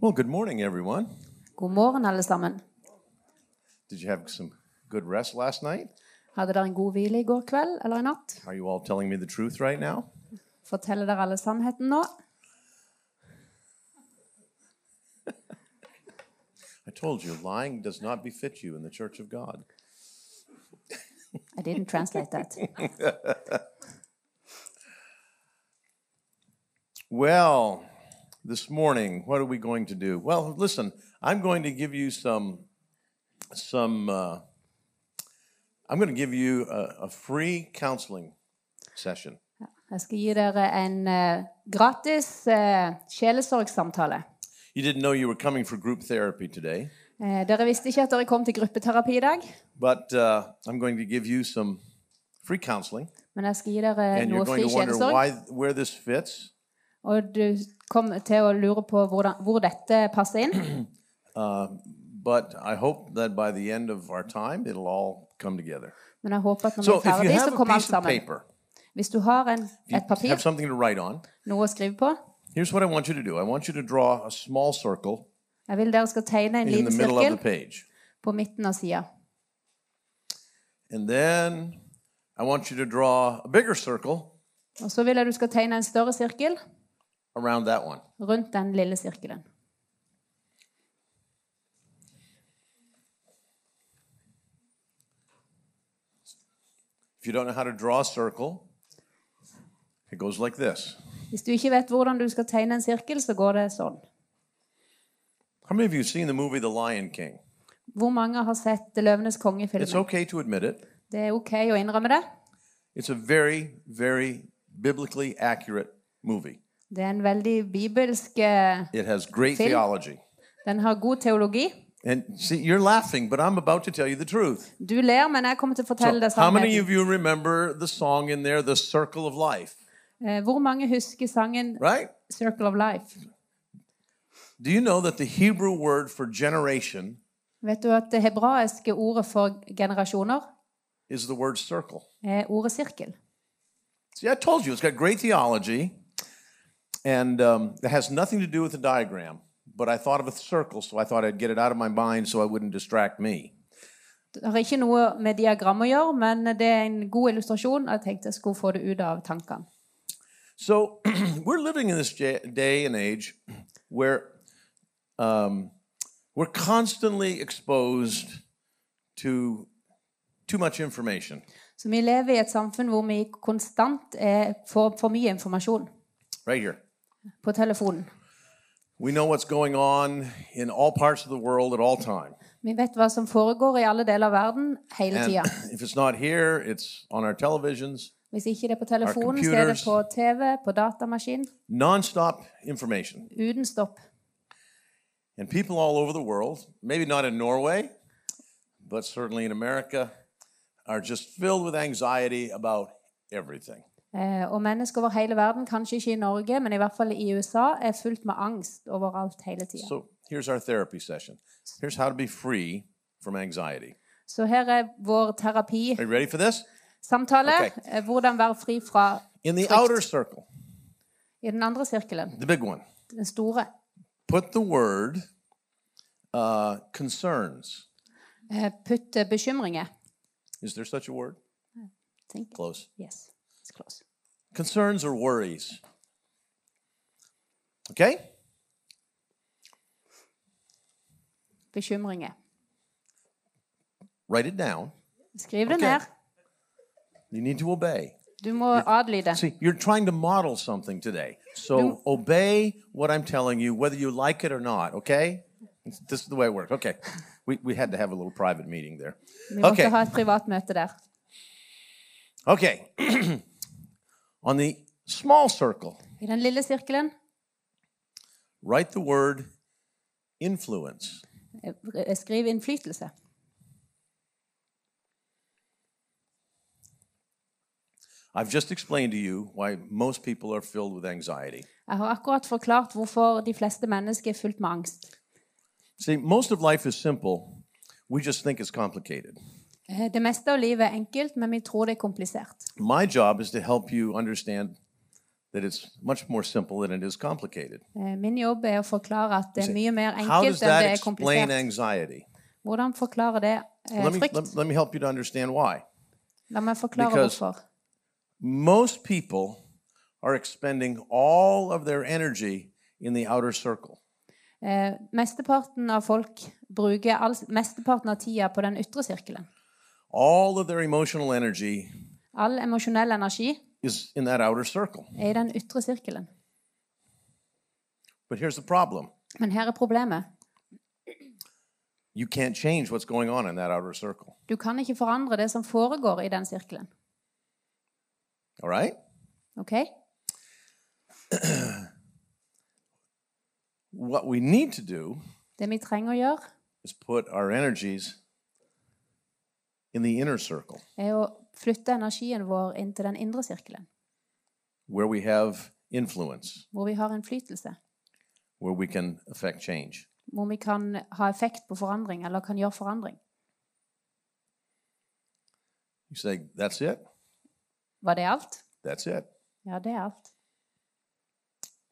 Well, good morning, everyone. God morgen, alle sammen. Did you have some good rest last night? Hadde dere en god hvile i går kveld eller i natt? Are you all telling me the truth right now? Forteller dere alle sannheten nå? I told you, lying does not befit you in the church of God. I didn't translate that. Well, this morning, what are we going to do? Well, listen, I'm going to give you some, some, uh, I'm going to give you a, a free counseling session. Jeg skal gi dere en eh, gratis eh, sjelesorgsamtale. You didn't know you were coming for group therapy today, Eh, dere visste ikke at dere kom til gruppeterapi i dag, but uh, I'm going to give you some free counseling, men jeg skal gi dere and you're noe going fri to wonder sjelesorg. why, where this fits. Og du kommer til å lure på hvordan, hvor dette passer inn. But I hope that by the end of our time, it'll all come together. Men jeg håper at når vi So er if you ferdig, have så a kommer alt piece of sammen. paper, Hvis du har en, you et papir, have something to write on. noe å skrive på, Here's what I want you to do. I want you to draw a small circle jeg vil dere skal tegne en in the liten middle of the sirkel page. på midten av sida. And then I want you to draw a bigger circle Og så vil jeg du skal tegne en større sirkel around that one. rundt den lille sirkelen. If you don't know how to draw a circle, it goes like this. Hvis du ikke vet hvordan du skal tegne en sirkel, så går det sånn. How many of you have seen the movie The Lion King? Hvor mange har sett 'Løvenes It's konge'-filmen? okay to admit it. Det er OK å innrømme det. It's a very, very biblically accurate movie. Det er en veldig bibelsk eh, It has great Film. theology. Den har god teologi. And see, you're laughing, but I'm about to tell you the truth. Du ler, men jeg kommer til å fortelle deg how many of sannheten. you remember the song in there, The Circle of Life? Eh, Hvor mange husker sangen Right? 'Circle of Life'? Do you know that the Hebrew word for generation Vet du at det hebraiske ordet for generasjoner is the word circle? er ordet sirkel? See, I told you, it's got great theology, and um, it has nothing to do with the diagram. But I thought of a circle, so I thought I'd get it out of my mind so I wouldn't distract me. Det har ikke noe med diagram å gjøre, men det er en god illustrasjon. Jeg tenkte jeg skulle få det ut av tankene. So we're living in this ja- day and age where um, we're constantly exposed to too much information, Så vi lever i et samfunn hvor vi konstant eh, får for mye informasjon right here. på telefonen. We know what's going on in all parts of the world at all time. Vi vet hva som foregår i alle deler av verden hele And tida. if it's not here, it's on our televisions. Hvis ikke det er på telefonen, så er det computers. på TV, på datamaskin. Nonstop information. Uten stopp. And people all over the world, maybe not in Norway, but certainly in America, are just filled with anxiety about everything. Eh, og mennesker over hele verden, kanskje ikke i Norge, men i hvert fall i USA, er fullt med angst overalt hele tida. So here's our therapy session. Here's how to be free from anxiety. Så her er vår Are terapisamtale. you ready for this? Ok. eh, Hvordan være fri fra In the Correct. outer circle, I den andre sirkelen, the big one, den store, put the word uh, concerns. eh, putt eh, bekymringer. Is there such a word? Tenk. Close. Yes, it's close. Concerns or worries. Okay? Bekymringer. Write it down. Skriv det Ok. ned. You need to obey. Du må adlyde. See, you're trying to model something today. So obey what I'm telling you, whether you like it or not, okay? This is the way it works. Okay. We, we had to have a little private meeting there. Vi måtte Okay. ha et privat møte der. Okay. On the small circle, I den lille sirkelen write the word influence. eh, eh, skriv innflytelse. I've just explained to you why most people are filled with anxiety. Jeg har akkurat forklart hvorfor de fleste mennesker er fullt med angst. See, most of life is simple. We just think it's complicated. Eh, Det meste av livet er enkelt, men vi tror det er komplisert. My job is to help you understand that it's much more simple than it is complicated. Eh, Min jobb er å forklare at det er mye mer How does enkelt enn that det er explain komplisert. anxiety? Hvordan forklare det eh, Let me, frykt? let, let me help you to understand why. La meg forklare because- hvorfor. Most people are expending all of their energy in the outer circle. Eh, mesteparten av folk bruker all, mesteparten av tida på den ytre sirkelen. All of their emotional energy All emosjonell energi is in that outer circle. er i den ytre sirkelen. But here's the problem Men her er problemet. you can't change what's going on in that outer circle. Du kan ikke forandre det som foregår i den sirkelen. All right? Ok? What we need to do Det vi trenger å gjøre, is put our energies in the inner circle er å flytte energien vår inn til den indre sirkelen, where we have influence, hvor vi har innflytelse. where we can affect change. Hvor vi kan ha effekt på forandring, eller kan gjøre forandring. You say, that's it? Var det alt? That's it. Ja, det er alt.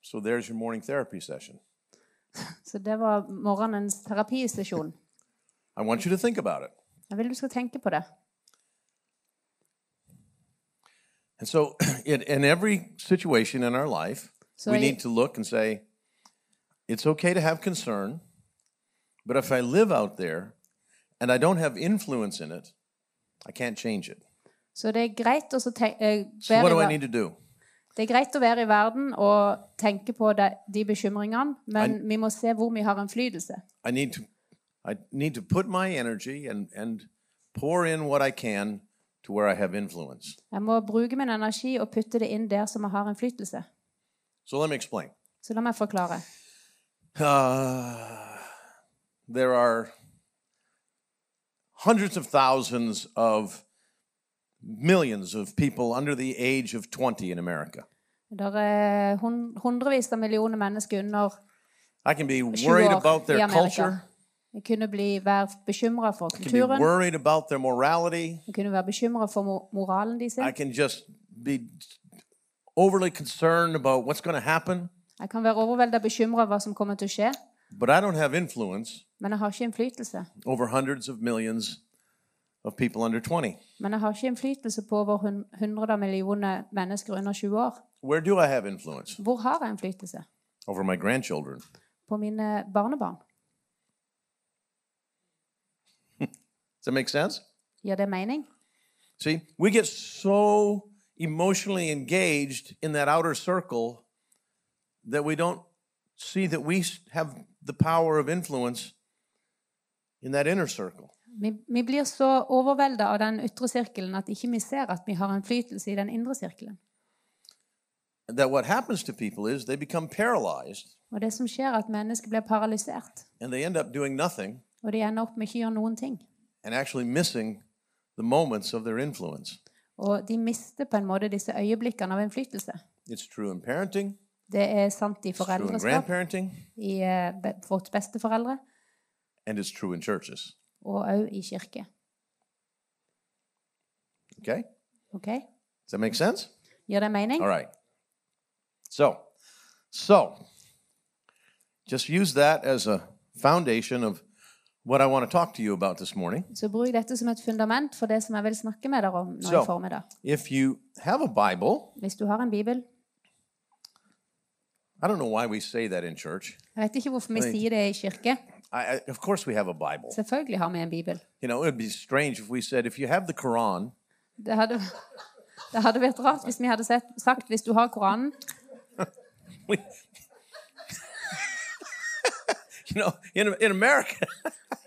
So there's your morning therapy session. Så det var morgenens terapisesjon. I want you to think about it. Jeg vil du skal tenke på det. And so, in, in every situation in our life, So we I- need to look and say, it's okay to have concern, but if I live out there and I don't have influence in it, I can't change it. Så det er greit å, så te- eh, So, what være, do I i need ver- to do? det er greit å være i verden og tenke på de, de bekymringene, men vi må se hvor vi har innflytelse. I need to, I need to put my energy and, and pour in what I can to where I have influence. Jeg må bruke min energi og putte det inn der som jeg har innflytelse. So, let me explain. Så la meg forklare. Uh, there are hundreds of thousands of millions of people under the age of 20 in America. Det er eh, hun- hundrevis av millioner mennesker under I can be 20 worried about år i their Amerika. culture, Jeg kunne bli, være bekymra for I can be kulturen. worried about their morality. Jeg kunne være bekymra for mo- moralen de sin. I can just be overly concerned about what's going to happen, Jeg kan være overvelda bekymra over hva som kommer til å skje, but I don't have influence men jeg har ikke innflytelse. over hundreds of millions of people under 20. Men jeg har ikke innflytelse på over hun- hundre av millioner mennesker under 20 år. Where do I have influence? Hvor har jeg innflytelse? Over my grandchildren. På mine barnebarn. Does that make sense? Gir det mening? See, we get so emotionally engaged in that outer circle that we don't see that we have the power of influence in that inner circle. Vi, vi blir så overvelda av den ytre sirkelen at ikke vi ser at vi har innflytelse i den indre sirkelen. That what happens to people is they become paralyzed Og det som skjer, er at mennesker blir paralysert. and they end up doing nothing Og de ender opp med ikke å gjøre noen ting. and actually missing the moments of their influence. Og de mister på en måte disse øyeblikkene av innflytelse. It's true in parenting, Det er sant i it's true in foreldreskap, grandparenting, i eh, be- vårt besteforeldre, and it's true in churches. og òg i kirke. Okay? OK? Does that make sense? Gjør det mening? All right. So, so just use that as a foundation of what I want to talk to you about this morning. Så bruk dette som et fundament for det som jeg vil snakke med dere om nå Så. i formiddag. If you have a Bible, Hvis du har en bibel I don't know why we say that in church. Jeg vet ikke hvorfor vi Right. sier det i kirke. I, I, of course, we have a Bible. Selvfølgelig har vi en bibel. You know, it would be strange if we said, if you have the Quran, Det hadde, det hadde vært rart hvis vi hadde sett, sagt 'hvis du har Koranen'. we, you know, in, in America,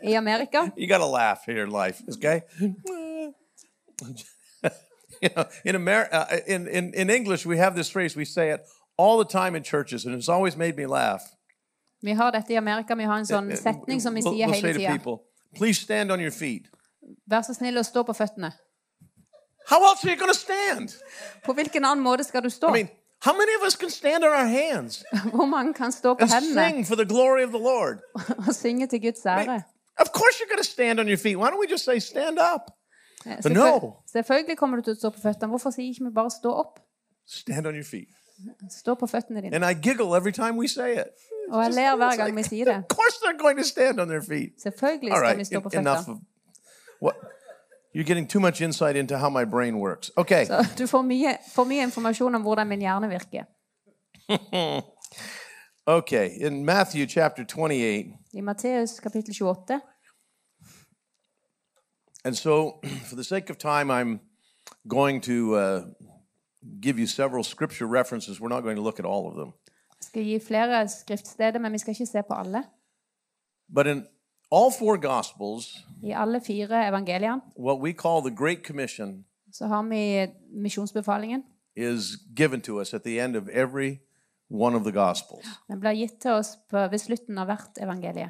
I Amerika you got to laugh here in life, okay? you know, in, Amer- uh, in, in, in English, we have this phrase, we say it all the time in churches, and it's always made me laugh. Vi har dette i Amerika. Vi har en Eh, sånn setning som vi We'll, sier we'll hele say to tida. people, please stand on your feet. Vær så snill å stå på føttene. How else are you going to stand? På hvilken annen måte skal du stå? I mean, how many of us can stand on our hands Hvor mange kan stå på and hendene sing for the glory of the Lord? og synge til Guds ære? Of course, you're going to stand on your feet. Why don't we just say, stand up? Eh, no. Selvfølgelig kommer du til å stå på føttene. Hvorfor sier ikke vi bare 'stå opp'? Stand on your feet. Stå på føttene dine. And I giggle every time we say it. Og jeg ler hver gang vi sier det. Of course they're going to stand on their feet. Selvfølgelig All skal right, vi stå på en- enough føttene. of what you're getting too much insight into how my brain works. Okay. Så du får mye, får mye informasjon om hvordan min hjerne virker. Okay. In Matthew chapter 28, I Matteus kapittel 28. and so for the sake of time, I'm going to uh, give you several scripture references. We're not going to look at all of them. Jeg skal gi flere skriftsteder, men vi skal ikke se på alle. But in all four gospels, I alle fire evangeliene what we call the Great Commission så har vi misjonsbefalingen. is given to us at the end of every one of the gospels. Den blir gitt til oss på, ved slutten av hvert evangelie.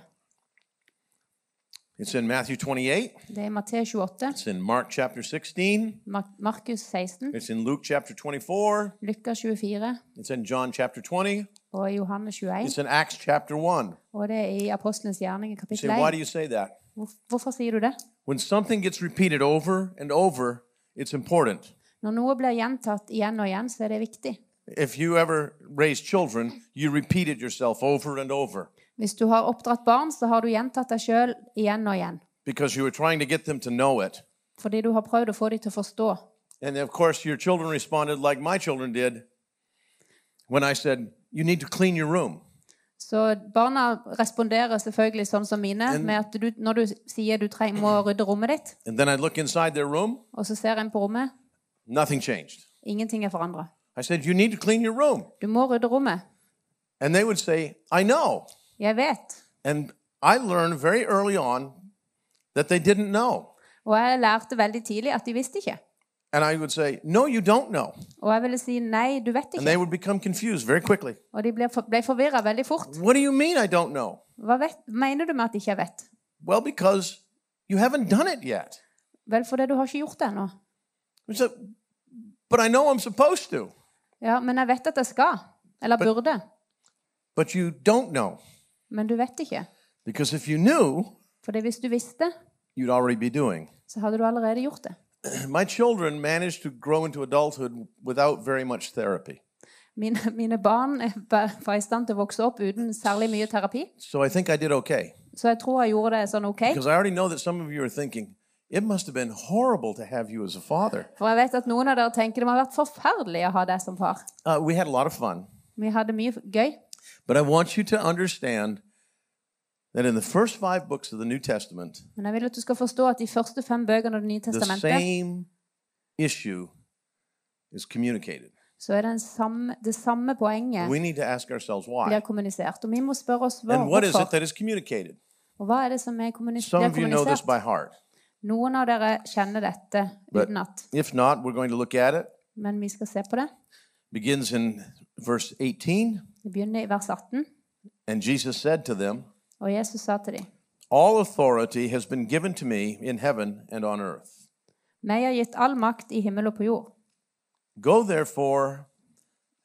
It's in Matthew 28, Det er Matteus 28, it's in Mark chapter 16, Mar- Markus 16, it's in Luke chapter 24, Lukas 24 it's in John chapter 20, og Johannes 21. it's in Acts chapter 1. Og det er i Apostlenes gjerning i You say, kapittel why do 1. you say that? Hvor- Hvorfor sier du det? When something gets repeated over and over, it's important. Når noe blir gjentatt igjen og igjen, så er det viktig. If you ever raise children, you repeat it yourself over and over Hvis du har oppdratt barn, så har du gjentatt deg sjøl igjen og igjen. because you were trying to get them to know it. Fordi du har prøvd å få dem til å forstå. And of course, your children responded like my children did when I said, You need to clean your room. Så barna responderer selvfølgelig sånn som mine, med at du, når du sier du treng, må rydde rommet ditt, And then I'd look inside their room, og så ser en på rommet nothing changed. Ingenting er forandra. I said, You need to clean your room. Du må rydde rommet. And they would say, I know. Jeg vet. And I learned very early on that they didn't know. Og jeg lærte veldig tidlig at de visste ikke. And I would say, No, you don't know. Og jeg ville si nei, du vet And ikke. they would become confused very quickly. Og de ble, for- ble forvirra veldig fort. What do you mean I don't know? Hva vet, mener du med at ikke jeg vet? Well, because you haven't done it yet. Vel, fordi du har ikke gjort det ennå. I said, but I know I'm supposed to. Ja, men jeg vet at jeg skal. Eller burde. But you don't know. Men du vet ikke. Because if you knew, Fordi hvis du visste, you'd already be doing. så hadde du allerede gjort det. My children managed to grow into adulthood without very much therapy. Mine, mine barn er ba- var i stand til å vokse opp uten særlig mye terapi. So I think I did okay. Så jeg tror jeg gjorde det sånn OK. Because I already know that some of you are thinking, it must have been horrible to have you as a father. For jeg vet at noen av dere tenker det må ha vært forferdelig å ha deg som far. Uh, we had a lot of fun. Vi hadde mye gøy. But I want you to understand that in the first five books of the New Testament, Men jeg vil at du skal forstå at de første fem bøkene av Det nye the testamentet, same issue is communicated. så er det, en samme, det samme poenget We need to ask ourselves why. blir kommunisert. Og vi må spørre oss hva, And what is it hvorfor. that is communicated? Og hva er det som er kommunis Some blir of you know this kommunisert? by heart. Noen av dere kjenner dette But- utenat, If not, we're going to look at it. men vi skal se på det. Begins in verse 18. Det begynner i vers 18, And Jesus said to them, og Jesus sa til dem All authority has been given to me in heaven and on earth. Meg har gitt all makt i himmel og på jord. Go therefore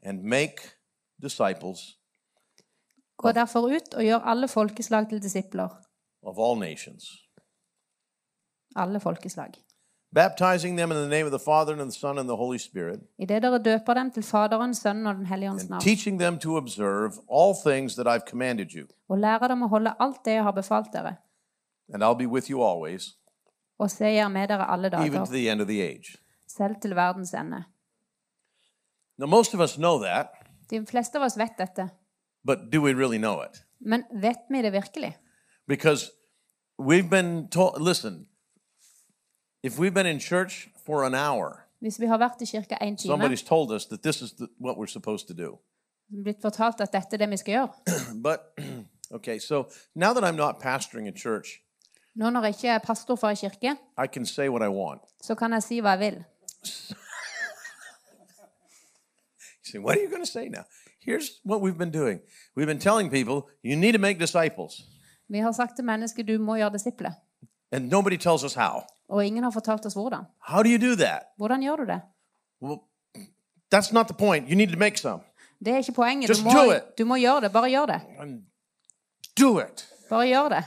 and make disciples Gå derfor ut og gjør alle folkeslag til disipler. of all nations, Alle folkeslag. baptizing them in the name of the Father and of the Son and the Holy Spirit, Idet dere døper dem til Faderen, Sønnen og Den hellige ånds and navn, teaching them to observe all things that I've commanded you. og lærer dem å holde alt det jeg har befalt dere, And I'll be with you always, og se jeg er med dere alle even to dager, the end of the age. selv til verdens ende. Now, most of us know that, De fleste av oss vet dette, but do we really know it? men vet vi det virkelig? Because we've been told, listen, if we've been in church for an hour, Hvis vi har vært i kirka én time, somebody's told us that this is the, what we're supposed to do. blitt fortalt at dette er det vi skal gjøre But, okay, so now that I'm not pastoring a church, Nå når jeg ikke er pastor for ei kirke, I can say what I want. så kan jeg si hva jeg vil. You say, what are you going to say now? Here's what we've been doing we've been telling people, you need to make disciples, Vi har sagt til mennesket du må gjøre disipler, and nobody tells us how. og ingen har fortalt oss hvordan. How do you do that? Hvordan gjør du det? Well, that's not the point. You need to make some. Det er ikke poenget. Just Du må, do it. du må gjøre det. Bare gjør det. Do it. Bare gjør det.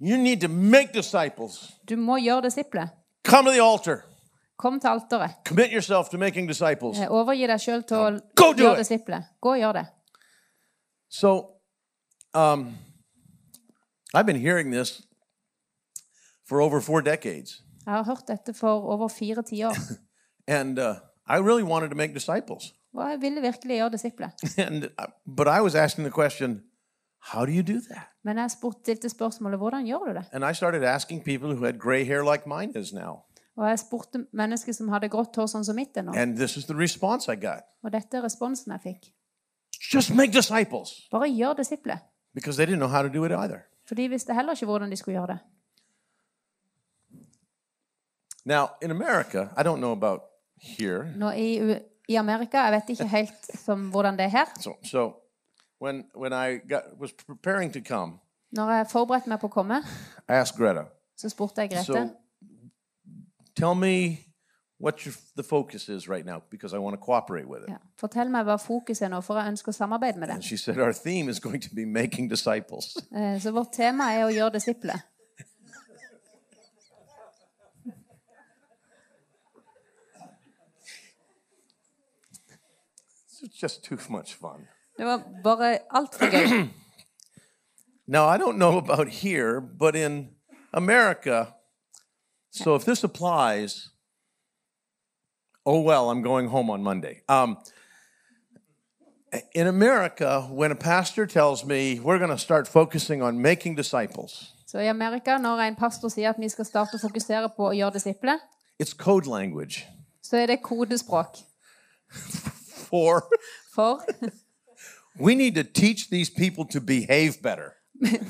You need to make disciples. Du må gjøre disipler. Come to the altar. Kom til alteret. Commit yourself to making disciples. Eh, Overgi deg sjøl til å Go do gjøre it! disipler. Gå og gjør det. So, um, I've been hearing this for over four decades, Jeg har hørt dette for over fire tiår. and uh, I really wanted to make disciples. Og jeg ville virkelig gjøre disipler. And uh, but I was asking the question, how do you do that? Men jeg spurt- stilte spørsmålet hvordan gjør du det? And I started asking people who had gray hair like mine is now, Og jeg spurte mennesker som hadde grått hår sånn som mitt er nå. and this is the response I got: Og dette er responsen jeg fikk. just make disciples, Bare gjør disipler. because they didn't know how to do it either. For de visste heller ikke hvordan de skulle gjøre det. Now in America, I don't know about here, Nå i, U- i Amerika, jeg vet ikke helt som hvordan det er her. so so when when I got was preparing to come, Når jeg forberedte meg på å komme, I asked Greta. så spurte jeg Grete. So, tell me what your, the focus is right now because I want to cooperate with it. Ja. Fortell meg hva fokuset er nå, for jeg ønsker å samarbeide med And deg. she said, Our theme is going to be making disciples. Eh, Så vårt tema er å gjøre disipler. it's just too much fun. Det var bare altfor gøy. Now, I don't know about here, but in America, so if this applies, oh well, I'm going home on Monday. Um, in America, when a pastor tells me we're going to start focusing on making disciples, Så i Amerika, når en pastor sier at vi skal starte å fokusere på å gjøre disipler, it's code language så er det kodespråk for for We need to teach these people to behave better.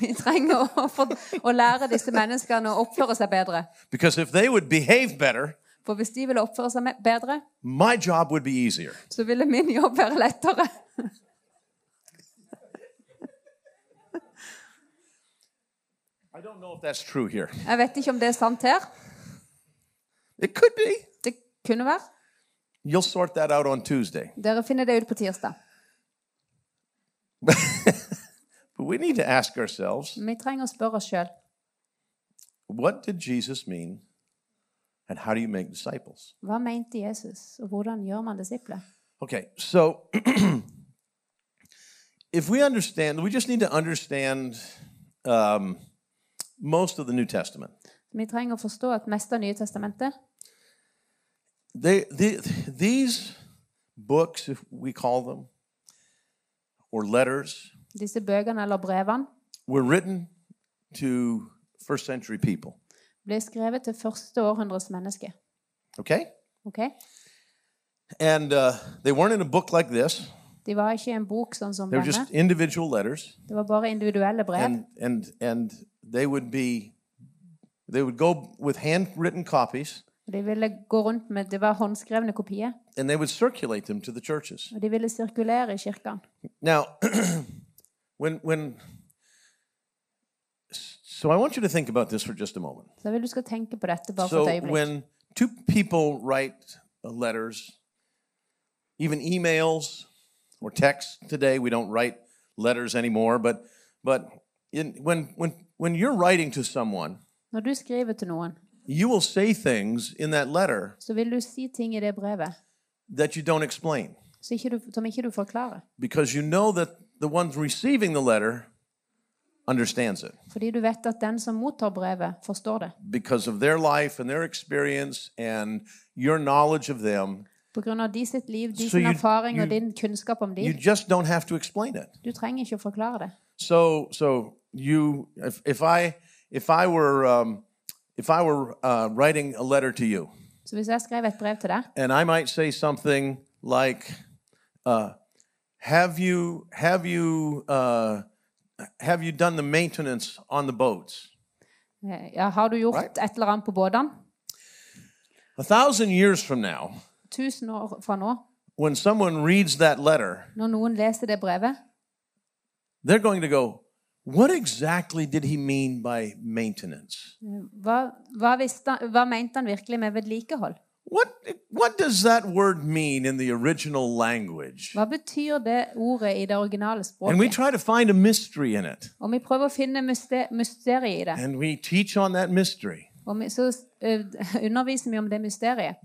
Vi trenger å, få, å lære disse menneskene å oppføre seg bedre. Because if they would behave better, For hvis de ville oppføre seg me- bedre, my job would be easier. så ville min jobb være lettere. I don't know if that's true here. Jeg vet ikke om det er sant her. It could be. Det kunne være. You'll sort that out on Tuesday. Dere finner det ut på tirsdag. But we need to ask ourselves Men Vi trenger å spørre oss sjøl what did Jesus mean and how do you make disciples? hva mente Jesus, og hvordan gjør man disipler? Okay, so if we understand, we just need to understand um, most of the New Testament. Vi trenger å forstå at mest av Nye testamentet, they, the these books, if we call them, or letters, disse bøkene eller brevene, were written to first century people. ble skrevet til første århundres menneske. Okay, Ok? and uh, they weren't in a book like this. De var ikke i en bok sånn som They were denne. just individual letters, Det var bare individuelle brev. and and and they would be, they would go with handwritten copies, De ville gå rundt med, Det var håndskrevne kopier. and they would circulate them to the churches. Og de ville sirkulere i kirkene. Now, when when. So I want you to think about this for just a moment. Så jeg vil du skal tenke på dette bare for so et øyeblikk. when two people write uh, letters even emails or texts today we don't write letters anymore but but in, when when when you're writing to someone Når du skriver til noen, you will say things in that letter så vil du si ting i det brevet that you don't explain som ikke du, som ikke du forklarer. because you know that the one receiving the letter understands it Fordi du vet at den som mottar brevet, forstår det. because of their life and their experience and your knowledge of them På grunn av de sitt liv, de So sin you- erfaring you- og din kunnskap om de. you just don't have to explain it Du trenger ikke å forklare det. so so you if, if i if i were um, if i were uh, writing a letter to you Så hvis jeg skrev et brev til deg, and i might say something like uh, have you have you uh, have you done the maintenance on the boats eh, ja, har du gjort Right. et eller annet på båtene? a thousand years from now Tusen år fra nå, when someone reads that letter når noen leser det brevet, they're going to go what exactly did he mean by maintenance hva, hva, visste, han- hva mente han virkelig med vedlikehold? what what does that word mean in the original language Hva betyr det ordet i det originale And we språket? try to find a mystery in it. Og vi prøver å finne myste- mysteriet i det. And we teach on that mystery. Og vi, så eh, underviser vi om det mysteriet.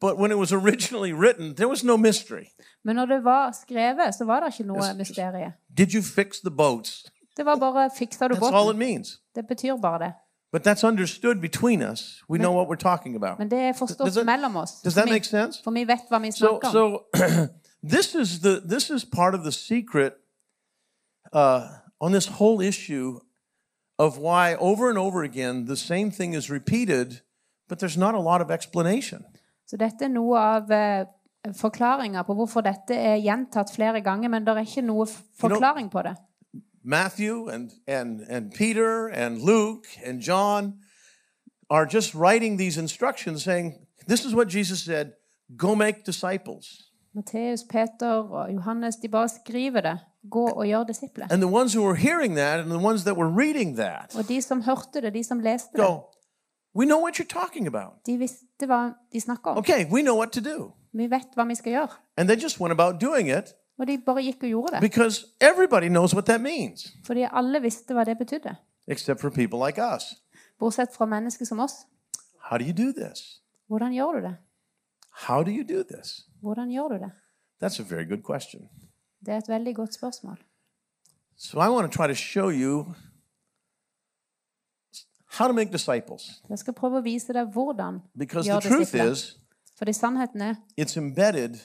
But when it was originally written, there was no mystery. Men når det var skrevet, så var det ikke noe Yes, just- mysterium. Did you fix the boats? Det var bare 'fiksa du That's all it båten'? means. Det betyr bare det. But that's understood between us. We know what we're talking about. Men det er forstått Does that- mellom oss. Does For that vi, make sense? for vi vet hva vi So, snakker om. so this is the this is part of the secret uh, on this whole issue of why over and over again the same thing is repeated, but there's not a lot of explanation. Så dette er noe av eh, forklaringa på hvorfor dette er gjentatt flere ganger, men det er ikke noe f- forklaring på det. Matthew and and and Peter and Luke and John are just writing these instructions, saying, "This is what Jesus said: Go make disciples." Matteus, Peter og Johannes de bare skriver det. Gå og gjør disipler. And the ones who were hearing that and the ones that were reading that Og de som hørte det, de som leste det, go, we know what you're talking about. de visste hva de snakka om. Okay, we know what to do. Vi vet hva vi skal gjøre. And they just went about doing it Og de bare gikk og gjorde det. because everybody knows what that means, Fordi alle visste hva det betydde. except for people like us. Bortsett fra mennesker som oss. How do you do this? Hvordan gjør du det? How do you do this? Hvordan gjør du det? That's a very good question. Det er et veldig godt spørsmål. So I want to try to show you how to make disciples Jeg skal prøve å vise deg hvordan because gjør the truth disipler. is Fordi sannheten er, it's embedded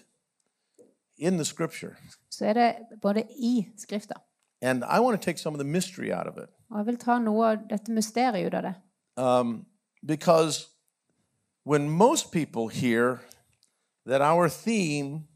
in the scripture. så er det både i Skrifta. And I want to take some of the mystery out of it. Og jeg vil ta noe av dette mysteriet ut av det. um, because when most people hear that our theme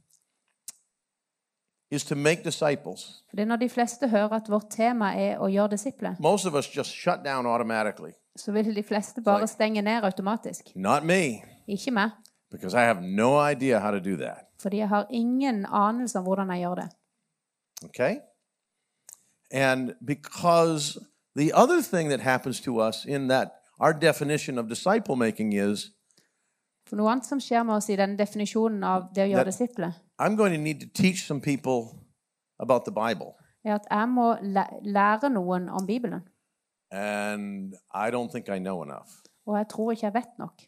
is to make disciples, Fordi når de fleste hører at vårt tema er å gjøre disipler, most of us just shut down automatically. så vil de fleste bare stenge ned automatisk. Not me, Ikke meg, because I have no idea how to do that. fordi jeg har ingen anelse om hvordan jeg gjør det. Okay? And because the other thing that happens to us in that our definition of disciple making is For noe annet som skjer med oss i den definisjonen av det å That- gjøre disipler, I'm going to need to teach some people about the Bible. er at jeg må læ- lære noen om Bibelen. And I don't think I know enough. Og jeg tror ikke jeg vet nok.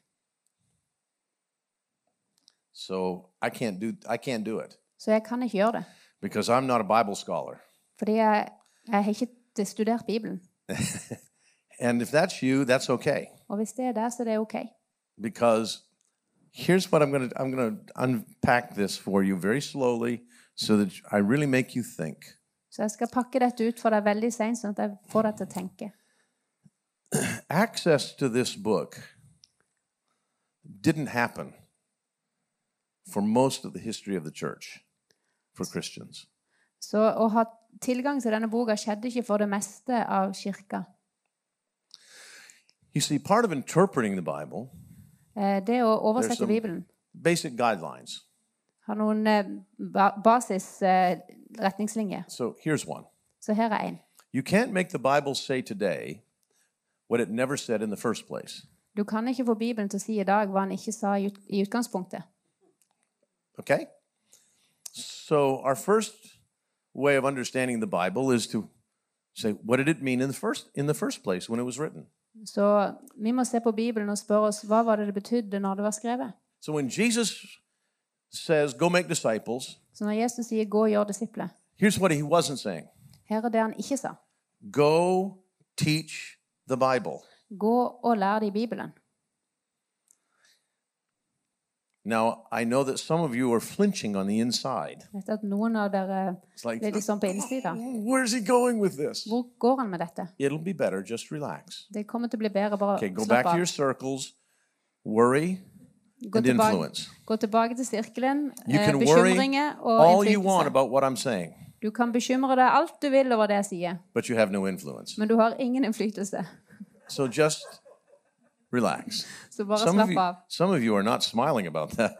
So I can't do I can't do it Så jeg kan ikke gjøre det. because I'm not a Bible scholar. Fordi jeg, jeg har ikke studert Bibelen. And if that's you, that's okay Og hvis det er der, så er det OK. because here's what I'm going to I'm going to unpack this for you very slowly so that I really make you think. Så jeg skal pakke dette ut for deg veldig seint, sånn at jeg får deg til å tenke. Access to this book didn't happen for most of the history of the church for Christians. Så å ha tilgang til denne boka skjedde ikke for det meste av kirka. You see, part of interpreting the Bible, Eh, Det å There's oversette some- Bibelen basic guidelines. har noen eh, ba- basis eh, retningslinjer. So here's one. Så her er én. You can't make the Bible say today what it never said in the first place. Du kan ikke få Bibelen til å si i dag hva han ikke sa i ut- i utgangspunktet. Okay? So, our first way of understanding the Bible is to say, what did it mean in the first, in the first place when it was written? Så vi må se på Bibelen og spørre oss hva var det det betydde når det var skrevet. So, when Jesus says, go make disciples, Så når Jesus sier 'gå og gjør disipler', here's what he wasn't saying her er det han ikke sa. go teach the Bible. Gå og lær det i Bibelen. Now, I know that some of you are flinching on the inside. Jeg vet at noen av dere It's like, blir litt sånn på innsida. where's he going with this? Hvor går han med dette? It'll be better, just relax. Det kommer til å bli bedre bare Okay, go slapp back to av. your circles. Worry Gå and tilbake, influence. gå tilbake til sirkelen. You eh, can worry Bekymringer all og you want innflytelse. about what I'm saying, Du kan bekymre deg alt du vil over det jeg sier, but you have no influence. men du har ingen innflytelse. So just relax. Så bare Some of slapp you, av. some of you are not smiling about that.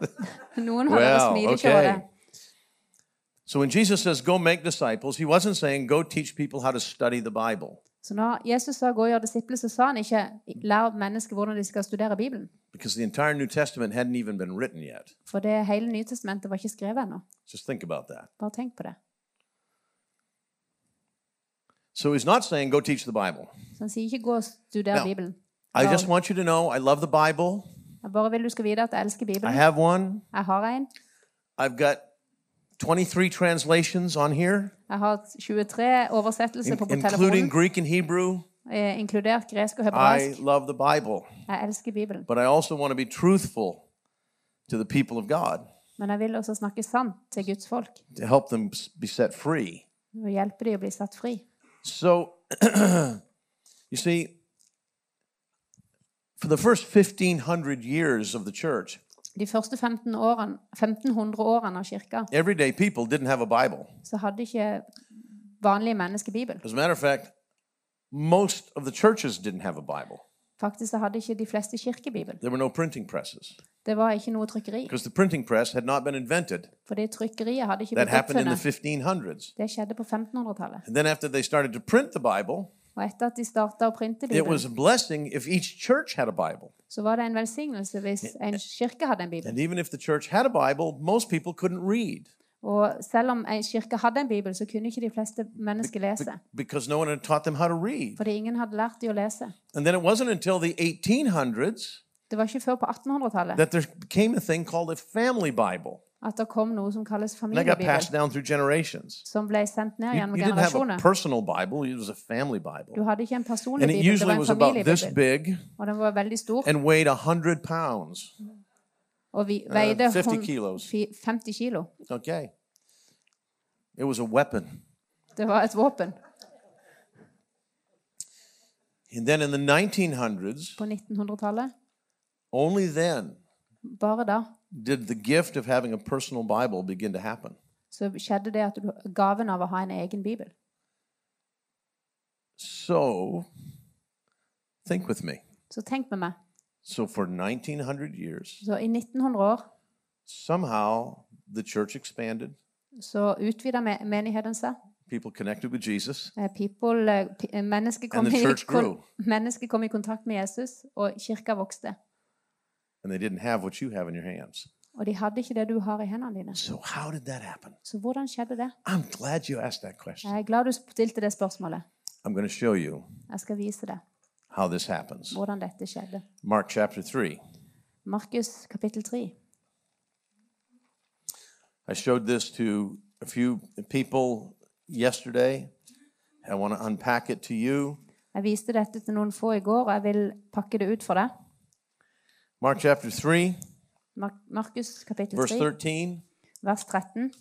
Noen av dere well, smiler ikke over det. okay. So when Jesus says, go make disciples, he wasn't saying, go teach people how to study the Bible, Så når Jesus sa 'gå og gjør disipler', så sa han ikke 'lær mennesker hvordan de skal studere Bibelen'. because the entire New Testament hadn't even been written yet. For det hele Nytestamentet var ikke skrevet ennå. Just think about that. Bare tenk på det. So he's not saying, go teach the Bible. Så han sier ikke 'gå og studer Now, Bibelen'. I Well- just want you to know I love the Bible. Jeg bare vil du skal vite at jeg elsker I Bibelen. have one. Jeg har en. I've got 23 translations on here, Jeg har 23 oversettelser på, på including telefonen, Greek and Hebrew. eh, inkludert gresk og I hebraisk. love the Bible, Jeg elsker Bibelen. but I also want to be truthful to the people of God Men jeg vil også snakke sant til Guds folk to help them s- be set free. og hjelpe dem å bli satt fri. So, you see, for the first 1500 years of the church, De første 15 årene, 1500 årene av kirka everyday people didn't have a Bible. så hadde ikke vanlige mennesker Bibel. As a matter of fact, most of the churches didn't have a Bible. Faktisk så hadde ikke de fleste kirkebibel. There were no printing presses Det var ikke noe trykkeri, because the printing press had not been invented. fordi trykkeriet hadde ikke That blitt happened in the oppfunnet. 1500s. Det skjedde på 1500-tallet. And then after they started to print the Bible, Og etter at de starta å printe it Bibelen, was a blessing if each church had a Bible. så var det en velsignelse hvis en kirke hadde en bibel. And even if the church had a Bible, most people couldn't read Og selv om en kirke hadde en bibel, så kunne ikke de fleste mennesker lese. because no one had taught them how to read. Fordi ingen hadde lært de å lese. And then it wasn't until the 1800s Det var ikke før på 1800-tallet that there became a thing called a family Bible. at det kom noe som kalles And that got familiebibel, passed down through generations. som ble sendt ned You, gjennom you didn't have a generasjoner. personal Bible, it was a family Bible. Du hadde ikke en personlig And it bibel, det usually var en was about this familiebibel. big Og den var veldig stor and weighed 100 pounds. og vi veide 50 hun- uh, kilos. fi- 50 kilo. Okay. It was a weapon. Det var et våpen. And then in the 1900s, På 1900-tallet, only then bare da, did the gift of having a personal Bible begin to happen. så skjedde det at du, gaven av å ha en egen bibel. So, think with me. Så tenk med meg. So, for 1900 years, Så i 1900 år somehow the church expanded, så utvida me- menigheten seg. people connected with Jesus, Eh, People, eh, pi- eh, mennesker, kom And the i, church kon- grew. mennesker kom i kontakt med Jesus, og kirka vokste. and they didn't have what you have in your hands. Og de hadde ikke det du har i hendene dine. So, how did that happen? Så hvordan skjedde det? I'm glad you asked that question. Jeg er glad du stilte det spørsmålet. I'm going to show you Jeg skal vise deg how this happens. hvordan dette skjedde. Mark chapter 3. Markus kapittel 3. I showed this to a few people yesterday. I want to unpack it to you. Jeg viste dette til noen få i går, og jeg vil pakke det ut for deg. Mark chapter 3, Mar- Markus kapittel verse 3, 13. vers 13.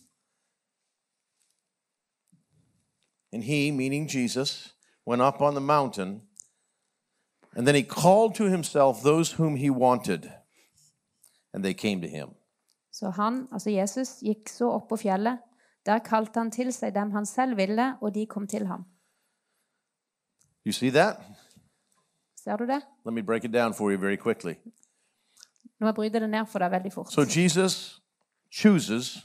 And he, meaning Jesus, went up on the mountain, and then he called to himself those whom he wanted, and they came to him. Så han, altså Jesus, gikk så opp på fjellet. Der kalte han til seg dem han selv ville, og de kom til ham. You see that? Ser du det? Let me break it down for you very quickly. Nå må jeg bryter det ned for deg veldig fort. So Jesus chooses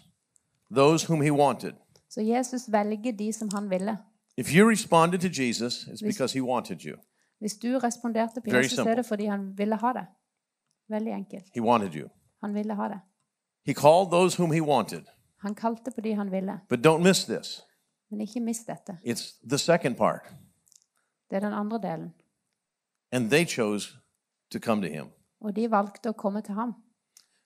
those whom he wanted. Så Jesus velger de som han ville. If you responded to Jesus, it's because he wanted you. Hvis du responderte på Very Jesus, så simple. er det fordi han ville ha det. Veldig enkelt. He wanted you. Han ville ha det. He called those whom he wanted. Han kalte på de han ville. But don't miss this. Men ikke mist dette. It's the second part. Det er den andre delen. And they chose to come to him. Og de valgte å komme til ham.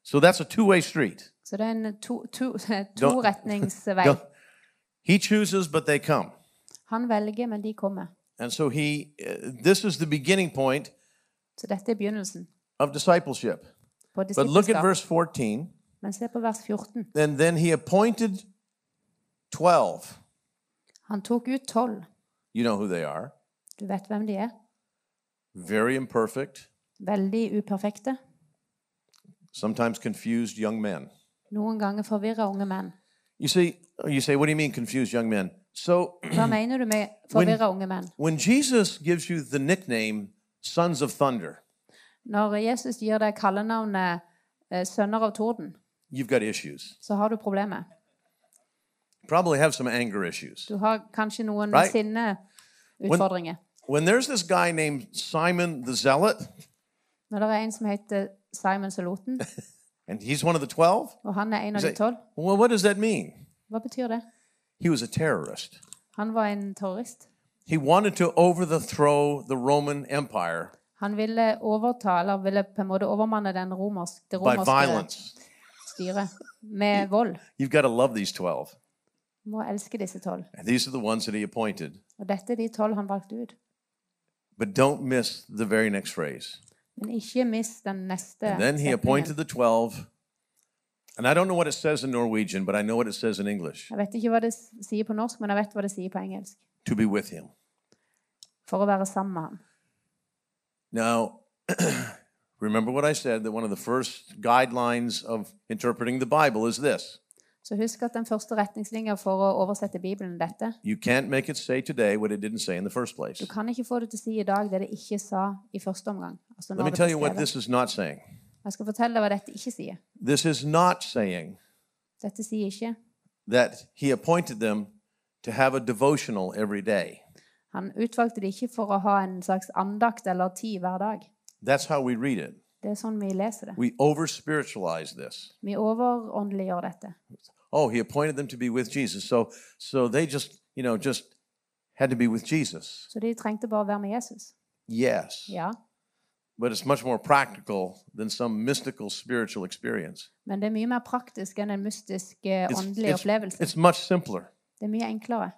So that's a two way street. Så det er en to, to, Don't- toretningsvei. Don't- He chooses, but they come. Han velger, men de kommer. And so he, uh, this is the beginning point Så dette er begynnelsen of discipleship. på But look at disippelskap. verse 14. Men se på vers 14. And then he appointed 12. Han tok ut tolv. You know who they are. Du vet hvem de er. Very imperfect, Veldig uperfekte. sometimes confused young men. Noen ganger forvirra unge menn. You see, you say, what do you mean confused young men? So Hva mener du med forvirra unge menn? when Jesus gives you the nickname sons of thunder, Når Jesus gir deg kallenavnet eh, 'sønner av torden', you've got issues. så har du problemet. Probably have some anger issues. Du har kanskje noen Right. sinneutfordringer. When there's this guy named Simon the Zealot, Når det er en som heter Simon Saloten, and he's one of the 12, og han er en av de Say, tolv, well, what does that mean? hva betyr det? He was a terrorist. Han var en terrorist. He wanted to overthrow the Roman Empire Han ville overta, eller ville på en måte overmanne den romersk, det by romerske violence. styret med vold. You've got to love these 12. Må elske disse tolv. And these are the ones that he appointed. Og dette er de tolv han valgte ut. But don't miss the very next phrase. Men ikke mist den neste And then he appointed setningen. the 12. And I don't know what it says in Norwegian, but I know what it says in English Jeg vet ikke hva det s- sier på norsk, men jeg vet hva det sier på engelsk. to be with him. For å være sammen med ham. Now, remember what I said that one of the first guidelines of interpreting the Bible is this Så husk at den første retningslinja for å oversette Bibelen er dette. you can't make it say today what it didn't say in the first place. Du kan ikke få det til å si i dag det det ikke sa i første omgang. Altså Let me når det tell ble you what skrevet. this is not saying. Jeg skal fortelle deg hva dette ikke sier. This is not saying Dette sier ikke that he appointed them to have a devotional every day. Han utvalgte det ikke for å ha en slags andakt eller tid hver dag. That's how we read it. Det er sånn vi leser det. We over spiritualize this. Vi overåndeliggjør dette. Oh, he appointed them to be with Jesus. So so they just, you know, just had to be with Jesus. Så de trengte bare å være med Jesus. Yes. Ja, But it's much more practical than some mystical spiritual experience. men det er mye mer praktisk enn en mystisk eh, It's, åndelig it's- opplevelse. it's much simpler. Det er mye enklere.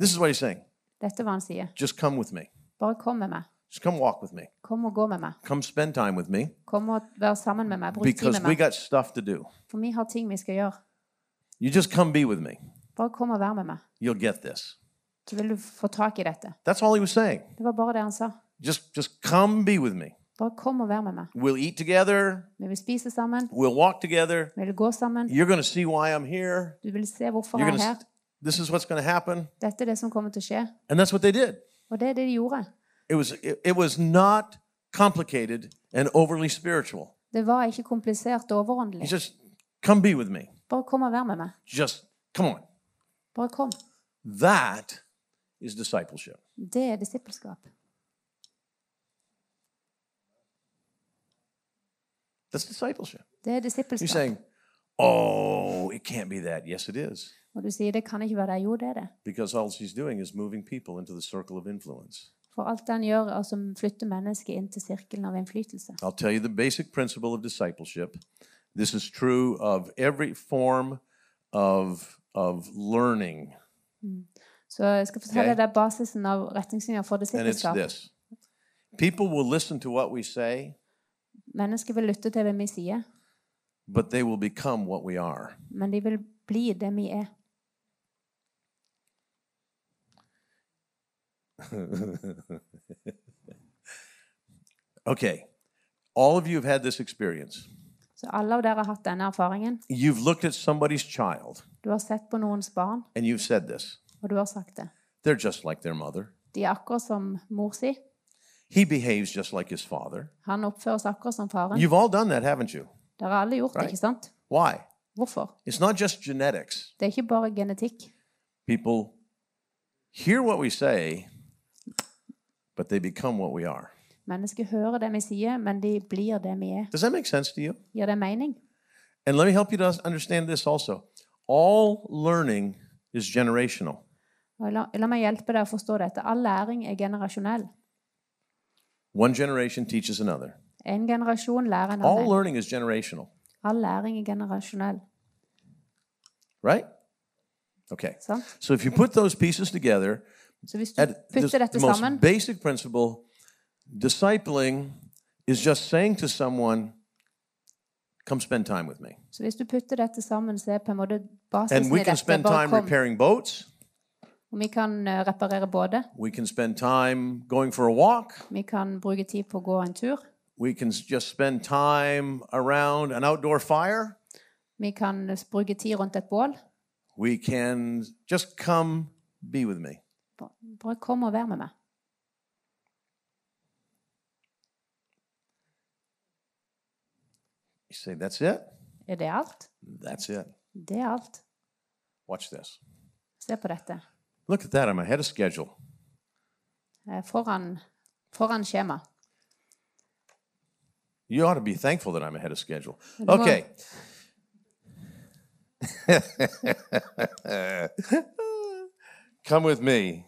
This is what he's saying. Dette er hva han sier. Just come with me. Bare kom med meg. Just come walk with me. Kom og gå med meg. Come spend time with me Kom og vær sammen med meg. Bruk tid because med we meg. got stuff to do. For vi har ting vi skal gjøre. You just come be with me. Bare kom og vær med meg. You'll get this. Så vil du få tak i dette. That's all he was saying. Det var bare det han sa. Just just come be with me. Bare kom og vær med meg. We'll eat together. Vi vil spise sammen. We'll walk together. Vi vil gå sammen. You're going to see why I'm here. Du vil se hvorfor You're jeg going er to her. This is what's going to happen. Dette er det som kommer til å skje. And that's what they did. Og det er det de gjorde. It was it, it was not complicated and overly spiritual. Det var ikke komplisert og He overåndelig. says, "Come be with me. Bare kom og vær med meg. Just come on." Bare kom. That is discipleship. Det er disippelskap. That's discipleship. Det er You're disippelskap. saying, "Oh, it can't be that." Yes, it is. Og du sier det kan ikke være det. Jo, det er det. Because all she's doing is moving people into the circle of influence. For alt den gjør, er som flytter mennesket inn til sirkelen av innflytelse. I'll tell you the basic principle of discipleship. This is true of every form of, of learning, Så jeg skal fortelle Ok. deg basisen av retningslinjer for and it's disippelskap. this people will listen to what we say, Mennesker vil lytte til hvem vi sier, but they will become what we are. men de vil bli det vi er. Okay, all of you have had this experience. Så alle av dere har hatt denne erfaringen. You've looked at somebody's child Du har sett på noens barn, and you've said this og du har sagt det. they're just like their mother. De er akkurat som mor si. He behaves just like his father. Han oppfører seg akkurat som faren. You've all done that, haven't you? Dere har alle gjort det, Right. ikke sant? Why? Hvorfor? It's not just genetics. Det er ikke bare genetikk. People hear what we say, but they become what we are. Mennesker hører det vi sier, men de blir det vi er. Does that make sense to you? Gir det mening? And let me help you to understand this also. All learning is generational. Og la, la meg hjelpe deg å forstå dette. All læring er generasjonell. One generation teaches another. En generasjon lærer en All annen. learning is generational, All læring er generasjonell. right? Okay. Sant? So if you put those pieces together, Så hvis du at the, putter the dette most sammen basic principle, discipling is just saying to someone, come spend time with me. Så hvis du putter dette sammen, så er på en måte And basisen we i can dette spend bare time kom. repairing boats. Og vi kan eh, reparere både. We can spend time going for a walk. Vi kan bruke tid på å gå en tur. We can s- just spend time around an outdoor fire. Vi kan eh, bruke tid rundt et bål. We can just come be with me. Ba- Bare kom og vær med meg. You say, that's it? Er det alt? That's it. Det er alt. Watch this. Se på dette. Look at that. I'm ahead of schedule. Eh, Foran, foran skjema. You ought to be thankful that I'm ahead of schedule. on. Okay. Come with me.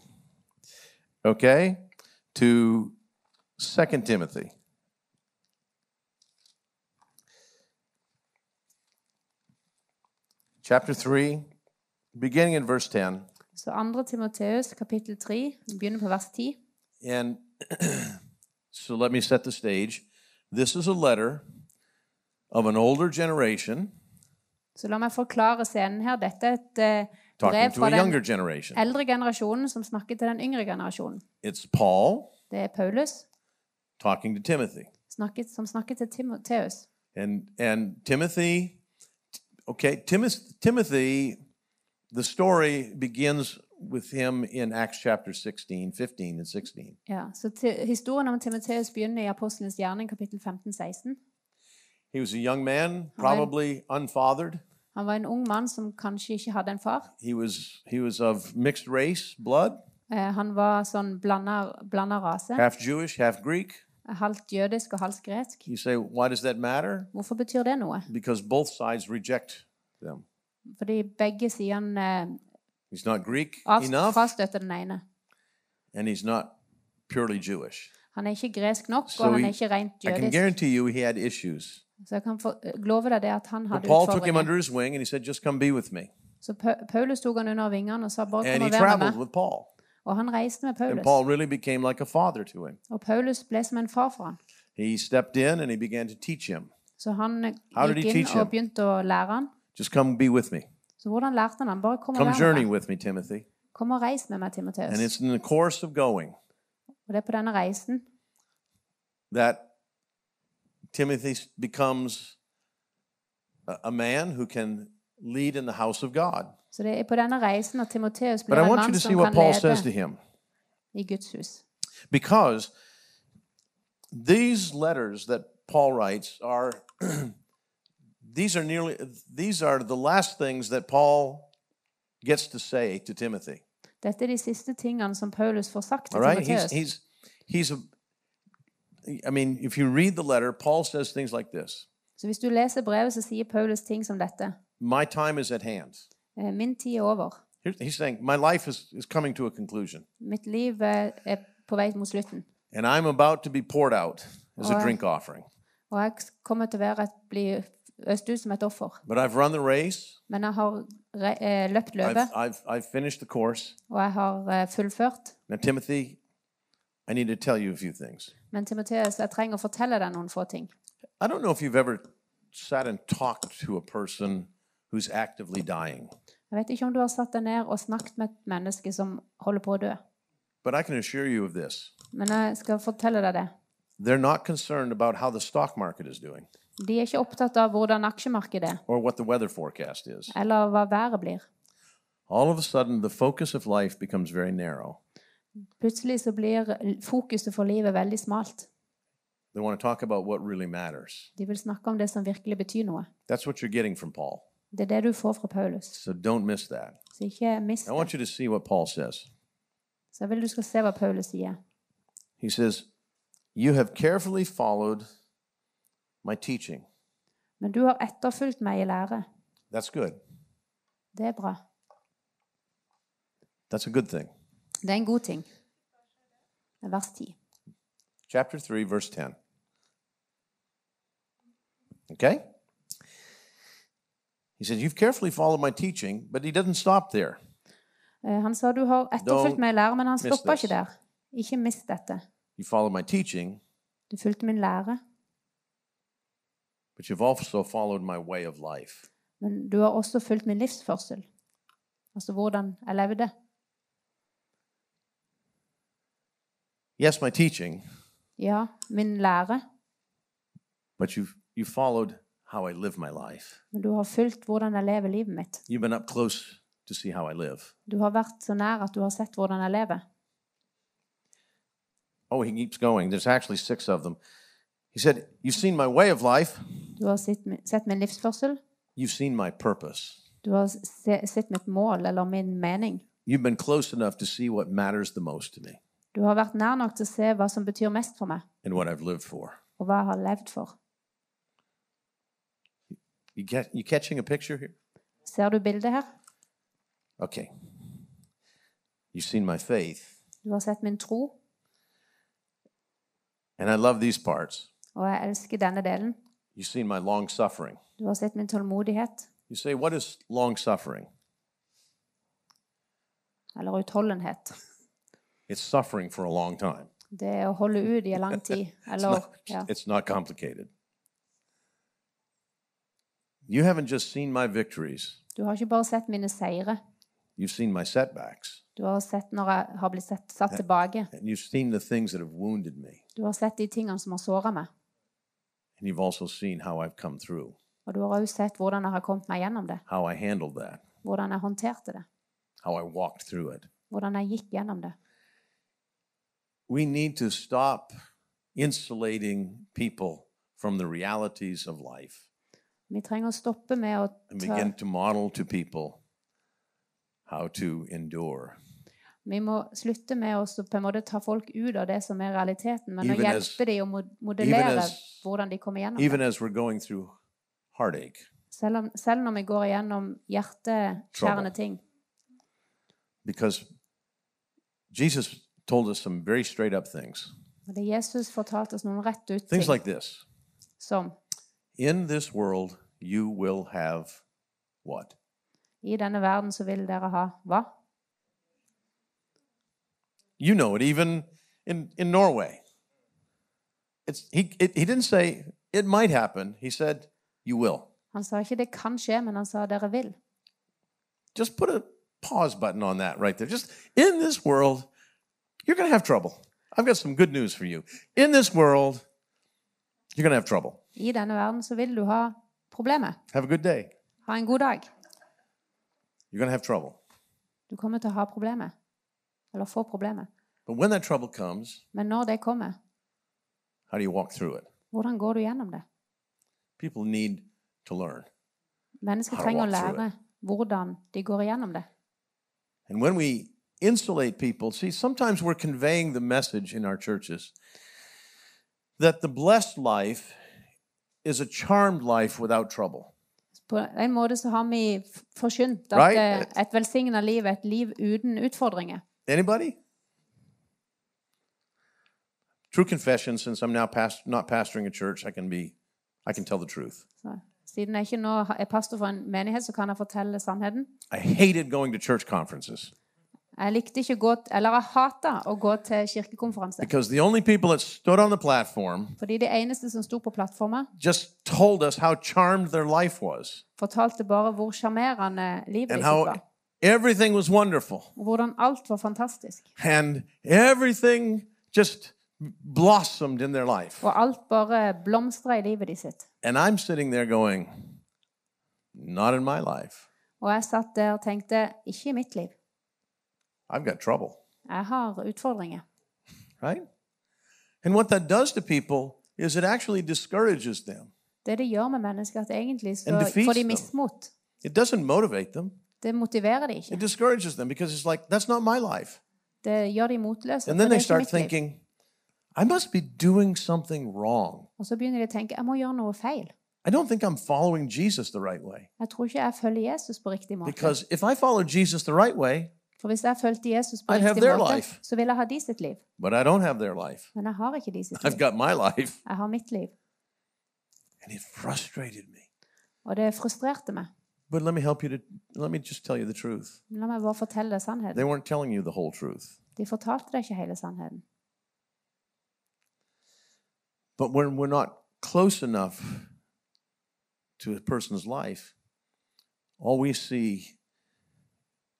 Okay? To Second Timothy. Chapter 3, beginning in verse 10. Så 2. Timoteus kapittel 3, begynner på vers 10. And so let me set the stage. This is a letter of an older generation Så la meg forklare scenen her. Dette er et eh, talking brev to fra a den younger generation. eldre generasjonen som snakker til den yngre generasjonen. It's Paul Det er Paulus talking to Timothy. snakket, som snakker til Timoteus. And and Timothy okay, Timoth, Timothy the story begins with him in Acts chapter 16, 15 and 16. Ja, så ti- Historien om Timoteus begynner i Apostlenes gjerning kapittel 15-16. He was a young man, probably unfathered. Han var en ung mann som kanskje ikke hadde en far. He was he was of mixed race, blood, Eh, han var sånn blanda rase. half Jewish, half Greek. Halvt jødisk og halvt gresk. You say why does that matter? Hvorfor betyr det noe? Because both sides reject them. Fordi begge sidene eh, He's not Greek avst- enough frastøter den ene. and he's not purely Jewish. Han er ikke gresk nok, So og han he- er ikke rent I can jødisk. guarantee you he had issues. Så jeg kan for, love deg det at han But hadde Paul took him utfordringer. under his wing and he said, Just come be with me. Så Pa- Paulus tok han under vingene og sa bare And kom he og vær med traveled meg. with Paul. Og han reiste med And Paulus. Paul really became like a father to him. Og Paulus ble som en far for han. He stepped in and he began to teach him. Så han eh, How did gikk he inn teach him? og begynte å lære han. Just come be with me. Så hvordan lærte han han? Bare kom og Come vær journey med meg. with me, Timothy. Kom og reis med meg, And Timoteus. it's in the course of going Og det er på denne reisen that Timothy s- becomes a- a man who can lead in the house of God. Så det er på denne reisen at Timoteus But blir I en want you mann to see som what kan Paul says to lede him. i Guds hus. because these letters that paul writes are these are nearly these are the last things that paul gets to say to timothy Dette er de siste tingene som Paulus får sagt all til right he's Timoteus. he's he's a i mean if you read the letter paul says things like this Så hvis du leser brevet, så sier Paulus ting som dette. my time is at hand Eh, Min tid er over. Here- he's saying my life is, is coming to a conclusion Mitt liv eh, er på vei mot slutten. and i'm about to be poured out as a Alright. drink offering Og jeg kommer til å være et, bli øst ut som et offer. but i've run the race Men jeg har re eh, løpt I've, løpet, I've, I've finished the course og jeg har eh, fullført. Now, Timothy, I need to tell you a few things. Men Timoteus, jeg trenger å fortelle deg noen få ting. I don't know if you've ever sat and talked to a person who's actively dying, Jeg vet ikke om du har satt deg ned og snakket med et menneske som holder på å dø. but I can assure you of this. Men jeg skal fortelle deg det. They're not concerned about how the stock market is doing De er ikke opptatt av hvordan aksjemarkedet er, or what the weather forecast is. eller hva været blir. All of a sudden, the focus of life becomes very narrow. Plutselig så blir l- fokuset for livet veldig smalt. They want to talk about what really matters. De vil snakke om det som virkelig betyr noe. That's what you're getting from Paul. Det er det du får fra Paulus. So don't miss that. Så ikke I mist det. want you to see what Paul says. Så jeg vil du skal se hva Paulus sier. He says, You have carefully followed my teaching. Men du har etterfulgt meg i lære. That's good. Det er bra. That's a good thing. Det er en god ting. Vers 10. chapter 3, verse 10. Okay? He says, You've carefully followed my teaching, but he doesn't stop there. Eh, Han sa du har etterfulgt Don't meg i lære, men han miss stoppa this. ikke der. Ikke mist dette. You followed my teaching, Du fulgte min lære, but you've also followed my way of life. men du har også fulgt min livsførsel. Altså hvordan jeg levde. Yes, my teaching, Ja, min lære, but you've you followed how I live my life. men du har fulgt hvordan jeg lever livet mitt. You've been up close to see how I live. Du har vært så nær at du har sett hvordan jeg lever. Oh, he keeps going. There's actually six of them. He said, You've seen my way of life, Du har sett, mi- sett min livsførsel. you've seen my purpose. Du har se, sett mitt mål eller min mening. You've been close enough to see what matters the most to me Du har vært nær nok til å se hva som betyr mest for meg, and what I've lived for. og hva jeg har levd for. You get you catching a picture here? Ser du bildet her? Okay. You've seen my faith. Du har sett min tro. And I love these parts. Og jeg elsker denne delen. You've seen my long suffering. Du har sett min tålmodighet, You say, What is long suffering? eller utholdenhet. It's suffering for a long time. Det er å holde ut i en lang tid. Eller, ja. It's not complicated. You haven't just seen my victories, Du har ikke bare sett mine seire. you've seen my setbacks, Du har sett når jeg har blitt sett, satt tilbake. and you've seen the things that have wounded me, Du har sett de tingene som har såra meg. and you've also seen how I've come through, Og du har òg sett hvordan jeg har kommet meg gjennom det. how I handled that, Hvordan jeg håndterte det. how I walked through it. Hvordan jeg gikk gjennom det. We need to stop insulating people from the realities of life Vi trenger å stoppe med å and ta begin to model to people how to endure. Vi må slutte med å så på en måte ta folk ut av det som er realiteten, men å Even as- hjelpe dem å mod- modellere as- hvordan de kommer gjennom even det. as we're going through heartache, Selv, om, selv når vi går igjennom hjerteskjærende Trouble. ting. because Jesus told us some very straight up things. Og det Jesus fortalte oss noen rett ut ting, Things like this som In this world, you will have what? I denne verden så vil dere ha hva? You know it, even in, in Norway. It's, he, it, he didn't say it might happen, he said you will. Han sa ikke 'det kan skje', men han sa 'dere vil'. Just put a pause button on that right there. Just in this world, you're going to have trouble. I've got some good news for you. In this world, you're going to have trouble. I denne verden så vil du ha problemer. Have a good day. Ha en god dag. You're going to have trouble. Du kommer til å ha problemer. Eller få problemer. But when that trouble comes, Men når det kommer, how do you walk through it? hvordan går du gjennom det? People need to learn. Mennesker How to trenger å walk through lære hvordan de går igjennom det. And when we insulate people, see, sometimes we're conveying the message in our churches that the blessed life is a charmed life without trouble. På en måte så har vi f- forkynt at Right. eh, et velsigna liv er et liv uten utfordringer. Anybody? True confession since I'm now past, not pastoring a church, I can be I can tell the truth. Så, siden jeg ikke nå ha- er pastor for en menighet, så kan jeg fortelle sannheten. I hated going to church conferences Jeg likte ikke å gå t- Eller jeg hata å gå til kirkekonferanse. because the only people that stood on the platform Fordi det eneste som sto på plattforma, just told us how charmed their life was fortalte bare hvor sjarmerende livet and ditt var. how everything was wonderful Og hvordan alt var fantastisk. and everything just blossomed in their life. Og alt bare blomstra i livet ditt sitt. And I'm sitting there going, Not in my life. Og jeg satt der og tenkte Ikke i mitt liv. I've got trouble, Jeg har utfordringer. right? And what that does to people is it actually discourages them, Det det gjør med mennesker, at egentlig så And defeats får de them. mismot. it doesn't motivate them. Det motiverer de It ikke. discourages them because it's like, That's not my life. Det gjør de motløse. And for then det they er ikke start mitt liv. thinking, I must be doing something wrong. Og så begynner de å tenke jeg må gjøre noe feil. I don't think I'm following Jesus the right way. Jeg tror ikke jeg følger Jesus på riktig måte. Because if I follow Jesus the right way, For hvis jeg fulgte Jesus på I'd have riktig their måte, life. så ville jeg ha de sitt liv. but I don't have their life, Men jeg har ikke de sitt I've liv. got my life. Jeg har mitt liv. And it frustrated me. Og det frustrerte meg. But let me help you to, let me just tell you the truth. Men La meg bare fortelle deg They sannheten. weren't telling you the whole truth. De fortalte deg ikke hele sannheten. But when we're not close enough to a person's life, all we see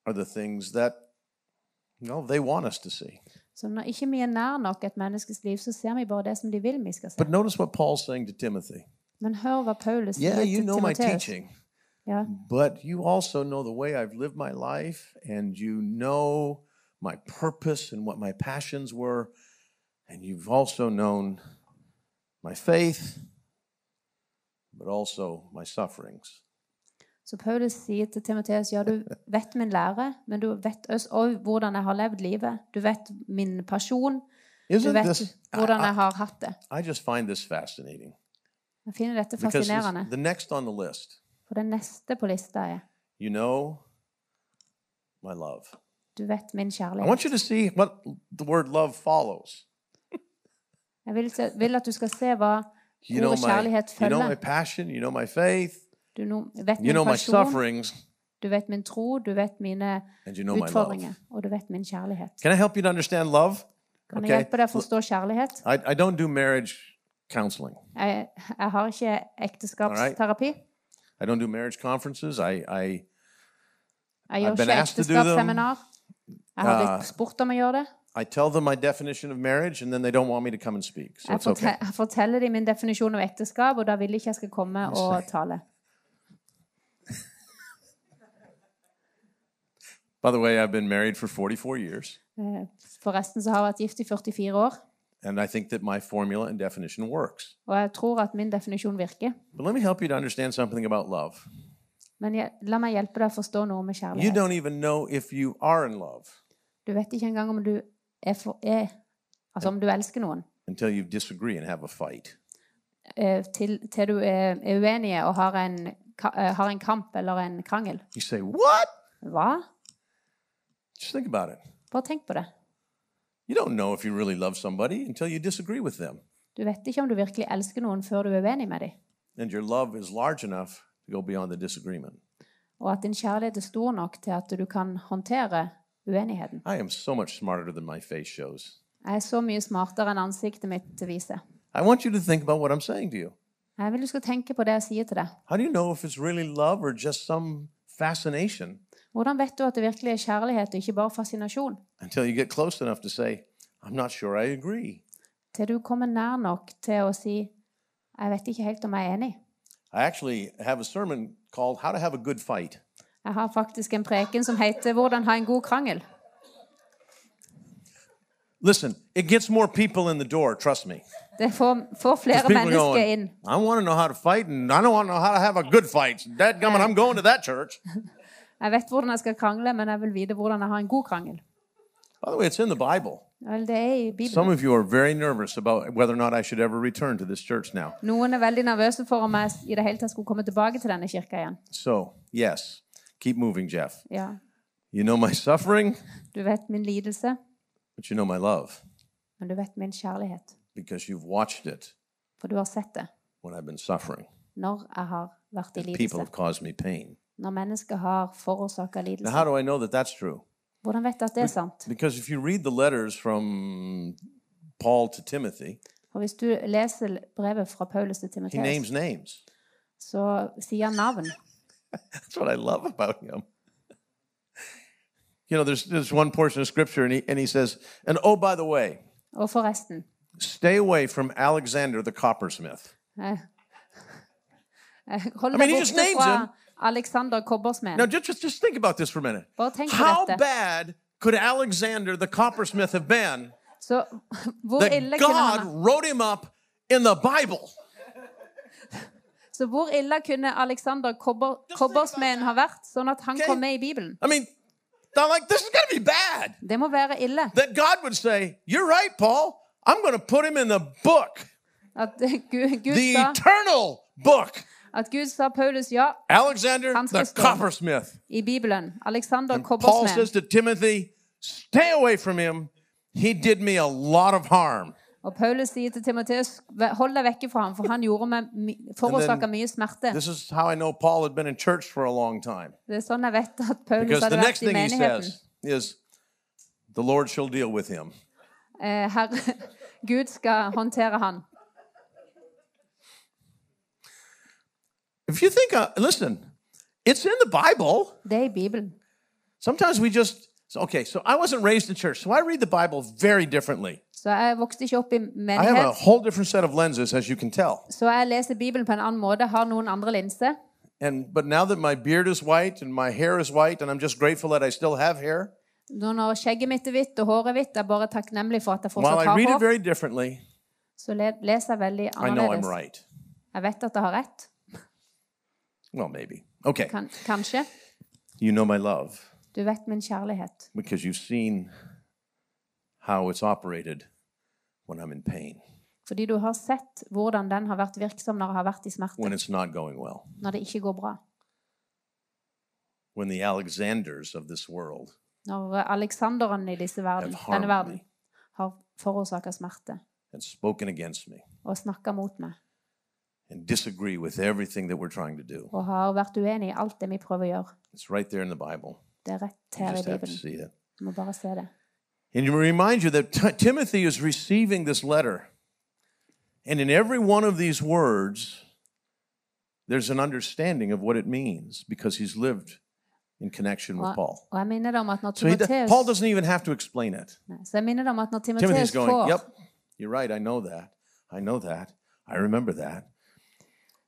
are the things that, well, they want us to see. Så når ikke vi er nær nok et menneskes liv, så ser vi bare det som de vil vi skal se. But notice what Paul's saying to Timothy. Men hør hva Paulus sier Yeah, you til know my Timoteus. teaching. Ja, But you also know the way I've lived my life, and you know my purpose and what my passions were, and you've also known my faith, but also my sufferings. så Paulus sier til Timoteus, ja, du vet min lære, men du vet også hvordan jeg har levd livet. Du vet min pasjon. Du Isn't vet this? I, hvordan er jeg I- har hatt det. I just find this fascinating Jeg finner dette because this- er fascinerende. the next on the list, For det neste på lista er you know, my love. Du vet min I kjærlighet. want you to see what the word love follows. Jeg vil, se, vil at du skal se hva You know ordet my, kjærlighet you know my følger. passion. You know my faith. Du no- vet You min know my pasjon, sufferings, du vet min tro, du vet mine and you know my love. utfordringer, og du vet min kjærlighet. Can I help you to understand love? Kan jeg hjelpe deg å forstå kjærlighet? I, I don't do marriage counseling. Jeg, jeg har ikke ekteskapsterapi. I don't do marriage conferences. I, I Jeg I've gjør been ikke asked to do them. ekteskapsseminar. Jeg har blitt spurt om å gjøre det. I tell them my definition of marriage, and then they don't want me to come and speak. So Jeg, it's okay. fortel, jeg forteller dem min definisjon av ekteskap, og da vil de ikke jeg skal komme og tale. By the way, I've been married for 44 years, Eh, Forresten så har jeg vært gift i 44 år, and I think that my formula and definition works. og jeg tror at min definisjon virker. But let me help you to understand something about love. Men jeg, la meg hjelpe deg å forstå noe med You kjærlighet. don't even know if you are in love Du vet ikke engang om du er, for, er Altså om du elsker noen, until you disagree and have a fight. eh, til, til du er, er uenige og har en, ka- eh, har en kamp eller en krangel. You say, What? Hva? Just think about it. Bare tenk på det. You don't know if you really love somebody until you disagree with them. Du vet ikke om du virkelig elsker noen før du er uenig med dem, And your love is large enough to go beyond the disagreement. og at din kjærlighet er stor nok til at du kan håndtere uenigheten. I am so much smarter than my face shows. Jeg er så mye smartere enn ansiktet mitt viser. I want you to think about what I'm saying to you. Jeg vil du skal tenke på det jeg sier til deg. How do you know if it's really love or just some fascination Hvordan vet du at det virkelig er kjærlighet og ikke bare fascinasjon? until you get close enough to say, I'm not sure I agree. Til du kommer nær nok til å si 'Jeg vet ikke helt om jeg er enig'. I actually have a sermon called How to Have a Good Fight. Jeg har faktisk en preken som heter 'Hvordan ha en god krangel'. Listen, it gets more people in the door, trust me. Det får, får flere People mennesker inn. going, I want to know how to fight and I don't want to know how to have a good fight. That gummit, I'm going to that church. Jeg vet hvordan jeg skal krangle, men jeg vil vite hvordan jeg har en god krangel. By the way, it's in the Bible. Vel, det er i Bibelen. Some of you are very nervous about whether or not I should ever return to this church now. Noen er veldig nervøse for om jeg i det hele tatt skulle komme tilbake til denne kirka igjen. So, yes, keep moving, Jeff. Ja, You know my suffering, Du vet min lidelse, but you know my love men du vet min kjærlighet. because you've watched it For du har sett det when I've been suffering. når jeg har vært i People lidelse. have caused me pain. Når mennesker har forårsaka Now, lidelse. how do I know that that's true? Hvordan vet jeg at det er sant? Because if you read the letters from Paul to Timothy, For hvis du leser brevet fra Paulus til he names Timoteus, names. så sier han navn. That's what I love about him. You know, there's, there's one portion of scripture, and he, and he says, and oh, by the way, Og forresten stay away from Alexander the coppersmith. eh, eh, Hold I mean, deg he just borte names fra him. Alexander Kobbersmeden. Now, just, just, just think about this for a minute. Well, thank you, How Doctor. bad could Alexander the coppersmith have been Så hvor ille, that kunne God han, wrote him up in the Bible? så hvor ille kunne Alexander Kobber, think about Kobbersmeden ha vært, sånn at han Okay. kom med i Bibelen? I mean, I'm like, this is going to be bad. Det må være ille. That God would say, You're right, Paul. I'm going to put him in the book, At Gud, Gud, the sa, eternal book. at Gud sa Paulus ja Alexander Hans the Christoph. coppersmith. i Bibelen. Alexander Paul says Kobbersmeden. to Timothy, Stay away from him. He did me a lot of harm. Og Paulus sier til Timoteus hold deg vekke fra ham, for han gjorde meg my- And forårsaka then- mye smerte. This is how I know Paul had been in church for a long time. Det er sånn jeg vet at Paulus Because the hadde next vært i thing he menigheten. says is, the Lord shall deal with him. Eh, Herre, Gud skal håndtere han. If you think, uh, listen, it's in the Bible. Det er i Bibelen. Sometimes we just, so, okay, so I wasn't raised in church, so I read the Bible very differently. Så jeg vokste ikke opp i I have a menighet, whole different set of lenses, as you can tell. så jeg leser Bibelen på en annen måte, har noen andre linser. And but now that my beard is white and my hair is white, and I'm just grateful that I still have hair. Nå når skjegget mitt er hvitt og håret er hvitt, jeg er bare takknemlig for at jeg While fortsatt I har read it hår, very differently, så le- leser jeg veldig I know I'm annerledes. right. Jeg vet at jeg har rett. Well, maybe. Okay, Kan, kanskje. you know my love Du vet min kjærlighet. because you've seen how it's operated when I'm in pain, Fordi du har sett hvordan den har vært virksom når jeg har vært i smerte. when it's not going well, Når det ikke går bra. when the Alexanders of this world Når eh, Alexanderen i disse verden, Have harmed denne verden me. har forårsaka smerte. and spoken against me og snakker mot meg and disagree with everything that we're trying to do. og har vært uenig i alt det vi prøver å gjøre. It's right there in the Bible. Det er rett You her i just have to Bibelen. see it. Vi må bare se det. And to remind you that T- Timothy is receiving this letter. And in every one of these words, there's an understanding of what it means because he's lived in connection with Og, Paul. og jeg minner deg om at når So he, do- Timoteus Paul doesn't even have to explain it. Nei, Så jeg minner deg om at når Timoteus Timothy's going, får Yep, you're right. I know that. I know that. I remember that.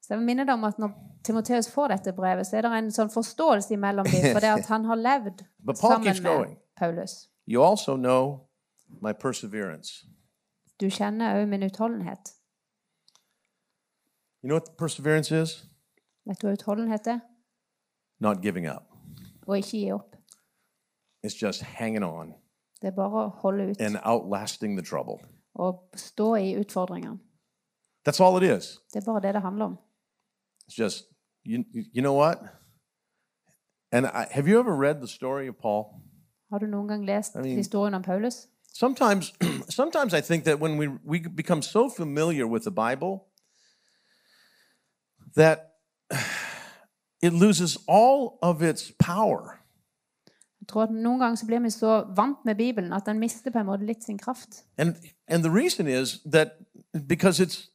Så jeg minner deg om at når Timoteus får dette brevet, så er det en sånn forståelse imellom dem, for det at han har levd But Paul sammen keeps med going. Paulus. You also know my perseverance. Du kjenner òg min utholdenhet. You know what perseverance is? Vet du hva utholdenhet er? Not giving up. Å ikke gi opp. It's just hanging on Det er bare å holde ut and outlasting the trouble. og stå i utfordringene. That's all it is. Det er bare det det handler om. It's just you. You know what? And I, have you ever read the story of Paul? Har du noen gang lest mean- historien om Paulus? Sometimes, sometimes I think that when we we become so familiar with the Bible that it loses all of its power. Jeg tror at Noen ganger så blir vi så vant med Bibelen at den mister på en måte litt sin kraft. And and the reason is that because it's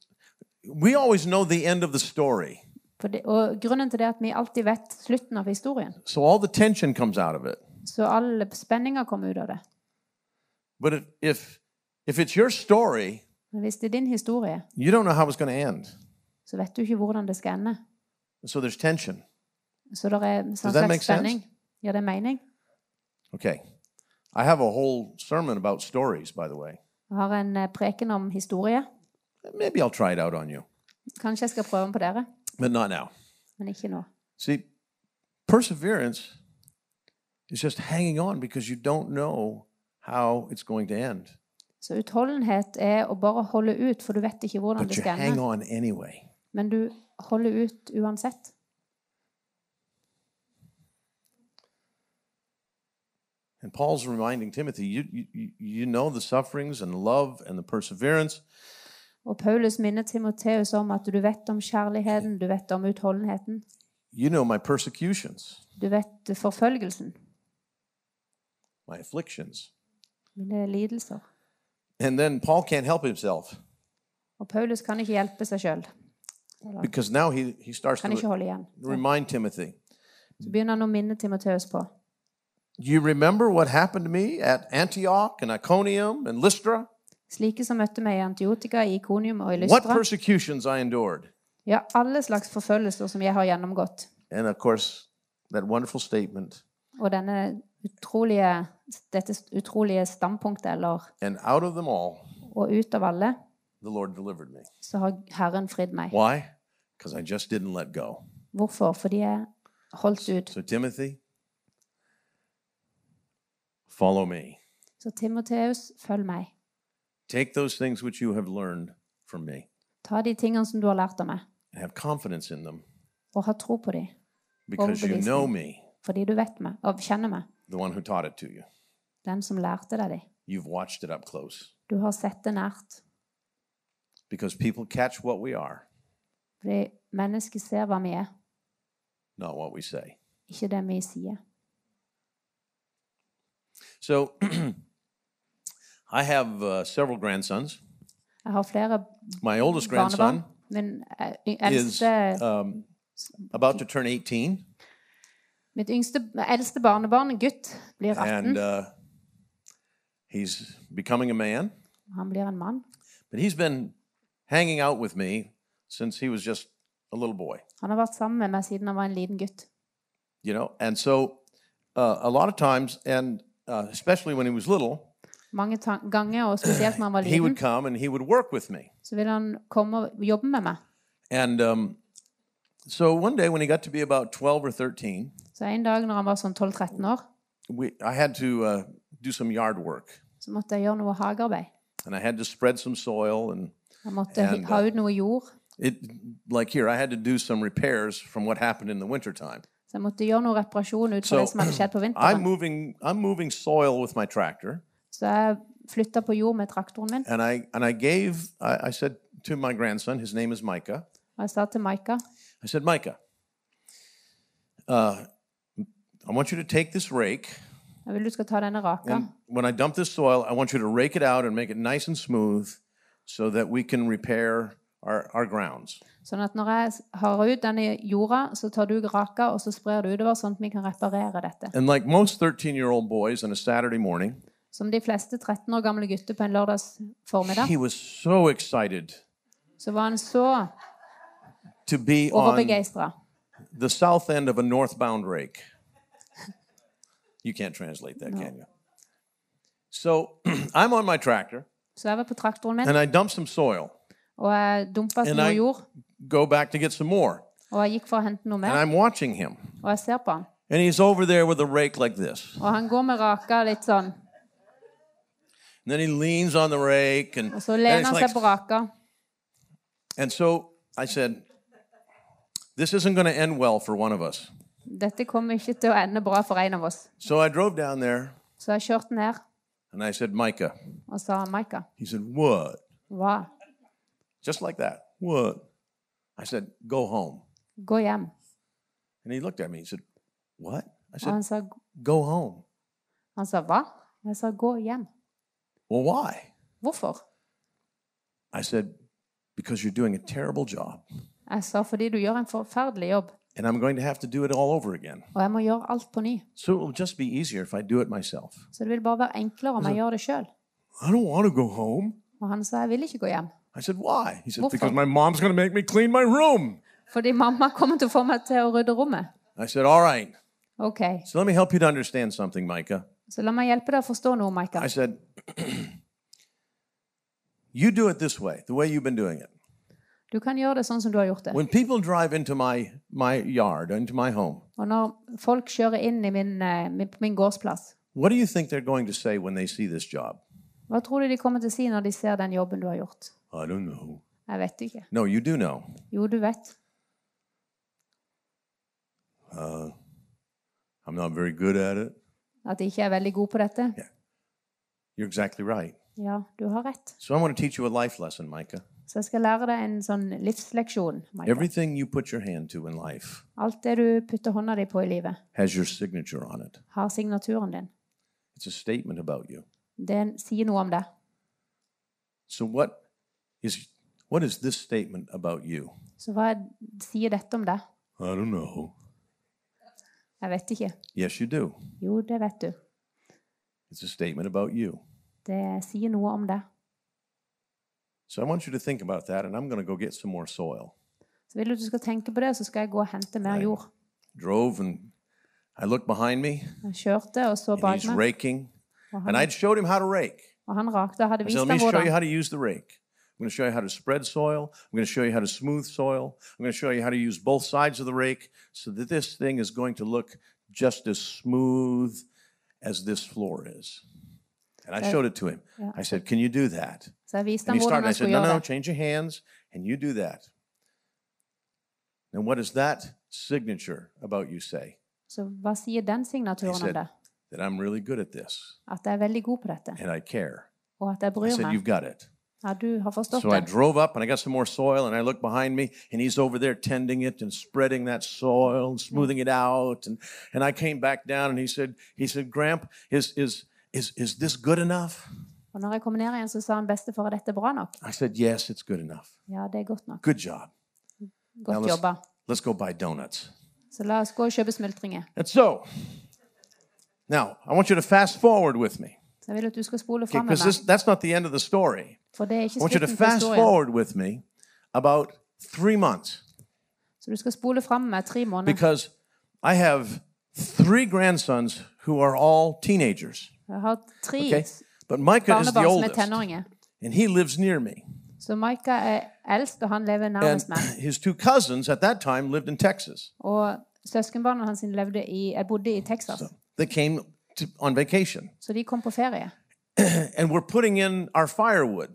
we always know the end of the story, For det, og Grunnen til det er at vi alltid vet slutten av historien. so all the tension comes out of it. Så all spenninga kommer ut av det. But if if, if it's your story, Men hvis det er din historie, you don't know how it's going to end. så vet du ikke hvordan det skal ende. So there's tension. Så det er en that sånn make slags sense? spenning. Gjør det mening? Okay. I have a whole sermon about stories, by the way. Jeg har en eh, preken om historie. Maybe I'll try it out on you, Kanskje jeg skal prøve den på dere, but not now. men ikke nå. See, perseverance is just hanging on because you don't know how it's going to end, Så utholdenhet er å bare holde ut, for du vet ikke hvordan but det you skal hang ende. on anyway. Men du holder ut uansett. And Paul's reminding Timothy, you, you- you, you know the sufferings and love and the perseverance, Og Paulus minner Timoteus om at du vet om kjærligheten, du vet om utholdenheten, you know my persecutions, du vet forfølgelsen, my afflictions. mine lidelser. And then Paul can't help himself Og Paulus kan ikke hjelpe seg sjøl. because now he, he starts Kan ikke to holde igjen. remind Timothy, Så begynner han å minne Timoteus på. You remember what happened to me at Antioch and Iconium and Lystra? Slike som møtte meg i Antiotika, i Ikonium og i What Lystra. persecutions I endured. Ja, alle slags forfølgelser som jeg har gjennomgått. And of course, that wonderful statement. Og denne utrolige, dette utrolige standpunktet, eller And out of them all, Og ut av alle the Lord delivered me. så har Herren fridd meg. Why? Because I just didn't let go. Hvorfor? Fordi jeg holdt ut. So, Timothy, follow me. Så Timoteus, følg meg. Take those things which you have learned from me Ta de tingene som du har lært av meg, and have confidence in them og ha tro på de. because you know me, Fordi du vet meg, og kjenner meg. the one who taught it to you. Den som lærte deg de. You've watched it up close Du har sett det nært. because people catch what we are, Fordi mennesket ser hva vi er, not what we say. ikke det vi sier. So I have uh, several grandsons. Jeg har flere My oldest barnebarn. grandson Min eh, y- is eldste um, about to turn 18, Mitt yngste, eldste barnebarn, en gutt, blir 18. and uh, he's becoming a man. Han blir en mann. But he's been hanging out with me since he was just a little boy, Han har vært sammen med meg siden han var en liten gutt. you know. And so uh, a lot of times, and uh, especially when he was little, Mange ta- ganger, og spesielt når han var he would liten, come and he would work with me. så ville han komme og jobbe med meg. And um, so one day when he got to be about 12 or 13, Så en dag når han var sånn 12-13 år, we, I had to uh, do some yard work. så måtte jeg gjøre noe hagearbeid. and I had to spread some soil and Jeg måtte hi- And, uh, ha ut noe jord. it like here I had to do some repairs from what happened in the wintertime. Så jeg måtte gjøre noe reparasjon ut fra So, det som hadde skjedd på I'm vinteren. moving I'm moving soil with my tractor Så jeg flytta på jord med traktoren min. And I, and I gave, I, I said to my grandson, his name is Micah, Og jeg sa til Maika I said, Micah, uh, I want you to take this rake. jeg vil du skal ta denne raka. And when I dump this soil, I want you to rake it out and make it nice and smooth so that we can repair our, our grounds. Sånn at når jeg har ut denne jorda, så tar du raka og så sprer du utover, sånn at vi kan reparere dette. And like most 13 year old boys on a Saturday morning, Som de fleste 13 år gamle gutter på en lørdags formiddag, he was so excited så var han så to be on overbegeistra. the south end of a northbound rake. You can't translate that, can you? So I'm on my tractor Så jeg var på traktoren min, and I dump some soil, og jeg dumpa And noe I- jord. go back to get some more. Og jeg gikk for å hente noe And mer, I'm watching him. og jeg ser på han. And he's over there with a rake like this. Og han går med raka litt sånn, And then he leans on the rake and, og så and lener it's han like- seg på raka. and so I said, This isn't going to end well for one of us. Dette kommer ikke til å ende bra for en av oss. So I drove down there Så jeg kjørte ned and I said, Micah. og sa, Maika, He said, What? hva? Just like that. What? I said, Go home. Gå hjem. And he looked at me. He said, What? I Og said, han sa, Go home. han sa hva? Jeg sa, gå hjem. Well, why? Hvorfor? I said, Because you're doing a terrible job Jeg sa, fordi du gjør en forferdelig jobb, and I'm going to have to do it all over again. og jeg må gjøre alt på ny. So it will just be easier if I do it myself. Så det vil bare være enklere om jeg gjør det sjøl. I don't want to go home. Og han sa, jeg vil ikke gå hjem. I said, Why? He said, Well, Because fuck. my mom's going to make me clean my room. Fordi mamma kommer til å få meg til å rydde rommet. I said, All right. Ok, So let me help you to understand something, Micah. så la meg hjelpe deg å forstå noe, Maika. I said, You do it this way, the way you've been doing it. Du kan gjøre det sånn som du har gjort det. When people drive into my, my yard, into my home, Og når folk kjører inn i min, eh, min, på min gårdsplass, what do you think they're going to say when they see this job? hva tror du de kommer til å si når de ser den jobben du har gjort? I don't know. Jeg vet ikke. No, you do know. Jo, du vet. I'm not very good at it. At jeg ikke er veldig god på dette? You're exactly right. Ja, du har rett. So I want to teach you a life lesson, Micah. Så jeg skal lære deg en sånn livsleksjon. Michael. Everything you put your hand to in life Alt det du putter hånda di på i livet, has your signature on it. har signaturen din. It's a statement about you. Det sier noe om deg. So what is what is this statement about you? Så hva er- sier dette om deg? I don't know. Jeg vet ikke. Yes, you do. Jo, det vet du. It's a statement about you. Det sier noe om deg. So I want you to think about that, and I'm going to go get some more soil. Så vil du at du skal tenke på det, så skal jeg gå og hente mer Nei. jord. Drove and I looked behind me, Jeg kjørte og så and bak he's meg, raking, og and han, I'd showed him how to rake. og han rakte og I hadde said, vist "Let ham me show you hvordan. how to use the rake. I'm going to show you how to spread soil. I'm going to show you how to smooth soil. I'm going to show you how to use both sides of the rake, so that this thing is going to look just as smooth as this floor is." And I showed it to him. I said, "Can you do that?" Så jeg viste And ham he hvordan started. I han said, skulle No, no, gjøre no, det. change your hands and you do that. And what does that signature about you say? Så hva sier den signaturen om said- deg? That I'm really good at this At jeg er veldig god på dette, and I care. og at jeg I bryr said, You've meg. got it. Ja, du har forstått So I det. drove up and I got some more soil and I looked behind me and he's over there tending it and spreading that soil and smoothing it out. And, and I came back down and he said, he said, Gramp, is, is, is, is this good enough? Og når jeg kom ned igjen, så sa han bestefar er dette bra nok? I said, yes, it's good enough. Ja, det er godt nok. Good job. Now Godt let's- jobba. Let's go buy donuts. Så la oss gå og kjøpe smultringer. And so, now I want you to fast forward with me Så jeg vil at du skal spole fram med because meg, this, that's not the end of the story. for det er ikke I want you to slutten på fast historien. forward with me about three months Så du skal spole fram med tre måneder. because I have three grandsons who are all teenagers. Jeg har tre Okay? But Micah is the barnebarn som er oldest, tenåringer. and he lives near me. Så Maika er eldst, og han lever And nærmest meg. his two cousins at that time lived in Texas. Og søskenbarna hans sine levde i, eh, bodde i Texas, They came to, on vacation, så de kom på ferie. and we're putting in our firewood,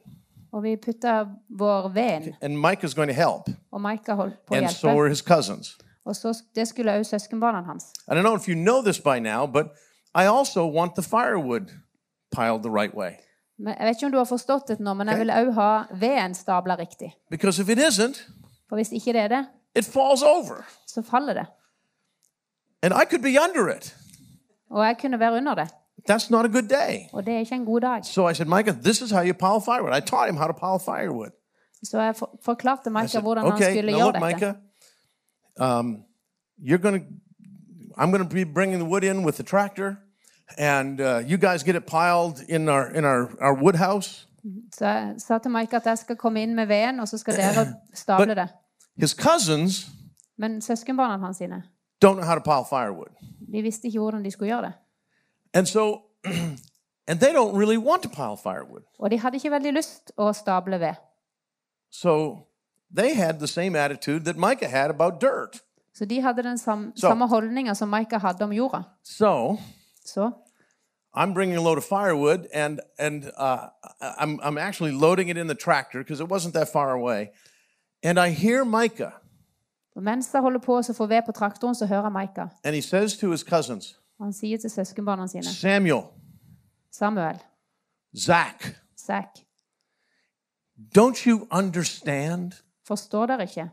Og vi putta vår ved inn, and Micah's going to help, og Maika holdt på å and so hjelpe. are his cousins. Og så, det skulle også søskenbarna hans. I don't know if you know this by now, but I also want the firewood piled the right way. Men jeg vet ikke om du har forstått det nå, men jeg vil òg ha veden stabla riktig. Because if it isn't, For hvis ikke det er det, it falls over. så faller det. And I could be under it. Og jeg kunne være under det. That's not a good day. Og det er ikke en god dag. So I said, Micah, this is how you pile firewood. I taught him how to pile firewood. Så jeg for forklarte I Micah said, hvordan han okay, skulle now gjøre look, dette. Micah, um, you're going to, I'm going to be bringing the wood in with the tractor, and uh, you guys get it piled in our in our our wood house. Så jeg sa til Micah at jeg skal komme inn med veden, og så skal dere stable det. His cousins Men søskenbarna hans sine, don't know how to pile firewood, de visste ikke hvordan de skulle gjøre det. and so, and they don't really want to pile firewood. Og de hadde ikke veldig lyst å stable ved. So they had the same attitude that Micah had about dirt. Så de hadde den sam Så- samme holdninga som Micah hadde om jorda. So Så I'm bringing a load of firewood, and and uh, I'm I'm actually loading it in the tractor because it wasn't that far away, and I hear Micah, og mens jeg holder på å få ved på traktoren, så hører jeg Micah. and he says to his cousins, Han sier til søskenbarna sine, Samuel, Samuel, Zach, Zack, don't you understand? forstår dere ikke?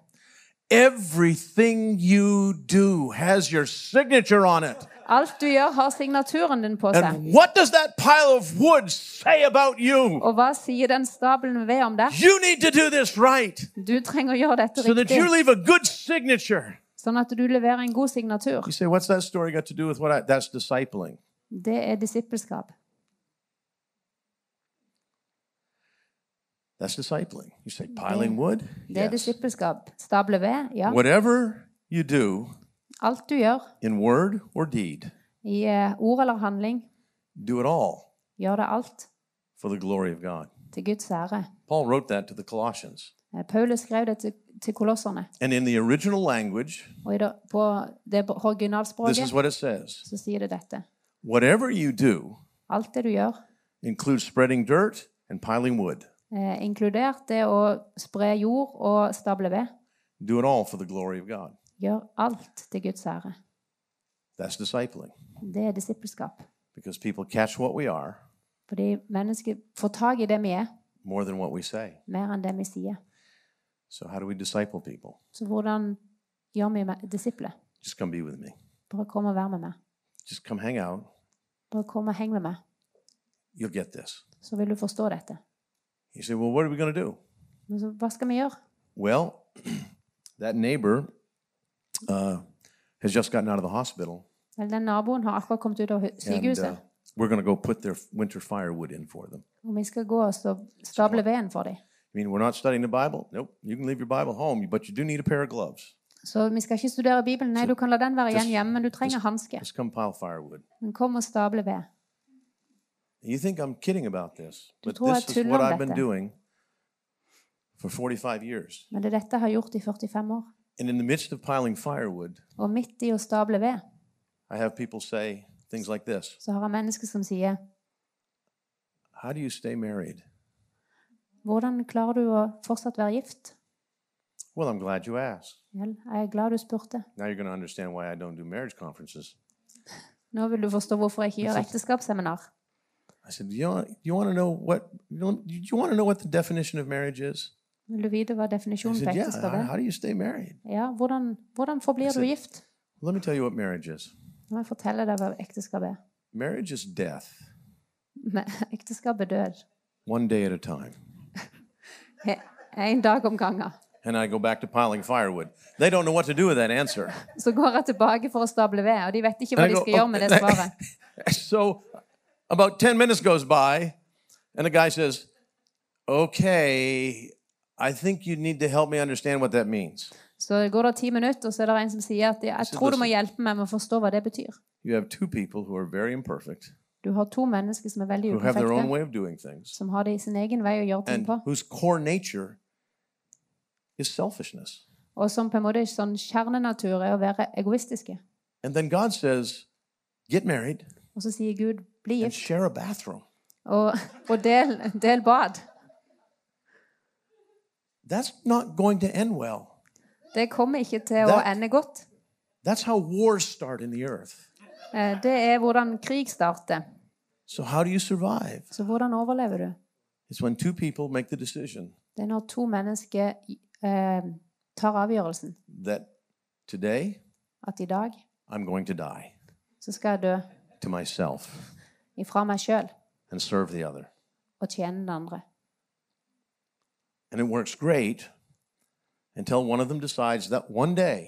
Everything you do has your signature on it. Alt du gjør, har signaturen din på seg. And what does that pile of wood say about you? Og hva sier den stabelen ved om deg? You need to do this right Du trenger å gjøre dette so that riktig, you leave a good signature. sånn at du leverer en god signatur. You say, what's that story got to do with what I, that's discipling? Det er disippelskap. That's discipling. You say piling wood? Det er Yes. disippelskap. Stable ved, ja. Whatever you do Alt du gjør, in word or deed, i eh, ord eller handling, do it all gjør det alt for the glory of God. til Guds ære. Paul wrote that to the Colossians. Eh, Paulus skrev det til, til kolosserne. And in the original language, Og i det, på det this is originalspråket what it says. så sier det dette. Whatever you do Alt det du gjør, includes spreading dirt and piling wood. eh, inkludert det å spre jord og stable ved, Do it all for the glory of God. gjør alt til Guds ære. That's discipling Det er disippelskap. because people catch what we are Fordi mennesker får tak i det vi er, more than what we say. mer enn det vi sier. So, how do we disciple people? Så hvordan gjør vi med disipler? Just come be with me. Bare kom og vær med meg. Just come hang out. Bare kom og heng med meg, You'll get this. så vil du forstå dette. You say, well, what are we going to do? Men så, hva skal vi gjøre? Well, that neighbor uh, has just gotten out of the hospital, Vel, den naboen har akkurat kommet ut av hu- and uh, sykehuset, we're going to go put their winter firewood in for them. og vi skal gå og så stable veden for dem. I mean, we're not studying the Bible. Nope, you can leave your Bible home, but you do need a pair of gloves. Så vi skal ikke studere Bibelen. Nei, du kan la den være igjen hjemme, men du trenger hanske. Just come pile firewood. Men kom og stable ved. You think I'm kidding about this, but tror jeg this is tuller what om I've been dette. doing for 45 years. Men det er dette jeg har gjort i 45 år. And in the midst of piling firewood, Og midt i å stable ved, I have people say things like this så har jeg mennesker som sier How do you stay married? Hvordan klarer du å fortsatt være gift? Well, I'm glad you asked. Vel, jeg er glad du spurte. Now you're going to understand why I don't do marriage conferences. Nå vil du forstå hvorfor jeg ikke gjør ekteskapsseminar. I said, "Do you want, you want to know what you don't- do you want to know what the definition of marriage is?" Vil du vite hva I definisjonen på said, "Yeah. ekteskap How, er? how do you stay married?" Ja, hvordan, hvordan forblir du gift? Let me tell you what marriage is. Nå må jeg fortelle deg hva ekteskap er. Marriage is death, Men Ekteskap er død. one day at a time. He- En dag om gangen. And I go back to piling firewood. They don't know what to do with that answer. Så går jeg tilbake for å stable ved, og de vet ikke hva And I de go, skal gjøre med det "Oh." svaret. so about 10 minutes goes by and the guy says, "Okay, I think you need to help me understand what that means. Så går det ti minutter, og så er det en som sier at jeg tror du må hjelpe meg med å forstå hva det betyr. You have two people who are very imperfect, Du har to mennesker som er veldig who have their own uperfekte, way of doing things." som har det i sin egen vei å gjøre ting and på, whose core nature is selfishness. og som på en måte sånn kjernenatur er å være egoistiske. And then God says, get married Og så sier Gud 'bli and gift', share a bathroom. og, og del, del bad. That's not going to end well. Det kommer ikke til å That- ende godt. That's how wars start in the earth. Eh, Det er hvordan krig starter. So, how do you survive? Så hvordan overlever du? It's when two people make the decision Det er når to mennesker eh, tar avgjørelsen that today at i dag I'm going to die så skal jeg dø to myself ifra meg sjøl and serve the other. og tjene den andre. And it works great until one of them decides that one day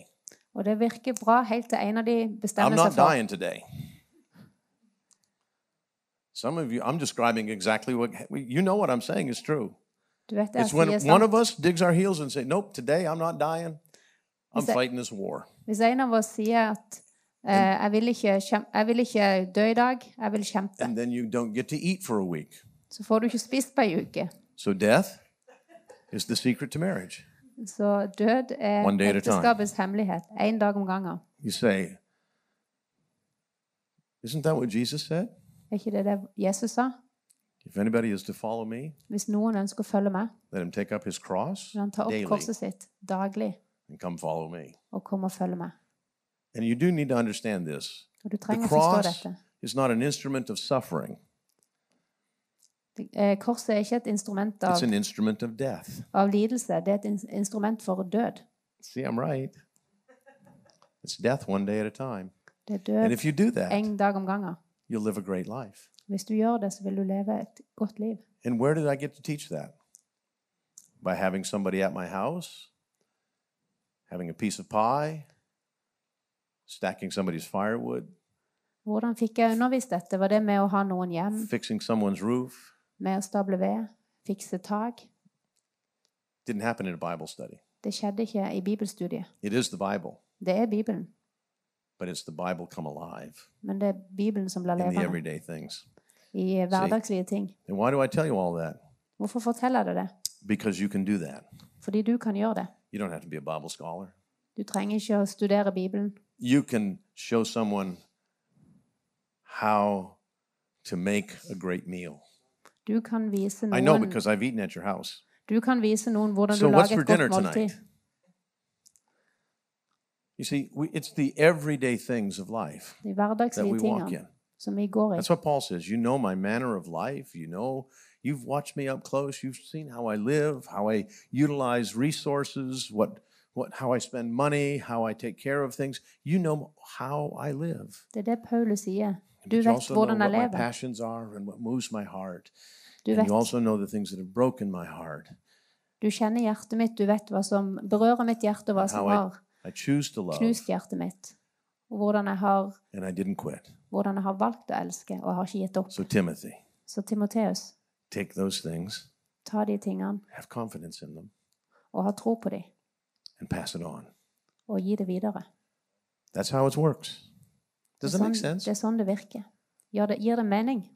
Og det virker bra helt til en av de I'm bestemmer not seg for dying today. Some of you, I'm describing exactly what you know what I'm saying is true. Du vet det It's jeg when sier sånn, one sant. of us digs our heels and say, "Nope, today I'm not dying. I'm Is that- fighting this war." Hvis en av oss sier at eh, jeg, vil ikke kjem- 'Jeg vil ikke dø i dag, jeg vil kjempe', And then you don't get to eat for a week. så får du ikke spist på ei uke. So death is the secret to marriage. Så død er One day at a time. ekteskapets hemmelighet. Én dag om gangen. You say, "Isn't that what Jesus said? Er ikke det det Jesus sa? If anybody is to follow me, Hvis noen ønsker å følge med, let him take up his cross vil han ta opp daily korset sitt daglig and come follow me." og komme og følge med. And you do need to understand this. Og The du trenger å forstå cross dette. is not an instrument of suffering, Det- eh, Korset er ikke et instrument it's av, an instrument of death. av lidelse, det er et in- instrument for død. See, I'm right. It's death one day at a time. Det er And død if you do that, en dag om gangen. you'll live a great life. Hvis du gjør det, så vil du leve et godt liv. And where did I get to teach that? By having somebody at my house, having a piece of pie, stacking somebody's firewood, Hvordan fikk jeg undervist dette? Var det med å ha noen hjem, fixing someone's roof. med å stable ved, fikse tak? Didn't happen in a Bible study. Det skjedde ikke i bibelstudiet. It is the Bible, Det er Bibelen, but it's the Bible come alive men det er Bibelen som blir in the levende everyday things. i hverdagslige ting. And why do I tell you all that? Hvorfor forteller jeg deg det? Because you can do that. Fordi du kan gjøre det. You don't have to be a Bible scholar. Du trenger ikke å studere Bibelen. you can show someone how to make a great meal. Du kan vise I know noen, because I've eaten at your house. du kan vise noen hvordan du So what's lager for et dinner godt måltid. tonight? You see, we, it's the everyday things of life De that we hverdagslige walk in. tingene som vi går i. That's what Paul says. You know my manner of life. You know, you've watched me up close. You've seen how I live, how I utilize resources, what, what, how I spend money, how I take care of things. You know how I live. Det er det Paulus sier. Du But you vet also know what hvordan jeg my lever. passions are and what moves my heart. Du And you vet. also know the things that have broken my heart. Du kjenner hjertet mitt, du vet hva som berører mitt hjerte, og hva som How I- har I choose to love, knust hjertet mitt. Og hvordan jeg har, and I didn't quit. hvordan jeg har valgt å elske, og jeg har ikke gitt opp. So, Timothy, Så Timoteus, take those things, ta de tingene have confidence in them, og ha tro på de, and pass it on. og gi det videre. That's how it works. Det Does er that make sånn sense? det, er sånn det virker. Gjør det, gir det mening?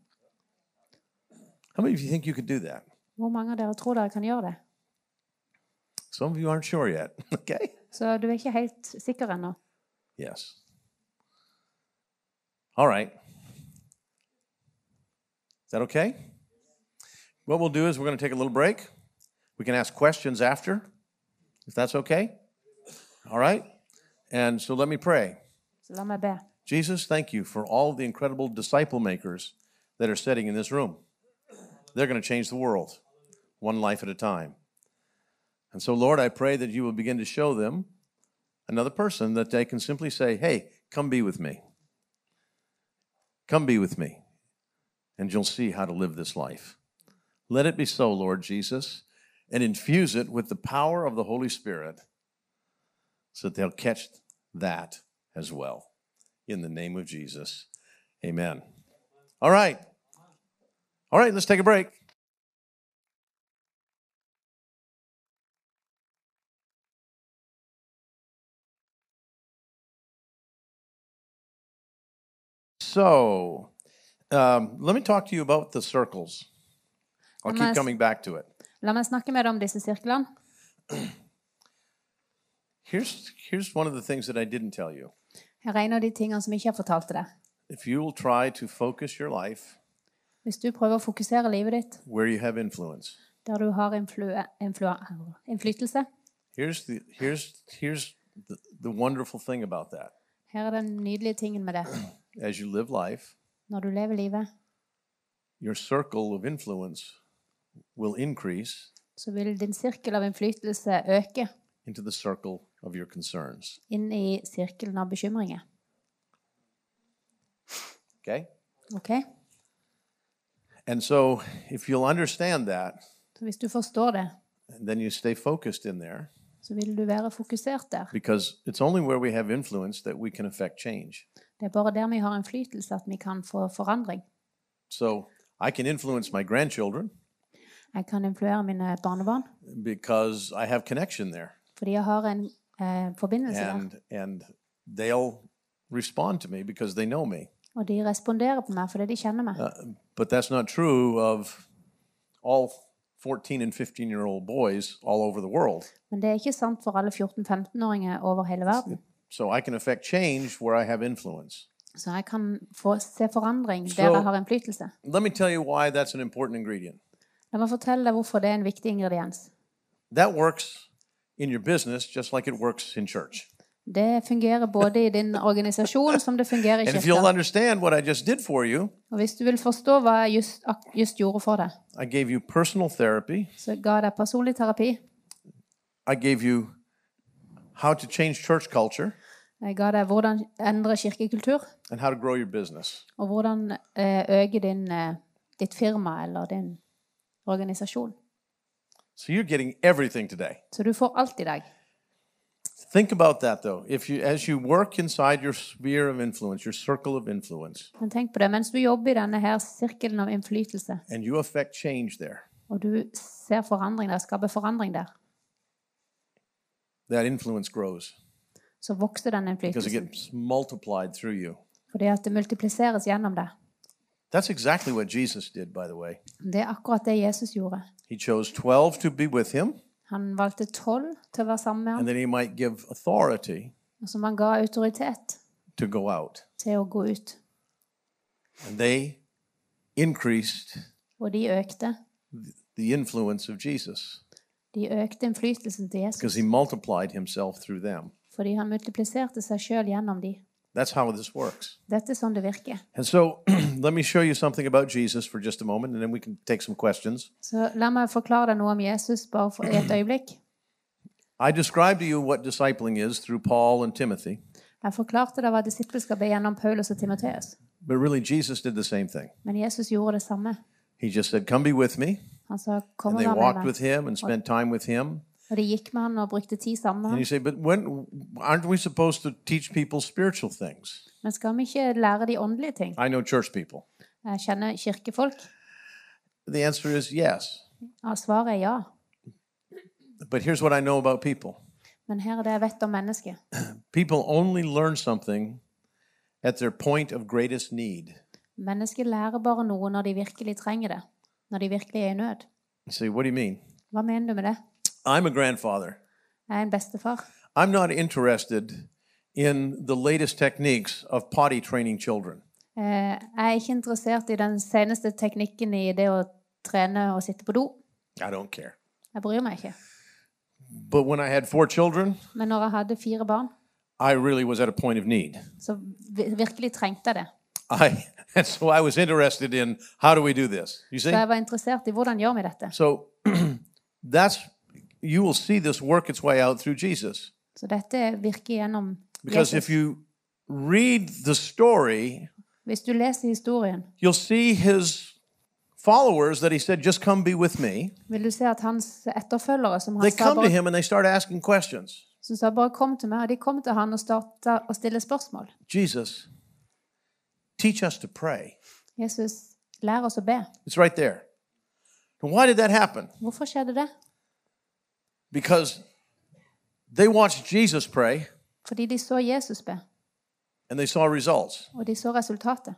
How many of you think you could do that? Hvor mange av dere tror dere kan gjøre det? Some of you aren't sure yet. okay? Så du er ikke helt sikker ennå. Yes. All right. Is that okay? What we'll do is we're going to take a little break. We can ask questions after, if that's okay. All right? And so let me pray. Så la meg be. Jesus, thank you for all the incredible disciple makers that are sitting in this room. They're going to change the world one life at a time. And so, Lord, I pray that you will begin to show them another person that they can simply say, Hey, come be with me. Come be with me. And you'll see how to live this life. Let it be so, Lord Jesus, and infuse it with the power of the Holy Spirit so that they'll catch that as well in the name of Jesus. Amen. All right. All right, let's take a break. So, um, let me talk to you about the circles. I'll Am I keep s- coming back to it. La meg snakke med deg om disse sirklene. Here's, here's one of the things that I didn't tell you. Her er en av de tingene som jeg ikke har fortalt til deg. If you will try to focus your life Hvis du prøver å fokusere livet ditt where you have influence, der du har influe, influa, innflytelse Here's the here's here's the, the wonderful thing about that. Her er den nydelige tingen med det. As you live life, Når du lever livet, your circle of influence will increase så vil din sirkel av innflytelse øke into the circle of your concerns. inn i sirkelen av bekymringer. Okay? Ok? And so if you'll understand that, Så hvis du forstår det, then you stay focused in there så vil du være fokusert der. because it's only where we have influence that we can affect change. Det er bare der vi har innflytelse at vi kan få forandring. So I can influence my grandchildren Jeg kan influere mine barnebarn because I have connection there fordi jeg har en eh, forbindelse der. and and they'll respond to me because they know me. Og de responderer på meg fordi de kjenner meg. But that's not true of all 14 and 15 year old boys all over the world. Men det er ikke sant for alle 14-15-åringer over hele verden. So I can affect change where I have influence. Så jeg kan få se forandring Så- der jeg har innflytelse. Let me tell you why that's an important ingredient. La meg fortelle deg hvorfor det er en viktig ingrediens. That works in your business just like it works in church. Det fungerer både i din organisasjon som det fungerer i And if you'll kirka. understand what I just did for you, Og hvis du vil forstå hva jeg just, ak- just gjorde for deg, I gave you personal therapy. så ga jeg deg personlig terapi. I gave you how to change church culture Jeg ga deg hvordan endre kirkekultur, and how to grow your business. og hvordan eh, øke din, eh, ditt firma eller din organisasjon. So you're getting everything today. Så du får alt i dag. Think about that though. If you as you work inside your sphere of influence, your circle of influence, Men tenk på det, mens du jobber i denne her sirkelen av innflytelse, and you affect change there, og du ser forandring der, skaper forandring der, that influence grows så vokser den because it innflytelsen. gets multiplied through you. Fordi at det multipliseres gjennom det. That's exactly what Jesus did, by the way. Det er akkurat det Jesus gjorde. He chose 12 to be with him, Han valgte tolv til å være sammen med and ham, then he might give authority som han ga autoritet to go out. til å gå ut. And they increased Og de økte. the influence of Jesus De økte innflytelsen til because Jesus he multiplied himself through them. fordi han multipliserte seg sjøl gjennom de. That's how this works. Dette er sånn det virker. And so let me show you something about Jesus for just a moment, and then we can take some questions. Så la meg forklare deg noe om Jesus bare for i et øyeblikk. I described to you what discipling is through Paul and Timothy, Jeg forklarte deg hva disippelskapet er gjennom Paulus og Timoteus. but really Jesus did the same thing. Men Jesus gjorde det samme. He just said, Come be with me. Han sa, kom And og they vær med walked meg. with him and spent time with him. Og de gikk med han og brukte tid sammen med And you han. say, But when aren't we supposed to teach people spiritual things? Men skal vi ikke lære de åndelige ting? I know church people. Jeg kjenner kirkefolk. The answer is yes. Ja, svaret er ja. But here's what I know about people Men her er det jeg vet om mennesket. people only learn something at their point of greatest need. Mennesket lærer bare noe når de virkelig trenger det. Når de virkelig er i nød. You say, What do you mean? Hva mener du med det? I'm a grandfather. Jeg er en bestefar. I'm not interested in the latest techniques of potty training children. Eh, Jeg er ikke interessert i den seneste teknikken i det å trene og sitte på do. I don't care. Jeg bryr meg ikke. But when I had four children, Men når jeg hadde fire barn, I really was at a point of need. så vi- virkelig trengte jeg det. I and so I was interested in how do we do this? You Så see? jeg var interessert i hvordan gjør vi dette. So that's you will see this work its way out through Jesus. Så dette virker gjennom Because if Jesus. you read the story, Hvis du leser historien, you'll see his followers that he said just come be with me. vil du se at hans etterfølgere som han They sa come to bare, him and they start asking questions. som sa bare 'kom til meg', og de kom til han og starta å stille spørsmål. Jesus, teach us to pray. Jesus, lær oss å be. It's right there. And why did that happen? Hvorfor skjedde det? Because they watched Jesus pray Fordi de så Jesus be, and they saw results. og de så resultatet.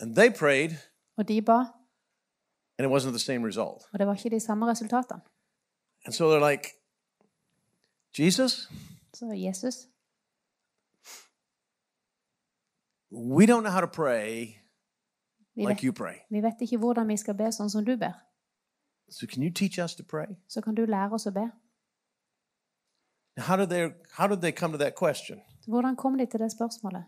And they prayed Og de ba, and it wasn't the same result. og det var ikke de samme resultatene. And so they're like, Jesus, Så Jesus, we don't know how to pray vi like vet, you pray. vi vet ikke hvordan vi skal be sånn som du ber. So can you teach us to pray? Så kan du lære oss å be. Now, How did they how did they come to that question? Så hvordan kom de til det spørsmålet?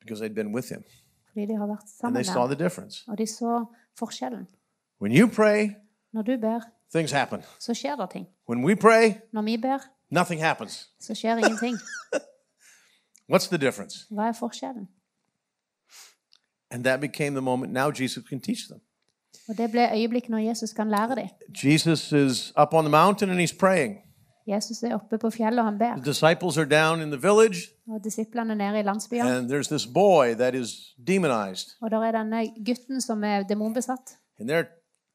Because they'd been with him Fordi de har vært and sammen they med saw ham. the difference. Og de så forskjellen. When you pray, Når du ber, things happen. så skjer det ting. When we pray, Når vi ber, nothing happens. så skjer ingenting. What's the difference? Hva er forskjellen? And that became the moment. Now Jesus can teach them. Og Det ble øyeblikk når Jesus kan lære dem. Jesus is up on the mountain and he's praying. Jesus er oppe på fjellet, og han The ber. disciples are down in the village, Og Disiplene er nede i landsbyen. and there's this boy that is demonized. Og der er denne gutten som er demonbesatt. And they're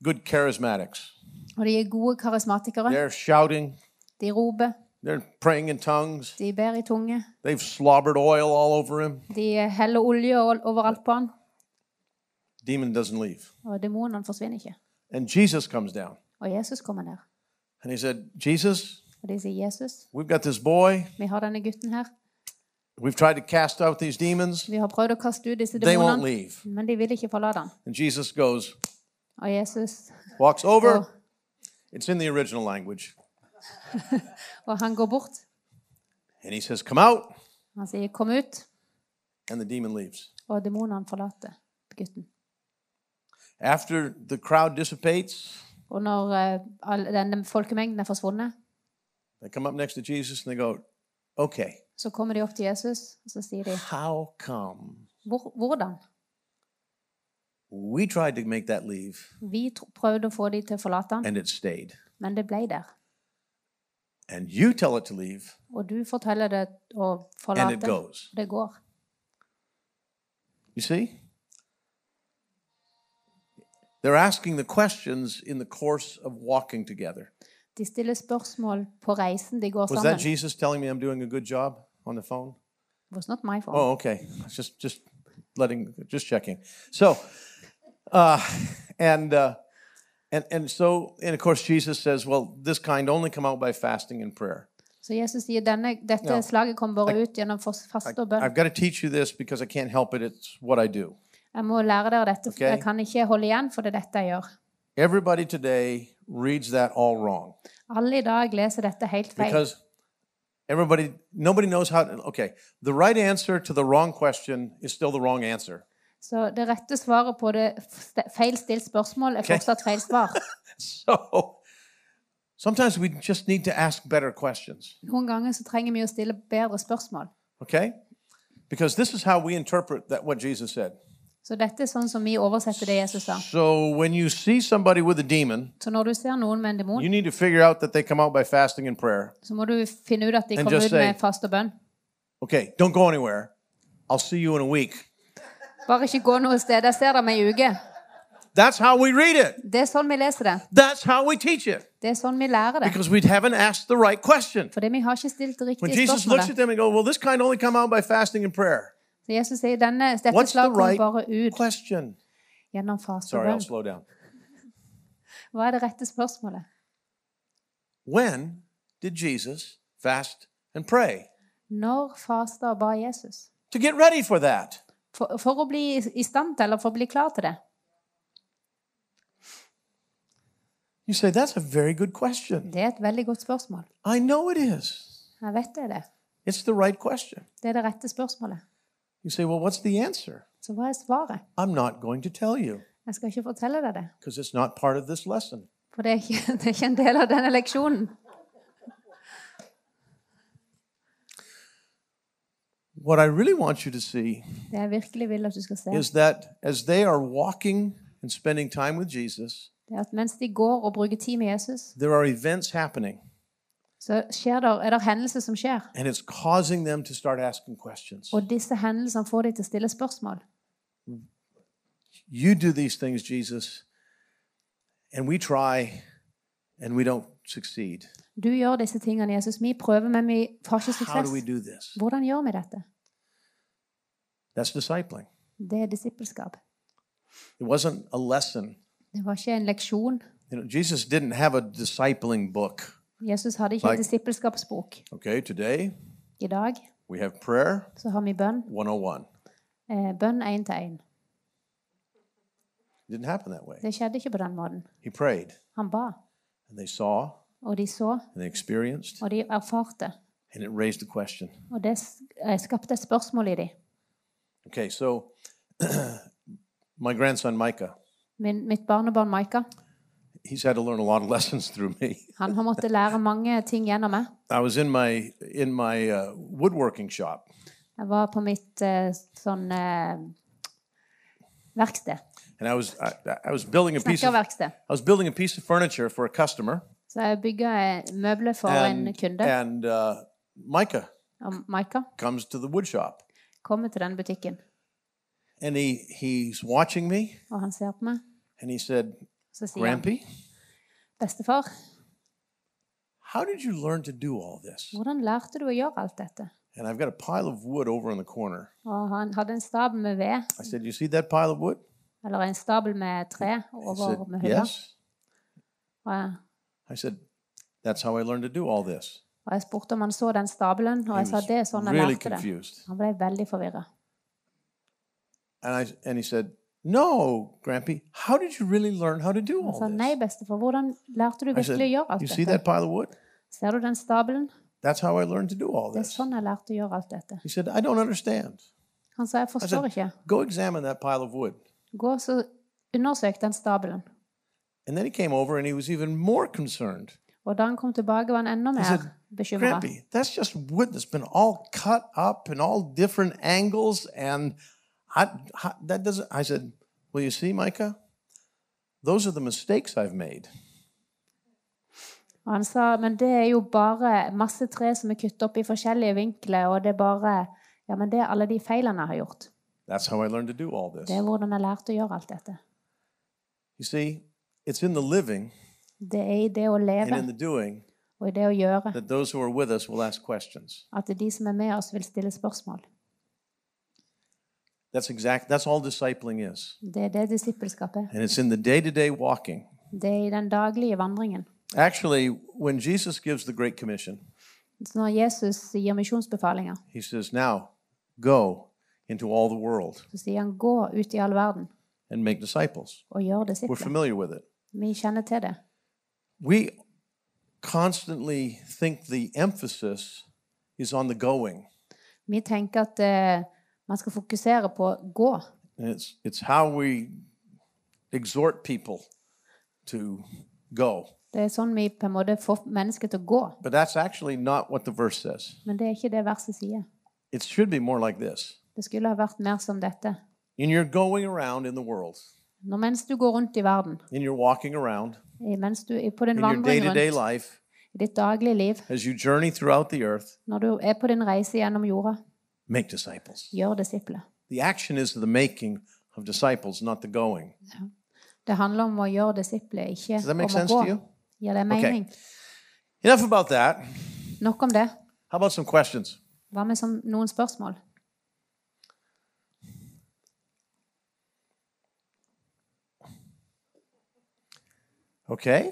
good charismatics. Og de er gode karismatikere. They're shouting, De roper, they're praying in tongues, de ber i tunge. they've slobbered oil all over him. De heller olje o- overalt på han. Demon doesn't leave. Og demonene forsvinner ikke. And Jesus comes down Og Jesus kommer ned. and he said, Jesus, Og de sier, 'Jesus, we've got this boy. vi har denne gutten her. We've tried to cast out these demons. Vi har prøvd å kaste ut disse They won't demonene, leave. men de vil ikke forlate han. And Jesus goes, Og Jesus walks og, over. It's in the original language. og han går bort. And he says, Come out. Han sier, 'Kom ut', And the demon leaves. og demonene forlater gutten. After the crowd dissipates, Og når eh, all, denne folkemengden er forsvunnet, they come up next to Jesus and they go, Okay, så kommer de opp til Jesus, og så sier de, how come Hvor, 'Hvordan?' we tried to make that leave Vi tro- prøvde å få de til å forlate han, and it stayed? men det ble der. And you tell it to leave Og du forteller det å and it forlate. goes. Det går. You see? They're asking the questions in the course of walking together. De stiller spørsmål på reisen de går Was that sammen. Jesus telling me I'm doing a good job on the phone? Was not my fault. Oh, okay. It's Just just letting just checking. So uh and uh and and so and of course Jesus says, well, this kind only come out by fasting and prayer. Så Jesus sier denne, dette Ja. slaget kommer bare ut gjennom fos- faste og bønn. I've got to teach you this because I can't help it. It's what I do. Jeg må lære dere dette, for Ok. jeg kan ikke holde igjen for det er dette jeg gjør. Everybody today reads that all wrong Alle i dag leser dette helt feil. because everybody nobody knows how to okay, the right answer to the wrong question is still the wrong answer. Så det rette svaret på det ste- feil stilt spørsmål er fortsatt feil svar. So sometimes we just need to ask better questions. Noen ganger så trenger vi å stille bedre spørsmål. Okay? Because this is how we interpret that what Jesus said. Så dette er sånn som vi oversetter det Jesus sa. So when you see somebody with a demon, Så når du ser noen med en demon, you need to figure out that they come out by fasting and prayer. så må du finne ut at de And kommer just ut med say- fast og bønn. Okay, don't go anywhere. I'll see you in a week. Bare ikke gå noe sted. Jeg ser deg om ei uke. That's how we read it. Det er sånn vi leser det. That's how we teach it. Det er sånn vi lærer det. Because we haven't asked the right question. Fordi vi har ikke stilt det When riktige Jesus looks at spørsmålet. them and goes, Well, this kind only come out by fasting and prayer. Så Jesus sier denne, dette What's the slaget right kommer bare ut question? gjennom faste og Sorry, I'll bønn. slow down. Hva er det rette spørsmålet? When did Jesus fast and pray? Når fasta og ba Jesus? To get ready for that. For, for å bli i stand til, eller for å bli klar til det? You say, That's a very good question. Det er et veldig godt spørsmål. I know it is. Jeg vet det er det. It's the right question. Det er det rette spørsmålet. You say, well, what's the answer? Så hva er svaret? I'm not going to tell you Jeg skal ikke fortelle deg det. because it's not part of this lesson. For det er ikke, det er ikke en del av denne leksjonen. What I really want you to see Det jeg virkelig vil at du skal se, is that as they are walking and spending time with Jesus, det er at mens de går og bruker tid med Jesus, there are events happening så skjer der, er det hendelser som skjer. and it's causing them to start asking questions. Og disse hendelsene får de til å stille spørsmål. You do these things, Jesus, and we try and we don't succeed. Du gjør disse tingene, Jesus. Vi prøver, men vi har ikke How do we suksess. do this? Hvordan gjør vi dette? That's discipling. Det er disippelskap. It wasn't a lesson. Det var ikke en leksjon. You know, Jesus didn't have a discipling book. Jesus hadde ikke en disippelskapsbok. Okay, today I dag we have prayer så har vi bønn. 101. Eh, bønn én til én. It didn't happen that way. Det skjedde ikke på den måten. He prayed, Han ba, and they saw, og de så, and they experienced, og de erfarte. and it raised a question. Og det s- eh, skapte et spørsmål i dem. Okay, so my grandson Micah, Min, mitt barnebarn Maika He's had to learn a lot of lessons through me. han har måttet lære mange ting gjennom meg. I was in my in my uh, woodworking shop, Jeg var på mitt eh, sånn eh, verksted. and I was I, I was building a piece of I Snekkerverksted. was building a piece of furniture for a customer, Så jeg bygga møbler for en and kunde. and uh, Micah Og Maika comes to the wood shop, kommer til den butikken, and he he's watching me, og han ser på meg. and he said, Så sier han "Grampy, bestefar, how did you learn to do all this?" hvordan lærte du å gjøre alt dette? And I've got a pile of wood over in the corner. Og han hadde en stabel med ved, I said, "You see that pile of wood?" eller en stabel med tre He over said, med hylla. "Yes." Og jeg, I said, "That's how I learned to do all this." og jeg spurte om han så den stabelen, og He jeg sa was det er sånn jeg really lærte det. confused. Han ble veldig forvirra. And I and he said, "No, Grampy, how did you really learn how to do Han all sa this?" nei, bestefar, hvordan lærte du Oh, I said, virkelig å gjøre "You alt see dette? that pile of wood? Ser du den stabelen? That's how I learned to do all Det er this." sånn jeg lærte å gjøre alt dette. He said, "I don't understand. Han sa jeg forstår ikke. Go examine that pile of wood." Gå så undersøk den stabelen. And then he came over and he was even more concerned. Og da han kom tilbake, var han enda said, mer bekymra. Grampy, that's just wood that's been all cut up in all different angles, and I, I- that doesn't. I said, "Well, you see, Micah, those are the mistakes I've made." Og han sa men det er jo bare masse tre som er kuttet opp i forskjellige vinkler, og det er bare Ja, men det er alle de feilene jeg har gjort. That's how I learned to do all this. Det er hvordan jeg lærte å gjøre alt dette. You see, it's in the living Det er i det å and leve in the doing og i det å gjøre that those who are with us will ask questions. at de som er med oss, vil stille spørsmål. That's exact. That's all discipling is, Det er det disippelskapet er. and it's in the day-to-day walking. Det er i den daglige vandringen. Actually, when Jesus gives the Great Commission, Så når Jesus gir misjonsbefalinger, he says, "Now, go into all the world så sier han 'gå ut i all verden and make disciples." og gjør We're disipler'. familiar with it. Vi kjenner til det. We constantly think the emphasis is on the going. Vi tenker at eh, man skal fokusere på å gå. And it's, it's how we exhort people to go. Det er sånn vi på en måte får mennesket til å gå. But that's actually not what the verse says. Men det er ikke det verset sier. It should be more like this Det skulle ha vært mer som dette. In your going around in the world, Når mens du går rundt i verden, in your walking around, i- mens du er på din in your day vandring to day rundt, life, i ditt daglige liv, as you journey throughout the earth, når du er på din reise gjennom jorda, make disciples. gjør disipler. The action is the making of disciples, not the going. Det handler om å gjøre disipler, ikke that om make å sense gå. to you? Gir det mening? Enough about that. Nok om det. How about some questions? Hva med som noen spørsmål? Okay.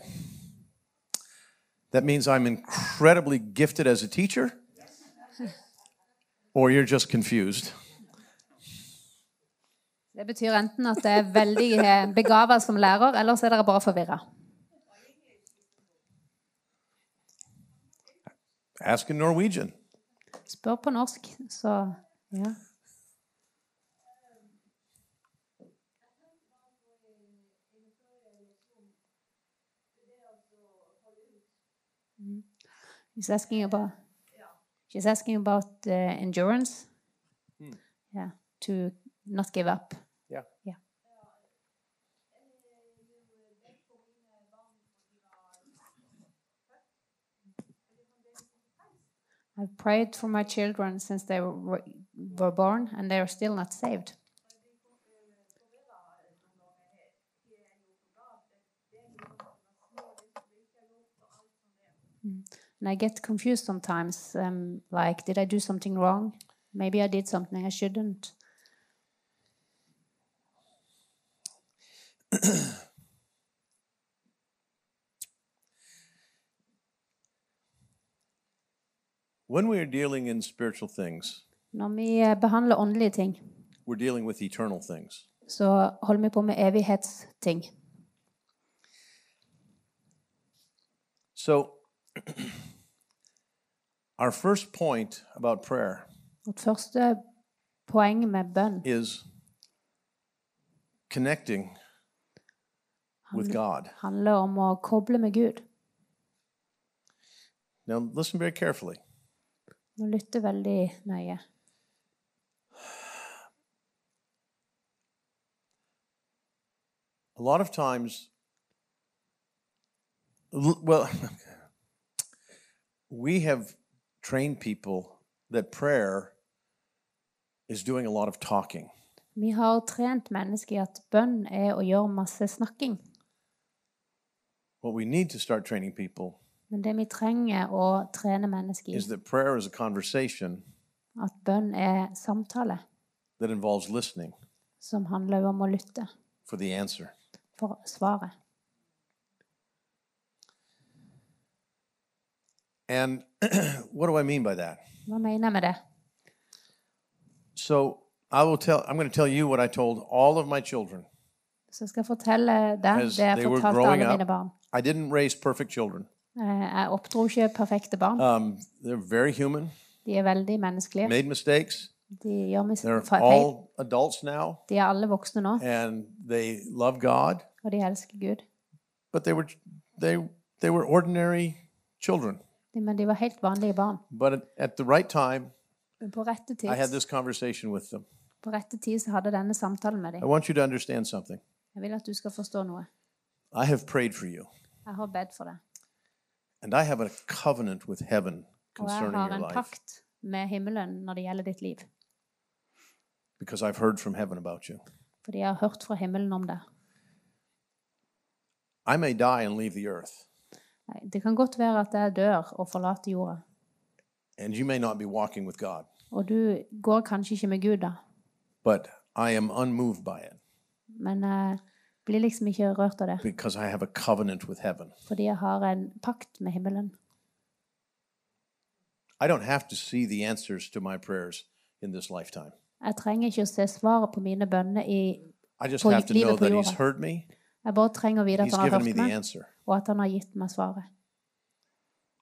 That means I'm incredibly gifted as a teacher, or you're just confused. Det betyr enten at det er veldig eh, begava som lærer, eller så er dere bare forvirra. Ask in Norwegian. Spør på norsk, så ja. Mm. He's asking about she's asking about uh, endurance. Yeah, to not give up. Yeah. Yeah. I've prayed for my children since they were, were born, and they are still not saved. And I get confused sometimes. Um, like, did I do something wrong? Maybe I did something I shouldn't. When we are dealing in spiritual things, Når vi eh, behandler åndelige ting, we're dealing with eternal things. så holder vi på med evighetsting. So, our first point about prayer Vårt første poeng med bønn is connecting with God. handler om å koble med Gud. Now, listen very carefully. Nå lytter veldig nøye. A lot of times, l- well, we have trained people that prayer is doing a lot of talking. Vi har trent mennesker i at bønn er å gjøre masse snakking. What we need to start training people Men det vi trenger å trene mennesker i, is that prayer is a conversation at bønn er samtale that involves listening som handler om å lytte for the answer. for svaret. And what do I mean by that? Hva mener jeg med det? So I will tell. I'm going to tell you what I told all of my children. Så skal jeg fortelle deg As det jeg they were fortalte growing alle up. mine barn. I didn't raise perfect children. Eh, Jeg oppdro ikke perfekte barn. Um, they're very human. De er veldig menneskelige. Made mistakes. De gjør mis- They're feil. all adults now, De er alle voksne nå, and they love God. og de elsker Gud. But they were they they were ordinary children. De- Men de var helt vanlige barn. But at, at the right time, Men på rette I had tid, this conversation with them. på rette tid så hadde jeg denne samtalen med I dem. want you to understand something. Jeg vil at du skal forstå noe. I have prayed for you, Jeg har bedt for deg. and I have a covenant with heaven Og jeg concerning har your en life pakt med himmelen når det gjelder ditt liv. because I've heard from heaven about you. Fordi jeg har hørt fra himmelen om det. I may die and leave the earth, Nei, Det kan godt være at jeg dør og forlater jorda. and you may not be walking with God. Og du går kanskje ikke med Gud, da. but I am unmoved by it Men jeg blir liksom ikke rørt av det. because I have a covenant with heaven. Fordi jeg har en pakt med himmelen. I don't have to see the answers to my prayers in this lifetime. Jeg trenger ikke å se svaret på mine bønner i I just På have to livet know på that He's jorda. heard me, Jeg bare trenger å vite at He's han har given me hørt the meg, answer. og at han har gitt meg svaret.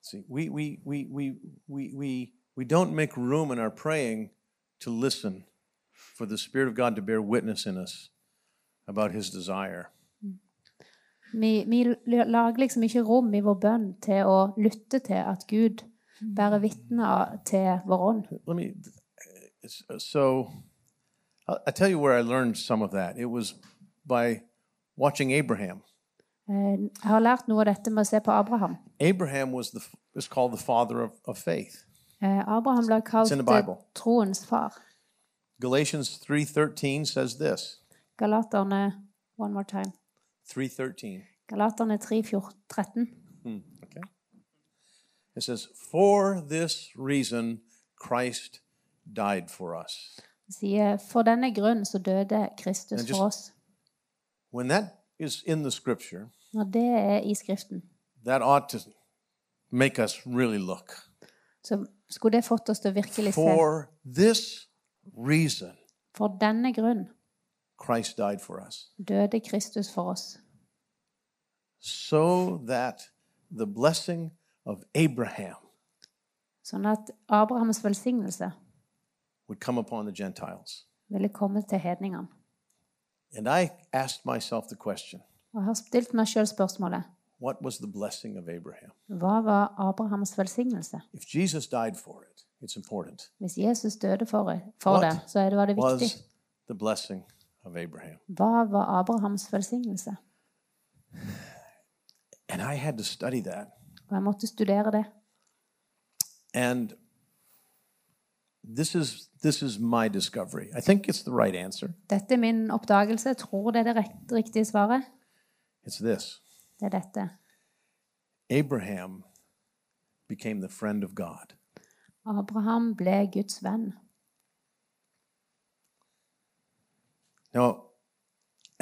See, we, we, we, we, we, we, we don't make room in our praying to listen for the Spirit of God to bear witness in us about His desire. Vi, vi l- lager liksom ikke rom i vår bønn til å lytte til at Gud bærer vitne av- til vår ånd. Let me, it's- uh, so I'll, I'll tell you where I learned some of that. It was by watching Abraham. Eh, Jeg har lært noe av dette med å se på Abraham. Abraham was the is called the father of, of faith. Eh, Abraham ble kalt in the Bible. eh, troens far. Galatians 3:13 says this. Galaterne one more time. 3:13. Galaterne 3, 14, 13. Okay. It says, "For this reason Christ died for us." sier For denne grunn så døde Kristus Men just- for oss. When that is in the scripture, Når det er i Skriften, that ought to make us really look. så skulle det fått oss til å virkelig se. For this reason For denne grunn Christ died for us, døde Kristus for oss. so that the blessing of Abraham Sånn at Abrahams velsignelse would come upon the Gentiles. ville komme til hedningene. And I asked myself the question, Og jeg har stilt meg sjøl spørsmålet What was the blessing of Abraham? hva var Abrahams velsignelse? If Jesus died for it, it's important. Hvis Jesus døde for, for What det, så er det, var det viktig. Was the blessing of Abraham. Hva var Abrahams velsignelse? And I had to study that. Og jeg måtte studere det. And this is this is my discovery. I think it's the right answer. Dette er min oppdagelse. Jeg tror det er det rett, riktige svaret. It's this. Det er dette. Abraham became the friend of God. Abraham ble Guds venn. Now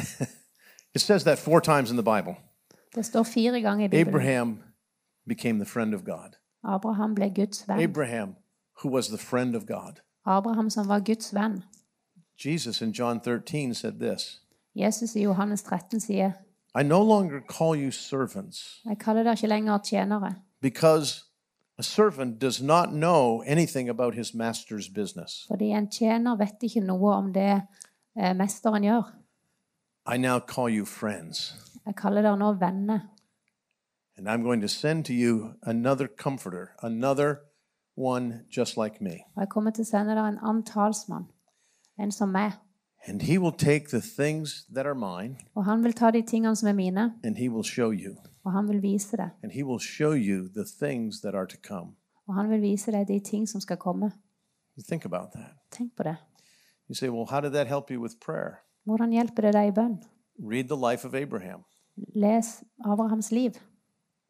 it says that four times in the Bible. Det står fire ganger i Bibelen. Abraham became the friend of God. Abraham ble Guds venn. Abraham, who was the friend of God. Abraham som var Guds venn. Jesus in John 13 said this Jesus i Johannes 13 sier, I no longer call you servants jeg kaller dere ikke lenger tjenere, because a servant does not know anything about his master's business. fordi en tjener vet ikke noe om det eh, mesteren gjør. I now call you friends Jeg kaller dere nå venner. And I'm going to send to you another comforter, another one just like me. Og jeg kommer til å sende dere en annen talsmann, en som meg. And he will take the things that are mine Og han vil ta de tingene som er mine, and he will show you. og han vil vise det. And he will show you the things that are to come. Og han vil vise deg de ting som skal komme. You think about that. Tenk på det. You say, well, how did that help you with prayer? Hvordan hjelper det deg i bønn? Read the life of Abraham. Les Abrahams liv.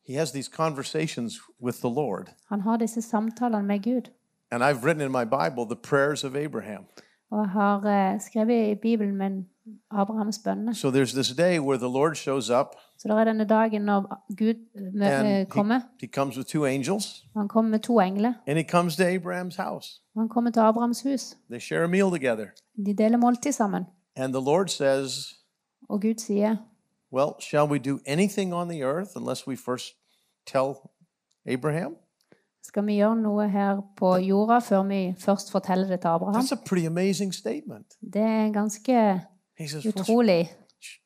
He has these conversations with the Lord. Han har disse samtalene med Gud. And I've written in my Bible the prayers of Abraham. Og jeg har eh, skrevet i Bibelen min Abrahams bønner. So there's this day where the Lord shows up. Så det er denne dagen når Gud mø- eh, And he, kommer. he comes with two angels Han kommer med to engler. and he comes to Abraham's house. Han kommer til Abrahams hus. They share a meal together. De deler måltid sammen. And the Lord says, Og Gud sier, Well, shall we do anything on the earth unless we first tell Abraham? skal vi gjøre noe her på jorda før vi først forteller det til Abraham? That's a pretty amazing statement. Det er en ganske He says, "Well, utrolig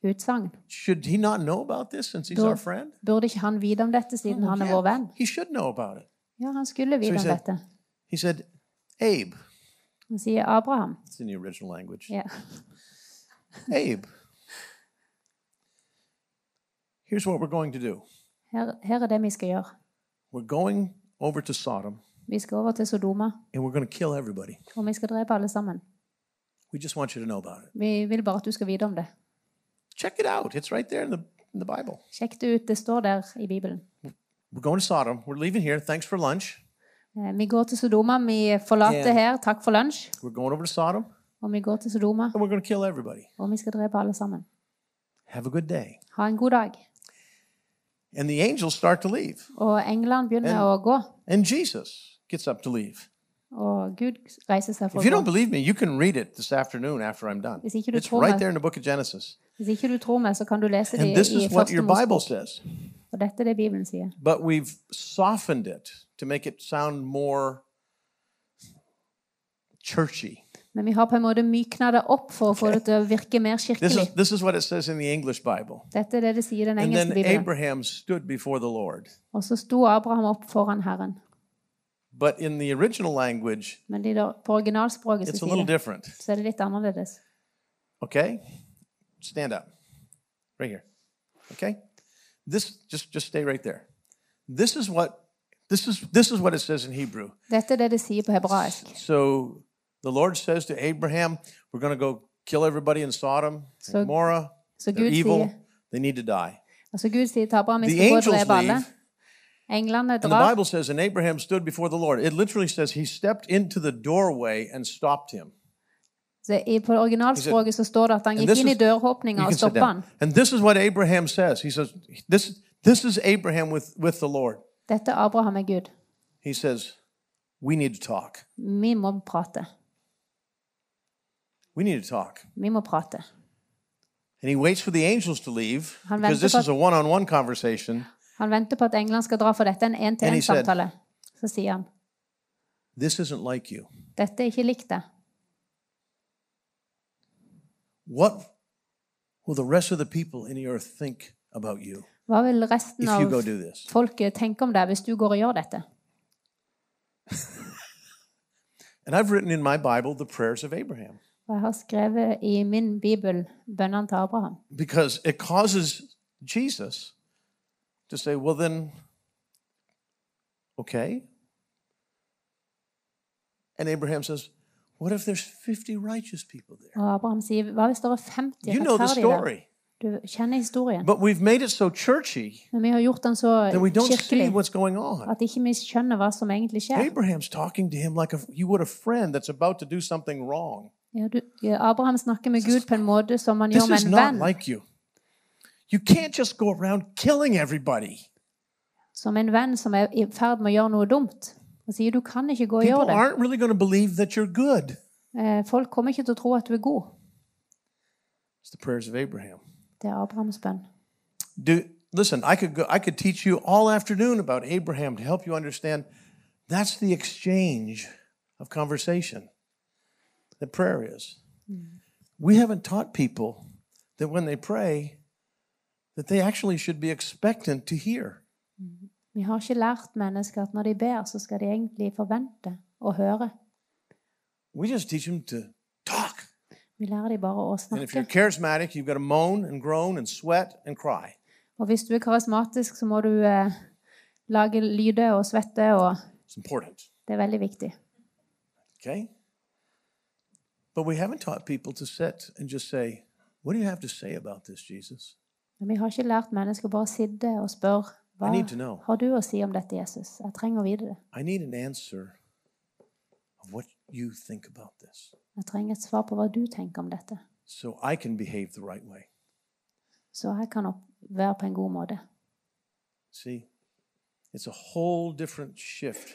utsagn. Should he not know about this since he's Då- our friend? Burde ikke han vite om dette siden han er vår venn? He should know about it. Ja, han skulle vite om dette. He said, Abe, Han sier Abraham. it's in the original language. Ja. Abe, here's what we're going to do Her, her er det vi skal gjøre. we're going over to Sodom Vi skal over til Sodoma, and we're going to kill everybody. og vi skal drepe alle sammen. We just want you to know about it. Vi vil bare at du skal vite om det. Check it out. It's right there in the, in the Bible. Sjekk det ut. Det står der i Bibelen. We're going to Sodom. We're leaving here. Thanks for lunch. Eh, Vi går til Sodoma. Vi forlater Ja. her. Takk for lunsj. We're going over to Sodom Og vi går til Sodoma, and we're going to kill everybody. og vi skal drepe alle sammen. Have a good day. Ha en god dag. And the angels start to leave. Og englene begynner å gå, And Jesus gets up to leave. og Gud reiser seg for If you å don't gå. believe me, you can read it this afternoon after I'm done. Hvis ikke du It's tror right meg. there in the book of Genesis. Hvis ikke du tror meg, så kan du lese det And this i is what Første your Mosebok. Bible says. Og dette er det Bibelen sier. But we've softened it to make it sound more churchy. Men vi har på en måte mykna det opp for å få det til å virke mer This kirkelig. is, this is what it says in the English Bible. Dette er det det sier i den And engelske then Bibelen. Abraham stood before the Lord. Og så sto Abraham opp foran Herren. But in the original language, Men de der, på originalspråket så, it's a sier little det, different. så er det litt annerledes. Okay? Stand up. Right here. Okay? This just just stay right there. This is what this is this is what it says in Hebrew. Dette er det det sier på hebraisk. So the Lord says to Abraham, we're going to go kill everybody in Sodom, and So- Gomorrah. so They're Gud evil. sier- They need to die. Altså Gud sier til Abraham vi The skal gå og angels drepe alle. leave. Englene And the drar. Bible says, and Abraham stood before the Lord. It literally says he stepped into the doorway and stopped him. Så i, på originalspråket så står det at han And gikk this inn i is- You dørhåpninga can og sit stoppa han. down. And this is what Abraham says. He says, this, this is Abraham with, with the Lord. Dette er Abraham er Gud. He says, We need to talk. Vi må prate. We need to talk. Vi må prate. And he waits for the angels to leave Han because väntar this på is a one on one conversation. Han venter på at englene skal dra, for dette er en And he said- én-til-én-samtale. Så sier han This isn't like you. dette er ikke likt det. What will the rest of the people in the earth think about you Hva vil resten if you av go do this? folket tenke om deg hvis du går og gjør dette? And I've written in my Bible the prayers of Abraham Og jeg har skrevet i min bibel bønnene til Abraham. because it causes Jesus to say, Well, then, okay. And Abraham says, What if there's 50 righteous people there? Og Abraham sier, hva hvis det er 50 You know the rettferdige der? story. Du kjenner historien. But we've made it so churchy Men vi har gjort den så that we don't see kirkelig what's going on. at ikke vi skjønner hva som egentlig skjer. Abraham's talking to him like a, you would a friend that's about to do something wrong. Ja, du, ja, Abraham snakker med Gud på en måte som han gjør This med is en not venn. like you. You can't just go around killing everybody. Som en venn som er i ferd med å gjøre noe dumt. Han sier du kan ikke gå og People gjøre det. aren't really going to believe that you're good. Eh, Folk kommer ikke til å tro at du er god. It's the prayers of Abraham. Det er Abrahams bønn. Do listen, I could go I could teach you all afternoon about Abraham to help you understand that's the exchange of conversation that prayer is. We haven't taught people that when they pray, that they actually should be expectant to hear. Vi har ikke lært mennesker at når de ber, så skal de egentlig forvente å høre. We just teach them to talk. Vi lærer de bare å And if you're snakke. charismatic, you've got to moan and groan and sweat and cry. Og hvis du er karismatisk, så må du eh, lage lyder og svette, og It's important. det er veldig viktig. Okay? But we haven't taught people to sit and just say, What do you have to say about this, Jesus? Men vi har ikke lært mennesker å bare sitte og spørre hva I need to know. har du å si om dette, Jesus? Jeg trenger å vite det. I need an answer of what you think about this Jeg trenger et svar på hva du tenker om dette. so I can behave the right way. Så jeg kan opp- være på en god måte. See? It's a whole different shift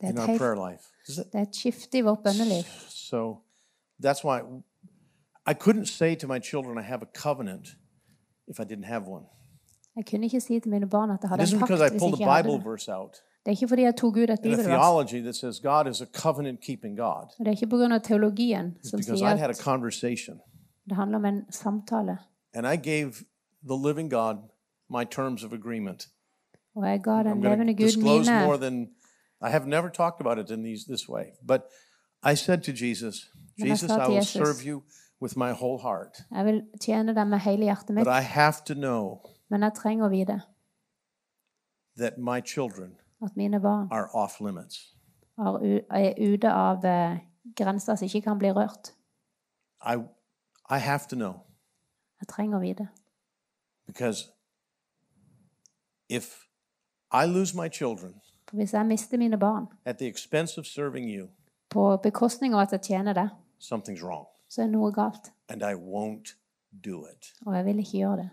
Det er in et, our prayer helt, life. Is it? det er et skifte i vårt bønneliv. So that's why I couldn't say to my children, I have a covenant if I didn't have one. Jeg kunne ikke si til mine barn at jeg It hadde isn't en because I pakt hvis pulled ikke a jeg hadde Bible det. verse out Det er ikke fordi jeg tok ut et and a bibelvers. theology that says God is a covenant keeping God. Og det er ikke pga. teologien som because sier I'd had a at conversation det handler om en samtale. and I gave the living God my terms of agreement. Og jeg ga den I'm going to levende Gud disclose mine more than I have never talked about it in these this way. But I said to Jesus, Men jeg Jesus, sa I til will Jesus, serve you with my whole heart, Jeg vil tjene deg med hele hjertet but mitt, I have to know men jeg trenger å vite that my children at mine barn are off limits. er u- er ute av eh, grenser som ikke kan bli rørt. I I have to know Jeg trenger å vite. because if I lose my children For hvis jeg mister mine barn at the expense of serving you, på bekostning av at jeg tjener det, something's wrong så er noe galt. and I won't do it. Og jeg vil ikke gjøre det.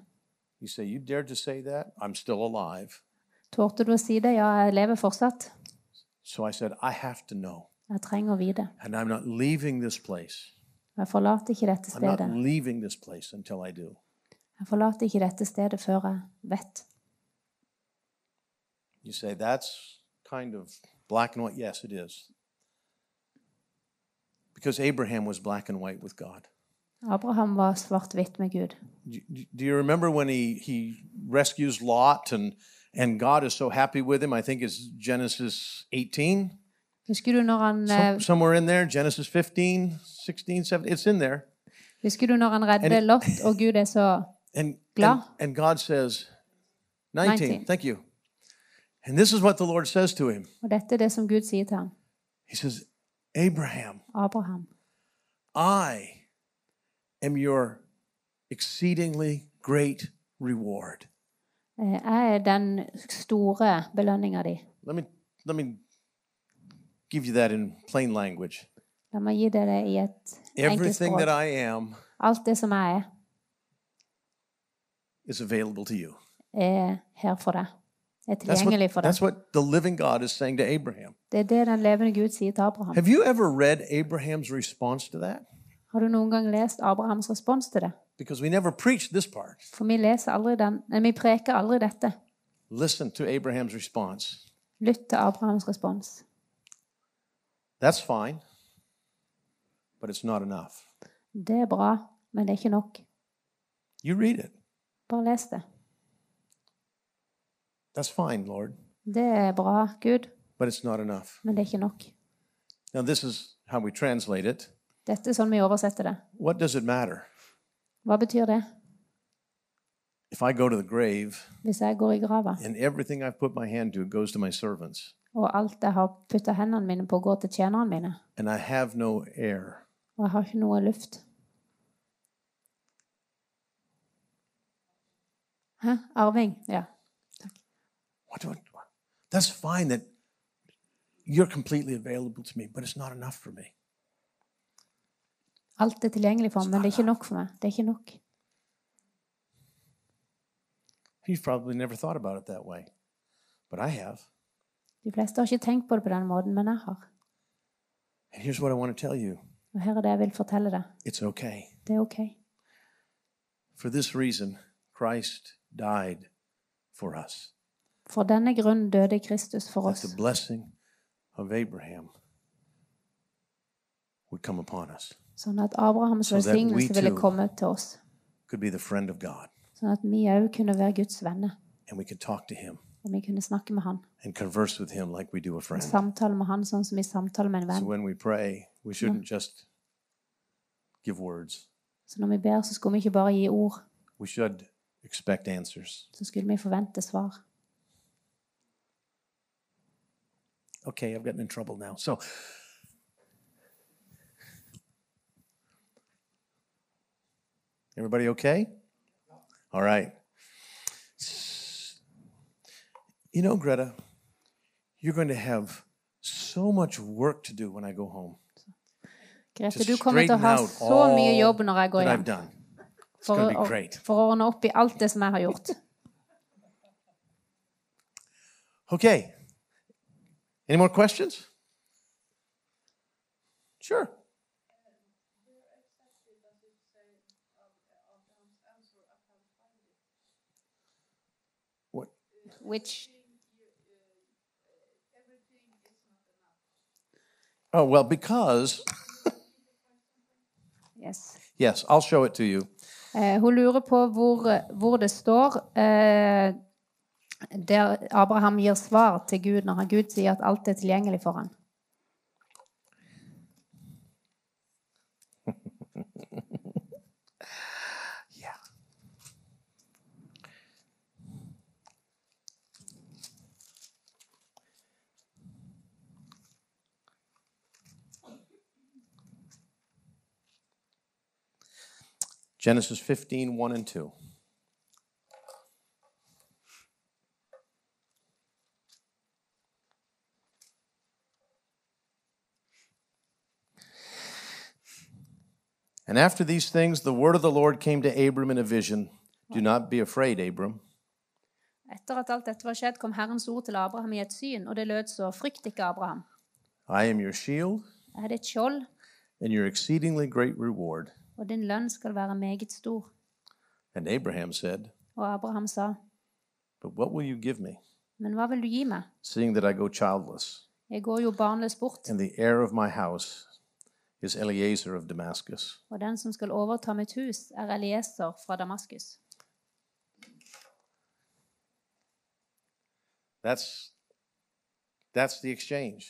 You say, You dared to say that? I'm still alive. Torde du å si det? Ja, jeg lever fortsatt. So I said, I have to know. Jeg trenger å vite. And I'm not leaving this place. Og Jeg forlater ikke dette I'm not stedet. leaving this place until I do. Jeg forlater ikke dette stedet før jeg vet. You say, That's kind of black and white. Yes, it is. Because Abraham was black and white with God. Abraham var svart-hvitt med Gud. Do do- do you remember when he, he rescues Lot and, and God is so happy with him? I think it's Genesis 18, Husker du når han, Some- eh, somewhere in there, Genesis 15, 16, 17. It's in there. husker du når han redder And- Lot, og Gud er så And, and, Glad. and God says, 19, 19. thank you. And this is what the Lord says to him Og dette er det som Gud sier til ham. He says, Abraham, Abraham, I am your exceedingly great reward. eh, jeg er den store belønninga di. Let me, let me give you that in plain language. La meg gi deg det i et enkelt Everything that språk. I am Alt det som jeg er, is available to you. er her for deg. Er That's tilgjengelig what, for that's deg. what the living God is saying to Abraham. Det er det den levende Gud sier til Abraham. Have you ever read Abraham's response to that? Har du noen gang lest Abrahams respons til det? Because we never preach this part. For vi leser aldri den, nei, vi preker aldri dette. Listen to Abraham's response. Lytt til Abrahams respons. That's fine, but it's not enough. Det er bra, men det er ikke nok. You read it. Bare les det. That's fine, Lord, Det er bra, Gud, but it's not enough. men det er ikke nok. Now, this is how we translate it. Dette er sånn vi oversetter det. What does it matter? Hva betyr det? If I go to the grave Hvis jeg går i grava, and everything I've put my hand to goes to my servants og alt jeg har putta hendene mine på, går til tjenerne mine, and I have no heir, og jeg har ikke noe luft Hæ? Arving? Ja. what do I, that's fine that you're completely available to me, but it's not enough for me. Alt er tilgjengelig for meg, men det er ikke nok for meg. Det er ikke nok. You've probably never thought about it that way, but I have. De fleste har ikke tenkt på det på den måten, men jeg har. And here's what I want to tell you Og her er det jeg vil fortelle deg. it's okay. Det er OK. For this reason, Christ died for us, For denne grunn døde Kristus for that oss. the blessing of Abraham would come upon us, Sånn at Abrahams So that we velsignelse ville too- komme til oss. could be the friend of God. Sånn at vi òg kunne være Guds venner. and we could talk to him Og vi kunne snakke med han. and converse with him like we do a friend. So Samtale med han sånn som vi samtaler med en venn. when we pray, we shouldn't just give words. Så når vi ber, så skulle vi ikke bare gi ord. We should expect answers. Så skulle vi forvente svar. Okay, I've gotten in trouble now. So Everybody okay? All right. You know, Greta, you're going to have so much work to do when I go home. Grete, to du kommer til å straighten ha out så mye all jobb når jeg går that I've hjem. done. It's For going to å, be great. for å ordne opp i alt det som jeg har gjort. Okay. Any more questions? Sure. What? Which Oh, well, because, Yes. yes, I'll show it to you. Eh, hun lurer på hvor, hvor det står eh, der Abraham gir svar til Gud når han- Gud sier at alt er tilgjengelig for ham. Yeah. Genesis 15, 1 and 2. And after these things, the word of the Lord came to Abram in a vision Do not be afraid, Abram. Etter at alt dette var skjedd, kom Herrens ord til Abraham i et syn, og det lød så:" Frykt ikke, Abraham. I am your shield Jeg er ditt skjold, and your exceedingly great reward. og din lønn skal være meget stor. And Abraham said, Og Abraham sa, But what will you give me, Men hva vil du gi meg? seeing that I go childless? Jeg går jo barnløs bort, And the heir of my house is Eleazar of Damascus. og den som skal overta mitt hus, er Elieser fra Damaskus. That's, that's the exchange.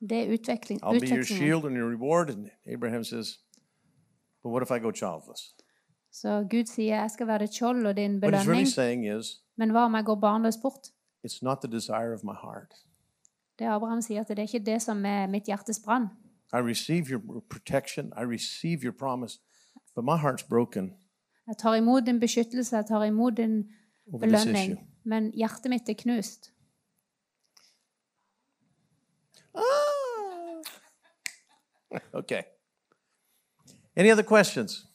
Det er utveksling, I'll be your utvekslingen. shield and your reward. And Abraham says, But what if I go childless? Så Gud sier, 'Jeg skal være ditt skjold og din What he's really belønning'. saying is, Men hva om jeg går barnløs bort? It's not the desire of my heart. Det Abraham sier, at det er ikke det som er mitt hjertes brann. I receive your protection. I receive your promise. But my heart's broken. Jeg tar imot din beskyttelse, jeg tar imot din Over this belønning, issue. men hjertet mitt er knust. Ah. okay. Any other questions?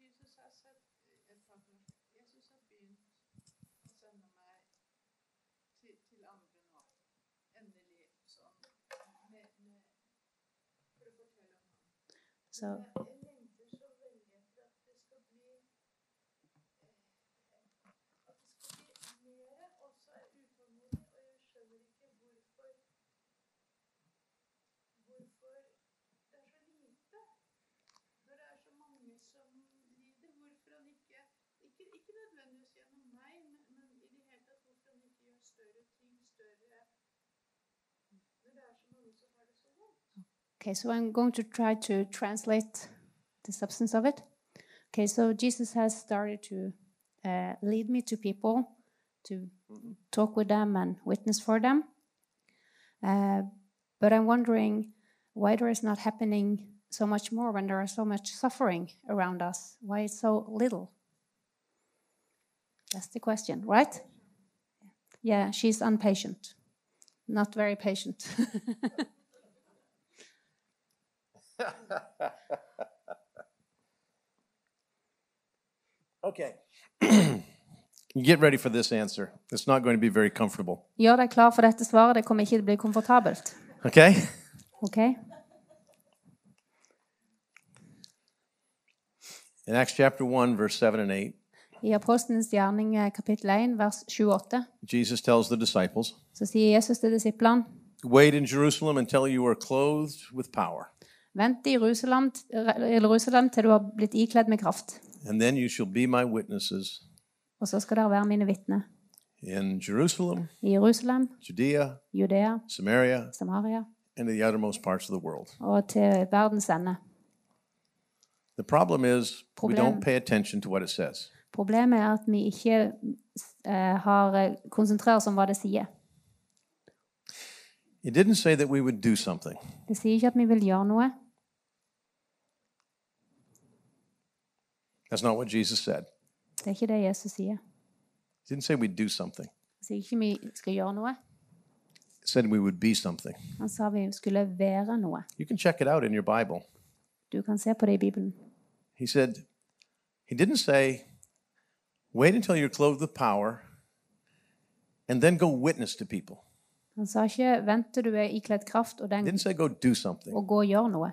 Jesus har satt et partner. Jesus har begynt å sende meg til, til andre nå. Endelig. Sånn. Med, med, for å fortelle om Så ham. Jeg lengter så veldig etter at det skal bli eh, at det skal bli mere, og så er jeg utålmodig, og jeg skjønner ikke hvorfor hvorfor det er så lite. Når det er så mange som lider, hvorfor han ikke Ikke, ikke nødvendigvis gjennom meg, men, men i det hele tatt hvorfor han ikke gjør større ting, større Når det er så mange som har det så vondt. Okay, so I'm going to try to translate the substance of it. Okay, so Jesus has started to uh, lead me to people, to talk with them and witness for them. Uh, but I'm wondering why there is not happening so much more when there are so much suffering around us. Why it's so little? That's the question, right? Yeah, she's impatient, not very patient. Okay. Get ready for this answer. It's not going to be very comfortable. Gjør deg klar for dette svaret. Det kommer ikke til å bli komfortabelt. Okay? Ok? In Acts chapter 1, verse 7 and 8, I Apostlenes gjerning eh, kapittel 1, vers 7-8, Jesus tells the disciples, så sier Jesus til disiplene Wait in Jerusalem until you are clothed with power, Vent i Jerusalem, eller Jerusalem til du har blitt ikledd med kraft. and then you shall be my witnesses Og så skal dere være mine vitner in Jerusalem, i Jerusalem, Judea, Judea, Samaria, Samaria and the uttermost parts of the world. og til verdens ende. The problem is we don't Problem. pay attention to what it says. Problemet er at vi ikke eh, har eh, konsentrert oss om hva det sier. It didn't say that we would do something. Det sier ikke at vi vil gjøre noe. That's not what Jesus said. Det er ikke det Jesus sier. It didn't say we'd do something. Han sier ikke vi skal gjøre noe. It said we would be something. Han sa vi skulle være noe. You can check it out in your Bible. Du kan se på det i Bibelen. He said, He didn't say, wait until you're clothed with power and then go witness to people. Han sa ikke 'vent til du er ikledd kraft, og, He den, didn't say go do something. og gå og gjør noe'.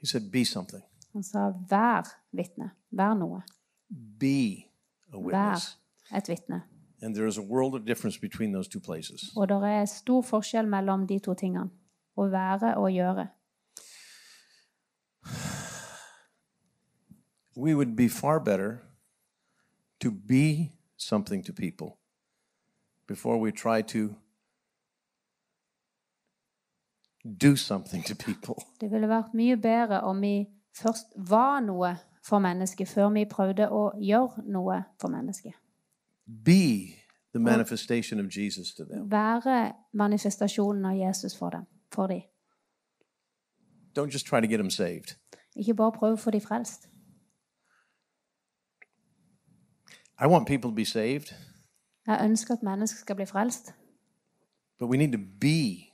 He said, be something. Han sa 'vær vitne'. Vær noe. Be a Vær witness. et vitne. And there is a world of difference between those two places. Og det er stor forskjell mellom de to tingene. Å være og gjøre. We would be far better to be something to people before we try to do something to people. Det ville vært mye bedre om vi først var noe for mennesket, før vi prøvde å gjøre noe for mennesket. Be the manifestation of Jesus to them. Være manifestasjonen av Jesus for dem. For dem. Don't just try to get them saved. Ikke bare prøve å få dem frelst. I want people to be saved, Jeg ønsker at mennesker skal bli frelst. but we need to be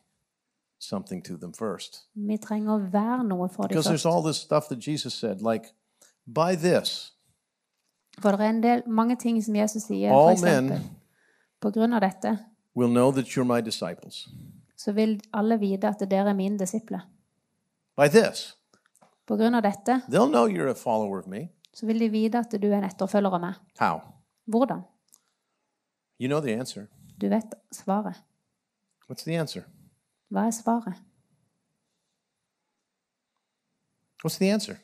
something to them first. Vi trenger å være noe for dem Because there's først. all this stuff that Jesus said, like, by this, For det er en del, mange ting som Jesus sier, for all eksempel. men På grunn av dette will know that you're my disciples. så vil alle vite at dere er mine disipler. By this, På grunn av dette they'll know you're a follower of me. så vil de vite at du er en etterfølger av meg. How? Hvordan? You know the answer. Du vet svaret. What's the answer? Hva er svaret? What's the answer?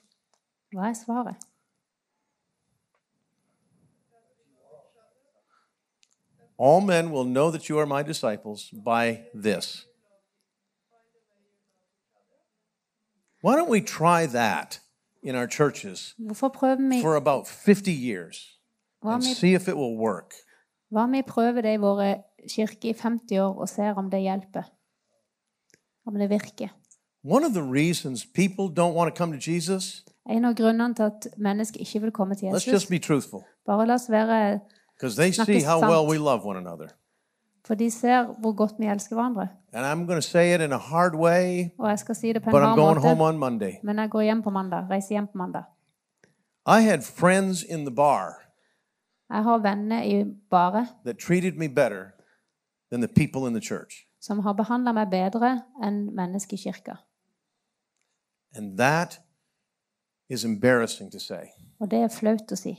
Hva er svaret? All men will know that you are my disciples by this. Why don't we try that in our churches Hvorfor prøver vi for about 50 years hva and om vi, see if it will work? hva om vi prøver det i våre kirke i 50 år og ser om det hjelper? Om det virker? One of the reasons people don't want to come to Jesus, En av grunnene til at mennesker ikke vil komme til let's Jesus just be truthful, Bare la oss være because they Snakke see how well sant. we love one another. For de ser hvor godt vi elsker hverandre. And I'm going to say it in a hard way, Og jeg skal si det på en but I'm hard going home måte, on Monday. men jeg går hjem på mandag. Reiser hjem på mandag. I had friends in the bar Jeg har venner i Bare that treated me better than the people in the church. som har behandla meg bedre enn mennesker i kirka. And that is embarrassing to say. Og det er flaut å si.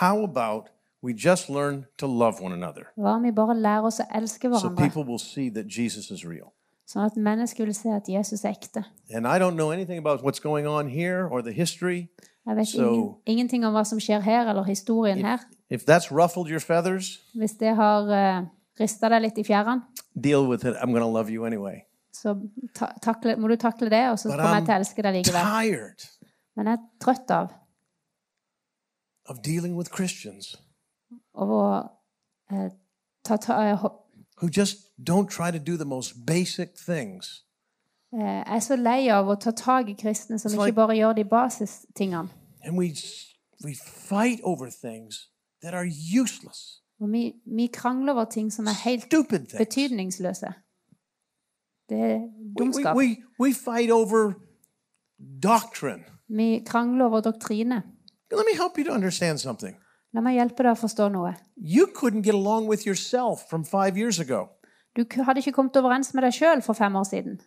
How about we just learn to love one another Hva om vi bare lærer oss å so elske hverandre, people will see that Jesus is real? sånn at mennesker vil se at Jesus er ekte? And I don't know anything about what's going on here or the history. Jeg vet So- ingen, ingenting om hva som skjer her, eller historien her. If that's ruffled your feathers, Hvis det har uh, rista deg litt i fjærene, deal with it. I'm going to love you anyway. så ta takle, må du takle det, og så But kommer I'm jeg til å elske deg likevel. Tired Men jeg er trøtt av of dealing with Christians av å eh, ta, ta, eh, ho- who just don't try to do the most basic things. eh, Jeg er så lei av å ta tak i kristne som It's like- ikke bare gjør de basistingene. And we, s- we fight over things that are useless, Og vi, vi krangler over ting som er helt stupid things. betydningsløse. Det er We, we, dumskap. we, we fight over doctrine. Vi krangler over doktrine. Let me help you to understand something. La meg hjelpe deg å forstå noe. You couldn't get along with yourself from five years ago. Du k- hadde ikke kommet overens med deg sjøl for fem år siden.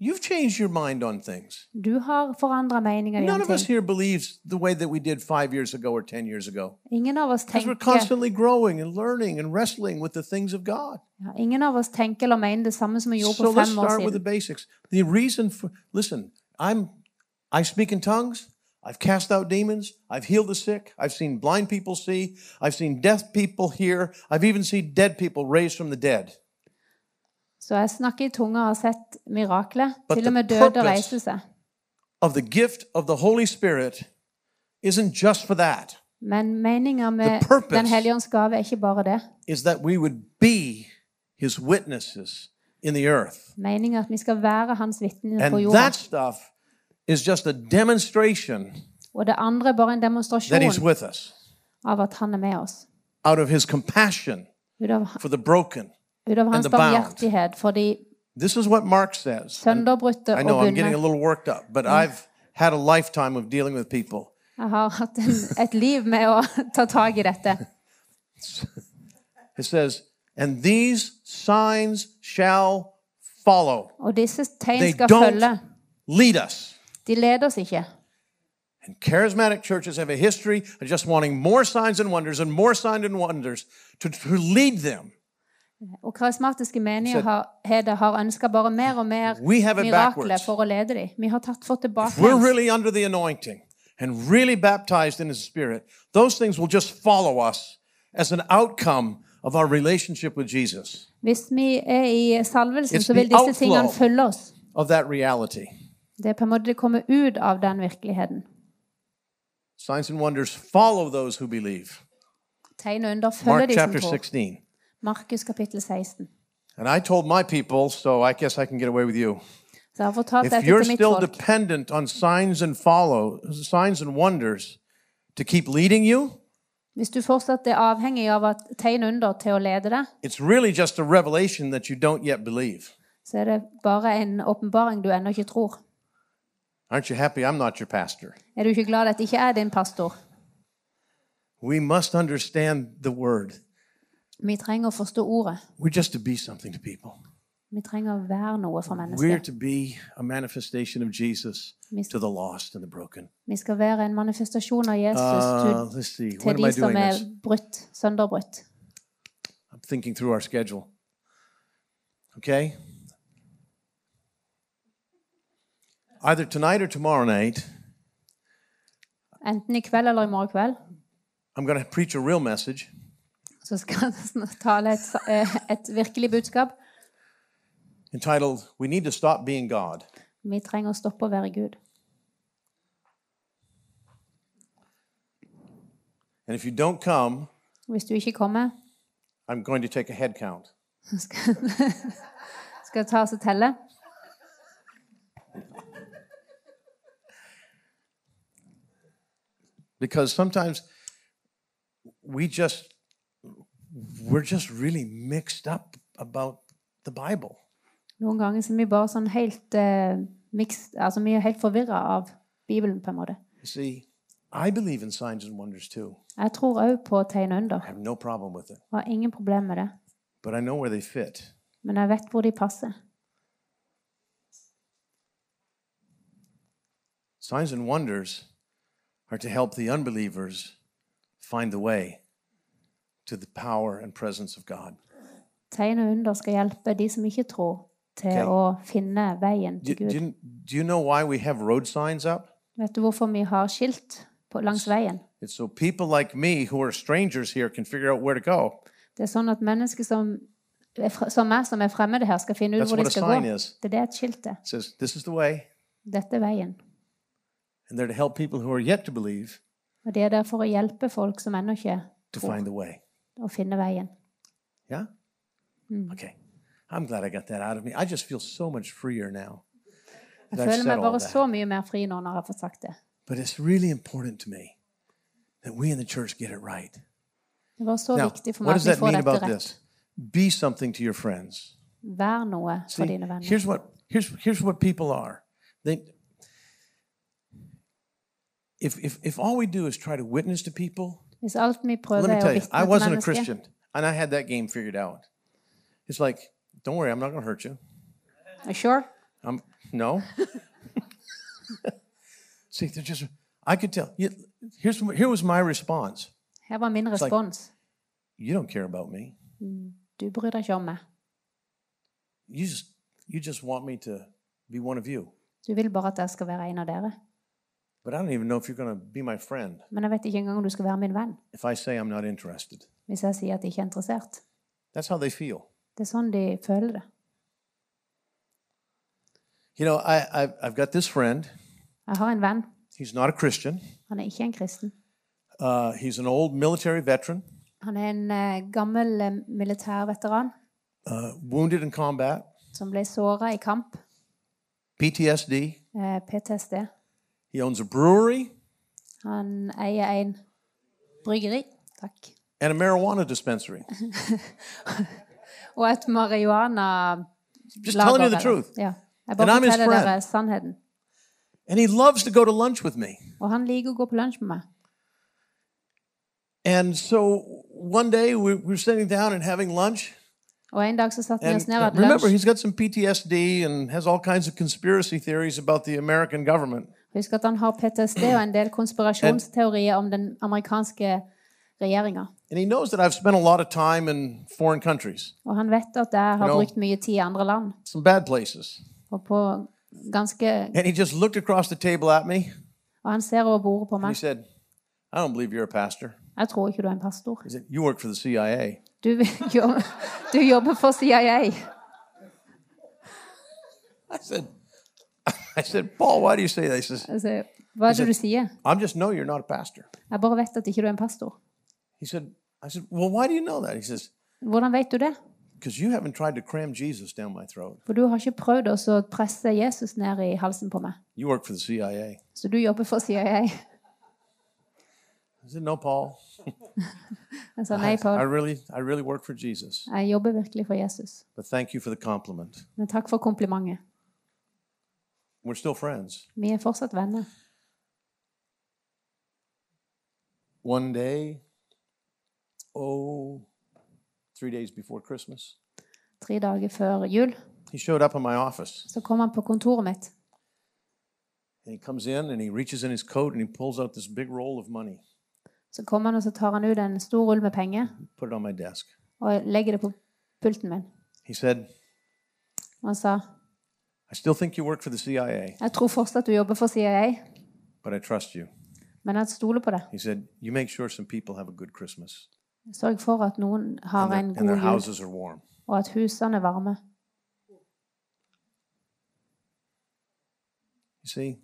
You've changed your mind on things. Du har forandra meninger None om of us ting. here believes the way that we did five years ago or 10 years ago. Ingen av oss Because we're tenker, constantly growing and learning and wrestling with the things of God. ja, ingen av oss tenker eller mener det samme som vi gjorde So for let's fem år start with the siden. basics. The reason for, listen, I'm, I speak in tongues. I've cast out demons. I've healed the sick. I've seen blind people see. I've seen deaf people hear. I've even seen dead people raised from the dead. Så jeg snakker i tunga og har sett mirakler. But Til og med the døde purpose- reiste seg. Of the gift of the Holy Spirit isn't just for that, Men meninga med The purpose- Den hellige ånds gave er ikke bare det. is that we would be his witnesses in the earth. Meninga at vi skal være hans vitner på And jorda. that stuff is just a demonstration Og det andre er bare en that he's demonstrasjon with us av at han er med oss. out of his compassion Ut av, for the broken. ut av hans the bound. barmhjertighet for de This is what Mark says. sønderbrutte I og know I'm getting bundne. a little worked up, but I've had a lifetime of dealing with people. Jeg har hatt en, et liv med å ta tak i dette. It says, and these signs shall follow, Og disse tegn They skal don't- følge. lead us. De leder oss ikke. And charismatic churches have a history of just wanting more signs and wonders and more signs and wonders to, to lead them. Og karismatiske menigheter Said- har- har ønska bare mer og mer We have it mirakler backwards. for å lede dem. Vi har tatt fått tilbake If we're hans. really under the anointing and really baptized in His Spirit, those things will just follow us as an outcome of our relationship with Jesus, Hvis vi er i salvelsen, It's så vil the disse tingene outflow. følge oss. of that reality. Det er på en måte det kommer ut av den virkeligheten. Signs and wonders follow those who believe. Tegn og under følger Mark de som chapter tror. 16. Markus kapittel 16. And I told my people, so I guess I can get away with you. Så jeg har fortalt If dette you're til mitt still folk. dependent on signs and follow signs and wonders to keep leading you, Hvis du fortsatt er avhengig av at tegn under til å lede deg, it's really just a revelation that you don't yet believe. så er det bare en åpenbaring du ennå ikke tror. Aren't you happy I'm not your pastor? Er du ikke glad at jeg ikke er din pastor? We must understand the word. Vi trenger å forstå ordet. We're just to be something to people. Vi trenger å være noe for We're mennesker. to be a manifestation of Jesus Mis- to the lost and the broken. Vi skal være en manifestasjon av Uh, Jesus let's see. til, When til am I de doing som er this? brutt, sønderbrutt. I'm thinking through our schedule. Okay? Either tonight or tomorrow night, Enten i kveld eller i morgen kveld I'm going to preach a real message. så skal jeg tale et, sa- eh, et virkelig budskap. entitled We Need to Stop Being God. Vi trenger å stoppe å være Gud. And if you don't come, Hvis du ikke kommer, I'm going to take a head count. så skal, skal jeg ta oss og telle. Because sometimes we just we're just really mixed up about the Bible. Noen ganger så er vi bare sånn helt eh, mixed, altså vi er helt forvirra av Bibelen, på en måte. You see, I believe in signs and wonders too. Jeg tror òg på tegn under, I have no problem with it. og har ingen problemer med det. But I know where they fit. Men jeg vet hvor de passer. Signs and wonders are to help the unbelievers find the way to the power and presence of God. Tegn og under skal hjelpe de som ikke tror, til Ok. å finne veien Do, til Gud. do you- do you know why we have road signs up? Vet du hvorfor vi har skilt på, langs veien? It's so people like me who are strangers here can figure out where to go. Det er sånn at mennesker som, er fra- som meg, som er fremmede her, skal finne ut That's hvor what de a skal sign gå. is. Det er det et skilt er. It says, This is the way. Dette er veien. And they're to help people who are yet to believe Og det er der for å hjelpe folk som ennå ikke to tror, find the way. å finne veien. Yeah? Okay. I'm glad I got that out of me. I just feel so much freer now. Jeg that I've føler said meg all bare that. så mye mer fri nå når jeg har fått sagt det. But it's really important to me that we in the church get it right. Det var så Now, viktig for what meg does at vi that får mean dette about rett. this? Be something to your friends. Vær noe for See, dine venner. here's what here's here's what people are. They if if if all we do is try to witness to people, Hvis alt vi prøver let me er å tell you, I vitne til wasn't a mennesker Christian, and I had that game figured out. It's like, don't worry, I'm not going to hurt you. Sure? I'm, no. See, they're just, I could tell. You- Here's, here was my response Her var min like- respons. You don't care about me. Du bryr deg ikke om meg. You just, you just want me to be one of you. Du vil bare at jeg skal være en av dere. But I don't even know if you're going to be my friend Men jeg vet ikke engang om du skal være min venn if I say I'm not interested. hvis jeg sier at jeg ikke er interessert. That's how they feel. Det er sånn de føler det. You know, I, I've, I've got this friend. Jeg har en venn. He's not a Christian. Han er ikke en kristen. Uh, he's an old military veteran, Han er en eh, gammel eh, militærveteran uh, wounded in combat, som ble såra i kamp. PTSD. eh, PTSD. He owns a brewery Han eier en bryggeri. Takk. and a marijuana dispensary. Og et marihuana Just lager, telling you the eller- truth. Ja. Jeg And bare I'm his forteller friend. dere sannheten. And he loves to go to lunch with me. Og han liker å gå på lunsj med meg. And so one day we we were sitting down and having lunch. Og en dag så satte vi And oss ned og hadde remember, lunsj. he's got some PTSD and has all kinds of conspiracy theories about the American government. Husk at han har PTSD og en del konspirasjonsteorier om den amerikanske regjeringa. And he knows that I've spent a lot of time in foreign countries, Og han vet at jeg har know- brukt mye tid i andre land, some bad places. og på ganske And he just looked across the table at me Og han ser over bordet på and he meg. said, I don't believe you're a pastor. Jeg tror ikke du er en pastor. He said, You work for the CIA. Du, jo- du jobber for CIA. I said, I said, Paul, why do you say that? He says, Altså, hva er det du sier? I just know you're not a pastor. Jeg bare vet at ikke du er en pastor. He said, I said, Well, why do you know that? He says, Hvordan vet du det? Because you haven't tried to cram Jesus down my throat. For du har ikke prøvd også å presse Jesus ned i halsen på meg. You work for the CIA. Så du jobber for CIA. I said, No, Paul. Jeg sa nei, I Paul. really, I really work for Jesus. Jeg jobber virkelig for Jesus. But thank you for the compliment. Men takk for komplimentet. We're still friends. Vi er fortsatt venner. One day, oh, three days before Christmas, Tre dager før jul he showed up in my office. så kom han på kontoret mitt. And he comes in and he reaches in his coat and he pulls out this big roll of money, Så kom han og så tar han ut en stor rull med penger put it on my desk. og legger det på pulten min. He said, Og han sa I still think you work for the CIA, jeg tror fortsatt du jobber for CIA, but I trust you. men jeg stoler på det. He said, You make sure some people have a good Christmas Sørg for at noen har and, their- en and their god jul, houses are warm. og at husene er varme. You see,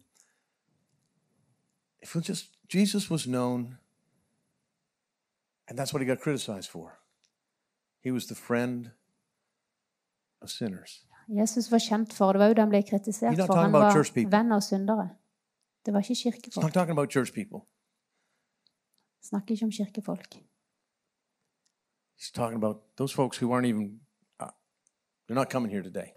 if we just Jesus was known, and that's what he got criticized for. He was the friend of sinners. Jesus var kjent for det. var jo det han ble kritisert You're not for. talking Han about var church people. venn av syndere. Det var ikke It's not kirkefolk. talking about church people. Snakker ikke om kirkefolk. He's talking about those folks who aren't even. Uh, they're not coming here today.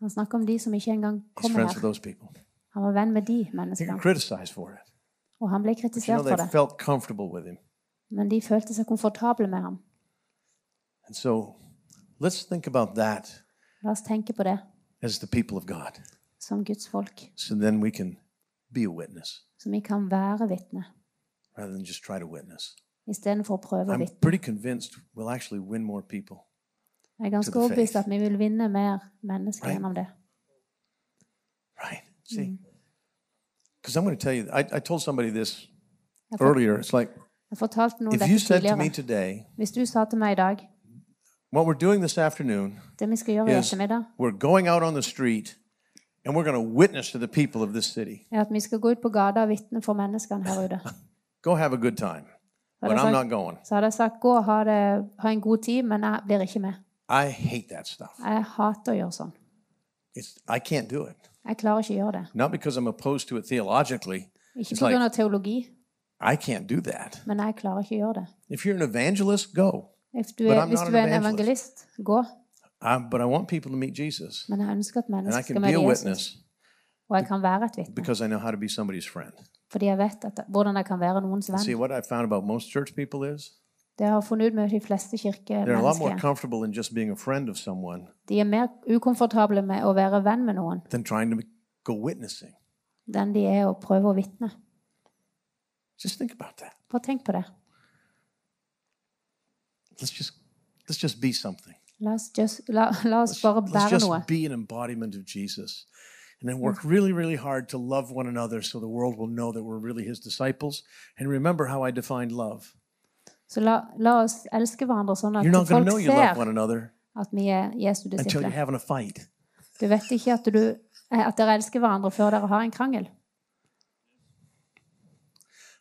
Han snakker om de som ikke engang He's kommer friends with her. those people. Han var venn med de He got menneskene, criticized for it. og han ble But you know, kritisert they for det. felt comfortable with him. Men de følte seg komfortable med ham. And so, let's think about that La oss tenke på det as the people of God. som Guds folk, So then we can be a witness så vi kan være vitne rather than just try to witness. istedenfor å prøve å I'm vitne. pretty convinced we'll actually win more people. Jeg er to ganske the overbevist faith. at vi vil vinne mer mennesker Right. gjennom det. Right? See? Because I'm going to tell you, I, I told somebody this Jeg for- earlier. It's like, jeg fortalte noen if you dette said to me tidligere. today, Hvis du sa til meg i dag what we're doing this afternoon det vi skal gjøre i is ettermiddag, we're going out on the street and we're going to witness to the people of this city. er at vi skal gå ut på gata og vitne for menneskene her ute. Go have a good time. But Well, that's I'm like- not going. Så hadde jeg sagt gå og ha, det, ha en god tid, men jeg blir ikke med. I hate that stuff. Jeg hater å gjøre sånn. It's, I can't do it. Jeg klarer ikke å gjøre det. Not because I'm opposed to it theologically. Ikke It's pga. like- av teologi, I can't do that. men jeg klarer ikke å gjøre det. If you're an evangelist, go. If du But er, I'm hvis not du er an en evangelist. evangelist, gå. I, Um, but I want people to meet Jesus. Men jeg ønsker at And I can mennesker skal be a møte Jesus. witness Og jeg kan være et vitne. because I know how to be somebody's friend. Fordi jeg vet at, hvordan jeg kan være noens See, venn. what I found about most church people is Det har jeg funnet ut med de fleste They're a lot more kirkemennesker. comfortable in just being a friend of someone De er mer ukomfortable med å være venn med noen than trying to go witnessing. enn de er å prøve å vitne. Just think about that. Bare tenk på det. Let's just let's just be something. La oss, just, la, la oss bare Let's bære just noe. be an embodiment of Jesus. And then work really, really hard to love one another so the world will know that we're really his disciples. And remember how I defined love. Så la, la oss elske hverandre sånn at You're not going to folk know you love one ser another at vi er Jesu until you're disipler. having a fight. Du vet ikke at, du, eh, at dere elsker hverandre før dere har en krangel.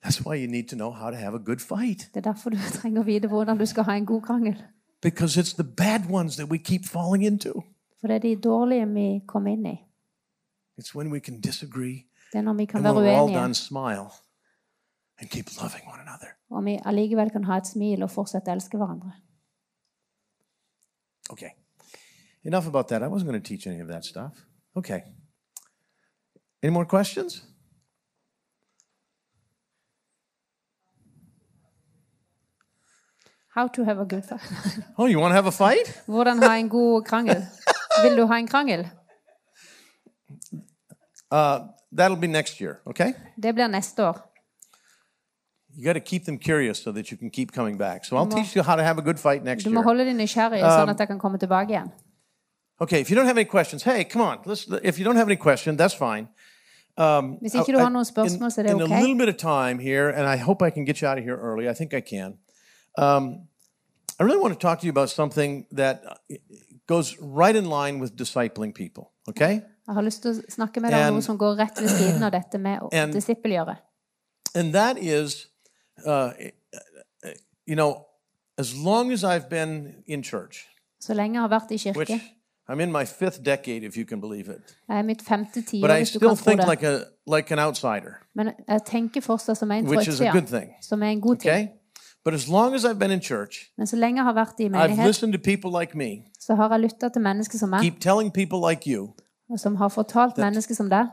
That's why you need to know how to have a good fight. Det er derfor du trenger å vite hvordan du skal ha en god krangel. Because it's the bad ones that we keep falling into. For det er de dårlige vi kommer inn i. It's when we can disagree Det er når vi kan and when være we're all uenige, done, smile and keep loving one another. og vi allikevel kan ha et smil og fortsette å elske hverandre. Okay. Enough about that. I wasn't going to teach any of that stuff. Okay. Any more questions? How to have a good fight. Oh, you want to have a fight? Hvordan ha en god krangel? Vil du ha en krangel? Uh, that'll be next year, okay? Det blir neste år. You got to keep them curious so that you can keep coming back. So I'll må- teach you how to have a good fight next Du må year. holde deg nysgjerrig, Um, sånn at jeg kan komme tilbake igjen. Okay, if you don't have any questions, hey, come on. Let's, if you don't have any question, that's fine. Hvis ikke du har noen spørsmål, så er det in a ok. little bit of time here, and I hope I can get you out of here early. I think I can. Um, I really want to talk to you about something that uh, goes right in line with discipling people. Okay, Jeg har lyst til å snakke med deg om And- noe som går rett ved siden av dette med å And- disippelgjøre. and that is, uh, you know, as long as I've been in church, Så lenge jeg har vært i which kirke. I'm in my fifth decade, if you can believe it, Jeg er mitt femte but tiår, I hvis du kan still tro think det. like a like an outsider, Men jeg tenker fortsatt som en which is a good trøytsier, thing. som er en god ting. Okay, but as long as I've been in church, Men så lenge jeg har vært i I've menighet, listened to people like me. så har jeg lytta til mennesker som meg, keep telling people like you og som har fortalt mennesker som deg,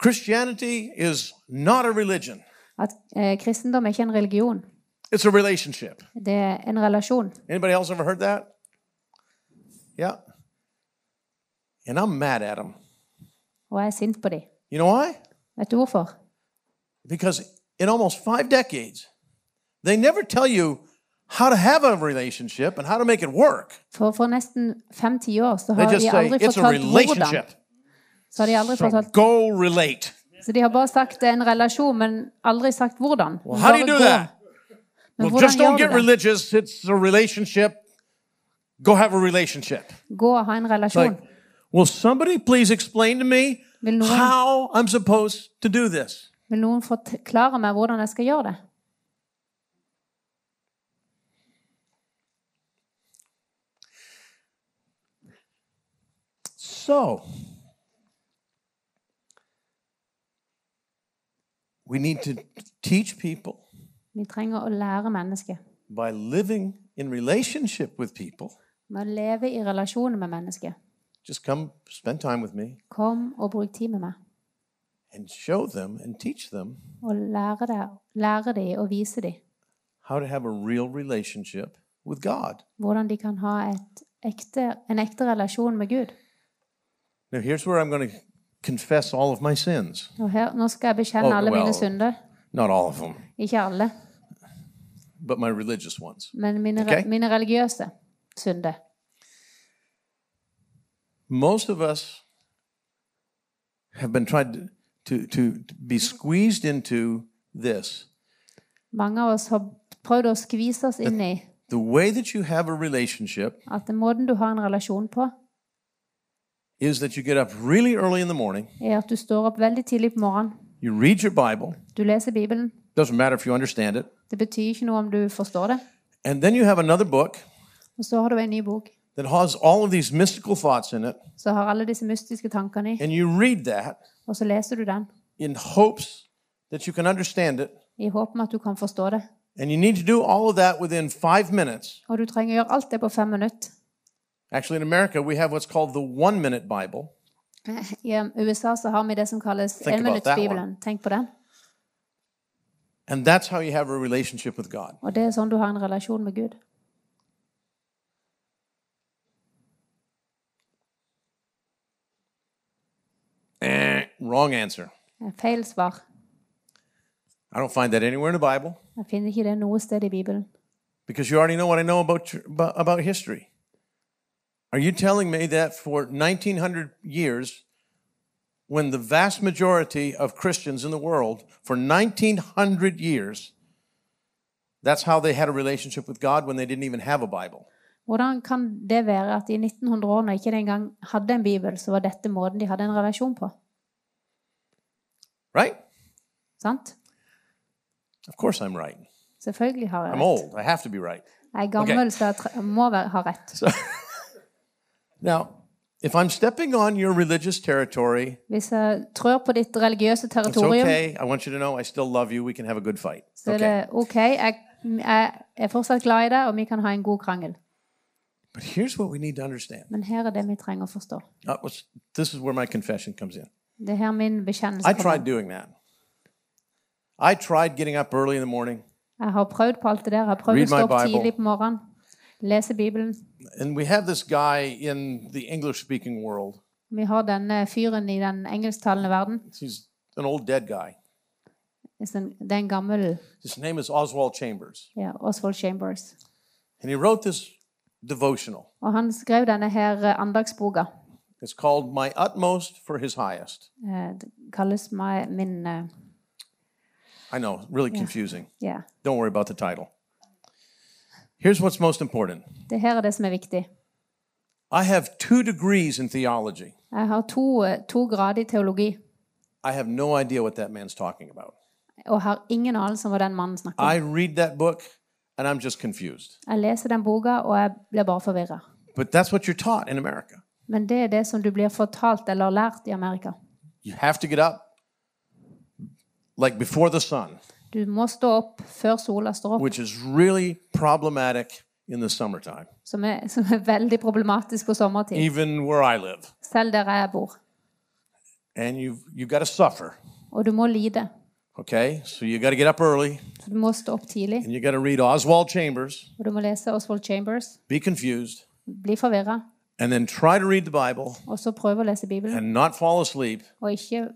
Christianity is not a religion, at eh, kristendom er ikke en religion, it's a relationship. det er en relasjon. Anybody else ever heard that? Yeah. And I'm mad at them. Og jeg er sint på dem. You know why? Vet du hvorfor? Because in almost five decades, they never tell you how to have a relationship and how to make it work. For for nesten fem tiår så They har just de say aldri it's a fortalt hvordan. relationship. Så har de aldri So fortalt go relate. Så de har bare sagt det er en relasjon, men aldri sagt hvordan. Well, how do you Bare do gå. that? Men Well, just hvordan don't gjør get du det? religious. It's a relationship. Go have a relationship. Gå og ha en relasjon. Like, will somebody please explain to me Vil noen- how I'm supposed to do this? Vil noen forklare meg hvordan jeg skal gjøre det? So, we need to teach people Vi trenger å lære mennesket. by living in relationship with people. Med å leve i relasjoner med mennesket. Just come spend time with me Kom og bruk tid med meg. and show them and teach them Og lære, det, lære de og vise de how to have a real relationship with God. hvordan de kan ha et ekte, en ekte relasjon med Gud. Now, here's where I'm going to confess all of my sins. Og her, nå skal jeg bekjenne Oh, alle well. mine synder. Not all of them, Ikke alle, but my religious ones. men mine, Ok. mine religiøse synder. most of us have been tried to, to, to be squeezed into this. Mange av oss har prøvd å skvise oss inn i The way that you have a relationship at den måten du har en relasjon på, is that you get up really early in the morning, er at du står opp veldig tidlig på morgenen, you read your Bible, du leser Bibelen. doesn't matter if you understand it, Det betyr ikke noe om du forstår det. and then you have another book Og så har du en ny bok. that has all of these mystical thoughts in it, Så har alle disse mystiske tankene i, and you read that og så leser du den in hopes that you can understand it, i håp om at du kan forstå det. and you need to do all of that within five minutes. Og du trenger å gjøre alt det på fem minutter. Actually, in America, we have what's called the one minute Bible. I um, USA så har vi det som kalles Think about that enminuttsbibelen. Tenk på den. And that's how you have a relationship with God. Og det er sånn du har en relasjon med Gud. Eh, wrong answer. Eh, Feil svar. I don't find that anywhere in the Bible Jeg finner ikke det noe sted i Bibelen. because you already know what I know about, tr- about about history. Are you telling me that for 1900 years, when the vast majority of Christians in the world, for 1900 years, that's how they had a relationship with God when they didn't even have a Bible? Hvordan kan det være at i 1900 år, når ikke de engang hadde en bibel, så var dette måten de hadde en relasjon på? Right? Sant? Of course I'm right. Selvfølgelig har jeg I'm rett. old. I have to be right. Jeg er gammel, så jeg tre- må være, ha rett. Now, if I'm stepping on your religious territory, Hvis jeg trør på ditt religiøse it's territorium, okay. I want you to know I still love you. We can have a good fight. så er det OK. Jeg, jeg er fortsatt glad i deg, og vi kan ha en god krangel. But here's what we need to understand. Men her er det vi trenger å forstå. Uh, what's- this is where my confession comes in. Det er her min I bekjennelse tried kommer. doing that. I tried getting up early in the morning, Jeg har prøvd på alt det der. Jeg har prøvd Read å stå my opp Bible. tidlig på morgenen, lese Bibelen. and we have this guy in the English speaking world. Vi har denne fyren i den engelsktalende verden. He's an old dead guy. Det er en- det er en gammel His name is Oswald Chambers. ja, Oswald Chambers. And he wrote this devotional. Og han skrev denne her eh, andagsboka. It's called My Utmost for His Highest. Eh, Det kalles meg min eh, I know, really confusing. Ja. Don't worry about the title. Here's what's most important Det her er det som er viktig. I have two degrees in theology. Jeg har to, eh, to grader i teologi I have no idea what that man's talking about. og har ingen anelse om hva den mannen snakker om. I read that book and I'm just confused. Jeg leser den boka, og jeg blir bare forvirra. But that's what you're taught in America. Men det er det som du blir fortalt eller lært i Amerika. You have to get up like before the sun, Du må stå opp før sola står opp, which is really problematic in the summertime, som er, som er veldig problematisk på sommertid, even where I live. selv der jeg bor. And you've, you've got to suffer, Og du må lide. okay? So you got to get up early Så du må stå opp tidlig, and you got to read Oswald Chambers, og du må lese Oswald Chambers, be confused, bli forvirra, and then try to read the Bible og så prøve å lese Bibelen, and not fall asleep. og ikke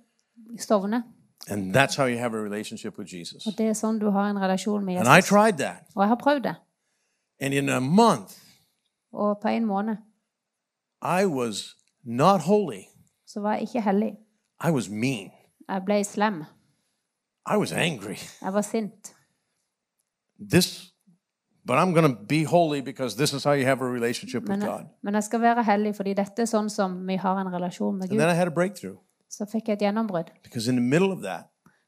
stovne. And that's how you have a relationship with Jesus. Og det er sånn du har en relasjon med And I Jesus. tried that. Og jeg har prøvd det. And in a month, Og på en måned I was not holy. så var jeg ikke hellig. I was mean. Jeg ble slem. I was angry. Jeg var sint. This, but I'm going to be holy because this is how you have a relationship with Men, God. men jeg skal være hellig, fordi dette er sånn som vi har en relasjon med And Gud. then I had a breakthrough Så fikk jeg et gjennombrudd. because in the middle of that,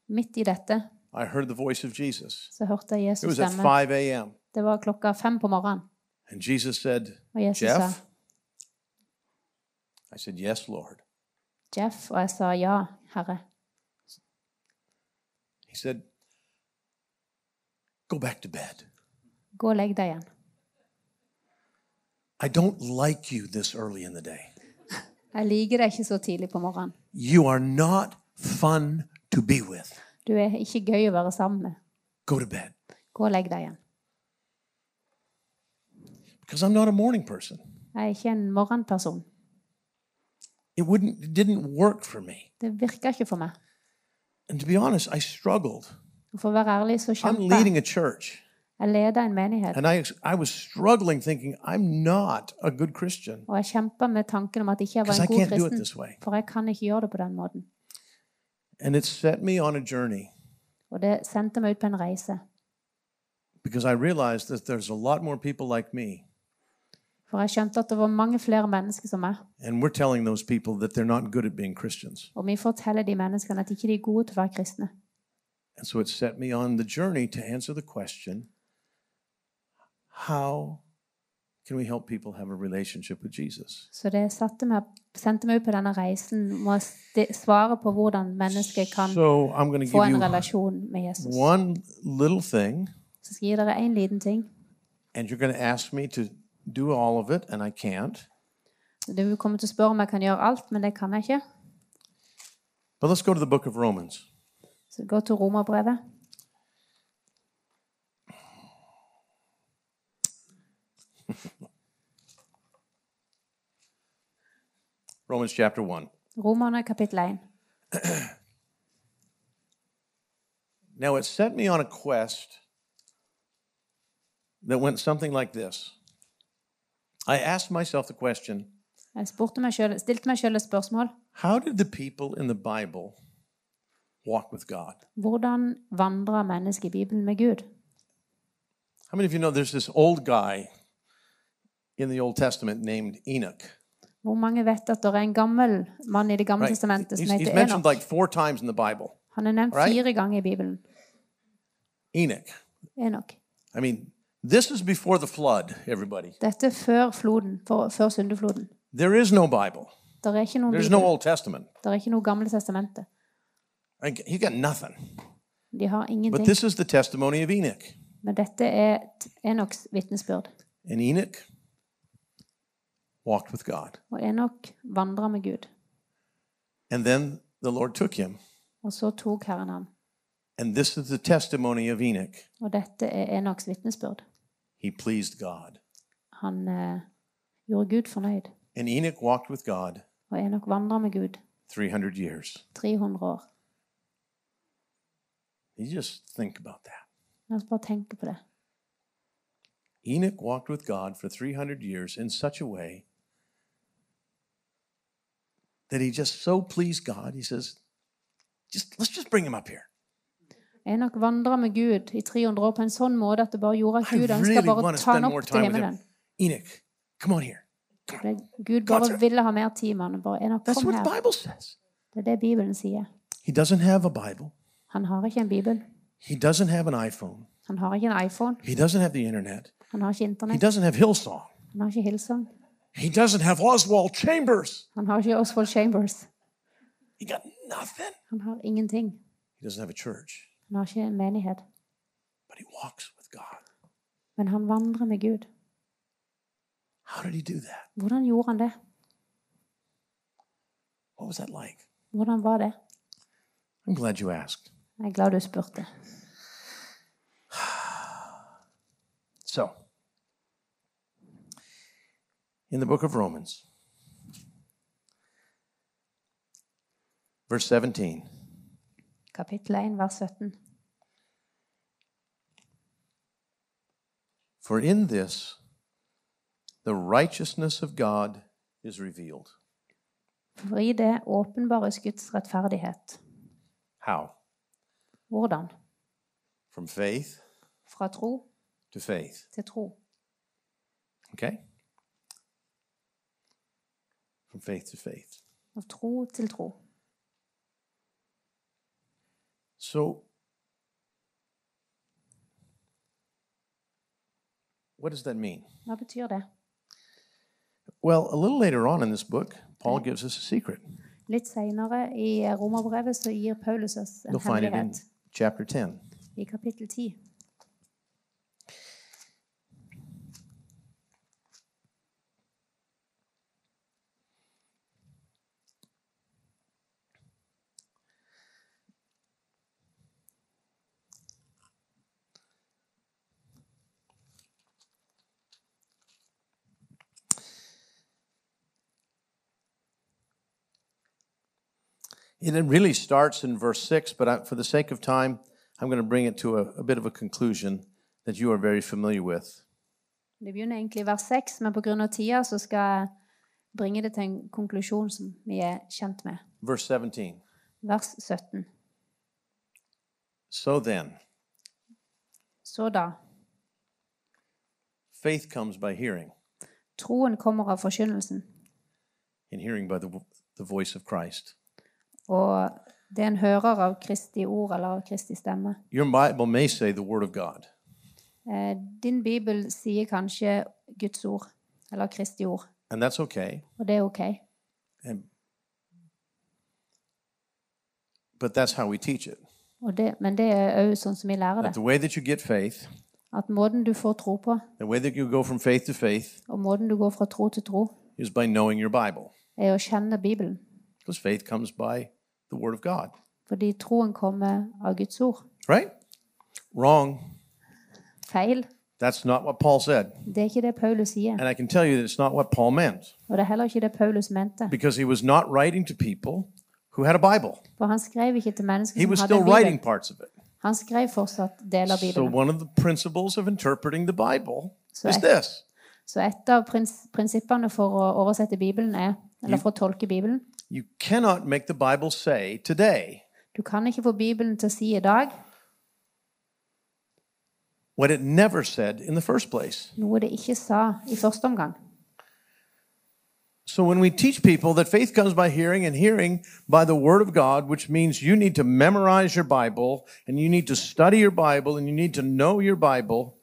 Midt i dette I heard the voice of Jesus. så hørte jeg It Jesus was at stemme. 5 a.m. Det var klokka fem på morgenen. And Jesus said, Og Jesus sa Jeff? I said, Yes, Lord. Jeff, og jeg sa ja, herre. He said, Go back to bed. Gå og legg deg igjen. I don't like you this early in the day. Jeg liker deg ikke så tidlig på morgenen. You are not fun to be with. Du er ikke gøy å være sammen med. Go to bed. Gå og legg deg igjen. Because I'm not a morning person. Jeg er ikke en morgenperson. It wouldn't it didn't work for me. Det virker ikke for meg. And to be honest, I struggled. Og For å være ærlig, så I'm kjemper jeg. leading a church, Jeg leder en menighet, and I, I was struggling thinking, I'm not a good Christian og jeg kjemper med tanken om at ikke jeg var because I en god can't do it this kristen. way. For jeg kan ikke gjøre det på den måten. And it set me on a journey Og det sendte meg ut på en reise. because I realized that there's a lot more people like me, For jeg skjønte at det var mange flere mennesker som meg. and we're telling those people that they're not good at being Christians. Og vi forteller de menneskene at ikke de er gode til å være kristne. And so it set me on the journey to answer the question how can we help people have a relationship with Jesus? Så det satte meg, sendte meg ut på denne reisen med å sti- svare på hvordan mennesker kan So I'm going to få en give you relasjon med Jesus. one little thing. Så skal jeg gi dere en liten ting. and you're going to ask me to do all of it, and I can't. Du kommer til å spørre om jeg kan gjøre alt, men det kan jeg ikke. But let's go to the book of Romans. Så gå til romerbrevet. Romans chapter 1. Romerne kapittel 1. Now it set me on a quest that went something like this. I asked myself the question Jeg spurte meg selv, stilte meg selv et spørsmål. how did the people in the Bible walk with God? Hvordan vandrer mennesket i Bibelen med Gud? How many of you know there's this old guy in the Old Testament named Enoch? Hvor mange vet at det er en gammel mann i Det gamle Right? testamentet He's, som he's heter mentioned Enoch? like four times in the Bible. Han er nevnt right? fire ganger i Bibelen. Enoch. Enoch. I mean, this is before the flood, everybody. Dette er før floden, for, før syndefloden. There is no Bible. Det er ikke noe There's no Bibel. Old Testament. Det er ikke noe Gamle testamentet. Like, You got nothing. De har But ingenting. this is the testimony of Enoch. Men dette er t- Enoks vitnesbyrd. And Enoch walked with God. Og Enok vandra med Gud. And then the Lord took him. Og så tok Herren ham. And this is the testimony of Enoch. Og dette er Enoks vitnesbyrd. He pleased God. Han eh, gjorde Gud fornøyd. And Enoch walked with God Og Enok vandra med Gud 300 years. 300 år. You just think about that. La oss bare tenke på det. Enoch walked with God for 300 years in such a way that he just so pleased God. He says, just let's just bring him up here. Enok vandra med Gud i 300 år på en sånn måte at det bare gjorde at I Gud ønska really bare want å to ta spend han more opp til time with himmelen. him. Enoch, come on here. Det, Gud bare God's- ville ha mer tid med han. og Bare, Enok, That's kom what the her. Bible says. Det er det Bibelen sier. He doesn't have a Bible. Han har ikke en bibel. He doesn't have an iPhone. Han har ikke en iPhone. He doesn't have the internet. Han har ikke He Internett. doesn't have Hillsong. Han har ikke Hillsong. He doesn't have Oswald Chambers. Han har ikke Oswald Chambers. He got nothing. Han har ingenting. He doesn't have a church, Han har ikke en menighet. but he walks with God. Men han vandrer med Gud. How did he do that? Hvordan gjorde han det? What was that like? Hvordan var det? I'm glad you asked. Jeg er glad du spurte. So, in the book of Romans, verse 17, Kapittel 1, vers 17. for in this the righteousness of God is revealed. For i det åpenbares Guds rettferdighet. How? Hvordan? From faith Fra tro to faith. til tro. Okay? From faith to faith. Av tro til tro. So, what does that mean? Hva betyr det? Well, a little later on in this book, Paul gives us a secret. Litt seinere i romerbrevet så gir Paulus oss en You'll find it in hemmelighet chapter 10. i kapittel 10. It really starts in verse 6, but I, for the sake of time, I'm going to bring it to a, a bit of a conclusion that you are very familiar with. Det begynner egentlig i vers 6, men pga. tida så skal jeg bringe det til en konklusjon som vi er kjent med. Verse 17. Vers 17. So then, Så da, faith comes by hearing, troen kommer av forkynnelsen, and hearing by the, w- the voice of Christ. og det en hører av Kristi ord eller av Kristi stemme. Your Bible may say the Word of God. Eh, Din bibel sier kanskje Guds ord, eller Kristi ord, And that's okay. og det er ok. And, but that's how we teach it. Og det, men det er òg sånn som vi lærer That det. the way that you get faith, At måten du får tro på, the way that you go from faith to faith, og måten du går fra tro til tro, is by knowing your Bible. er å kjenne Bibelen. Because faith comes by the Word of God. Fordi troen kommer av Guds ord. Right? Wrong. Feil. That's not what Paul said. Det er ikke det Paulus sier, And I can tell you that it's not what Paul meant og det er heller ikke det Paulus mente. because he was not writing to people who had a Bible. For han skrev ikke til mennesker He som was hadde still en bibel. writing parts of it. Han skrev fortsatt deler av So, Bibelen. one of the principles of interpreting the Bible So is I- this Så et av prins prinsippene for å oversette Bibelen er, eller for å tolke Bibelen you cannot make the Bible say today Du kan ikke få Bibelen til å si i dag what it never said in the first place. noe det ikke sa i første omgang. So, when we teach people that faith comes by hearing and hearing by the Word of God, which means you need to memorize your Bible and you need to study your Bible and you need to know your Bible,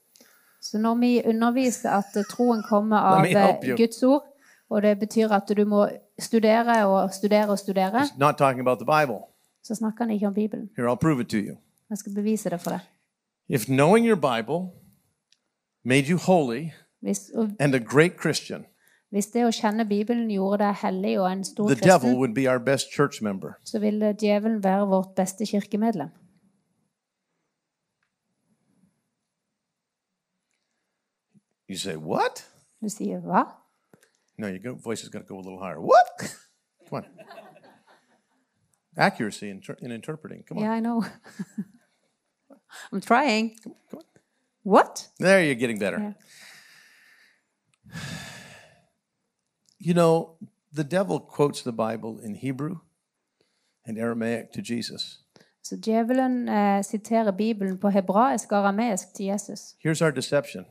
Så når vi underviser at eh, troen kommer av Let me help eh, you. Guds ord, og det betyr at du må studere og studere og studere, it's not talking about the Bible. så snakker han ikke om Bibelen. Here, I'll prove it to you. Jeg skal bevise det for deg. If knowing your Bible made you holy Hvis, og and a great Christian, hvis det å kjenne Bibelen gjorde deg hellig og en stor the devil kristen, would be our best church member. så ville djevelen være vårt beste kirkemedlem. You say, What? Du sier hva? No, your go- voice has got to go a little higher. What? Come on. Accuracy in, ter- in interpreting. Come on. Yeah, I know. I'm trying. Come on. What? There, you're getting better. Yeah. You know, the devil quotes the Bible in Hebrew and Aramaic to Jesus. Så djevelen eh, siterer Bibelen på hebraisk og arameisk til Jesus. Here's our deception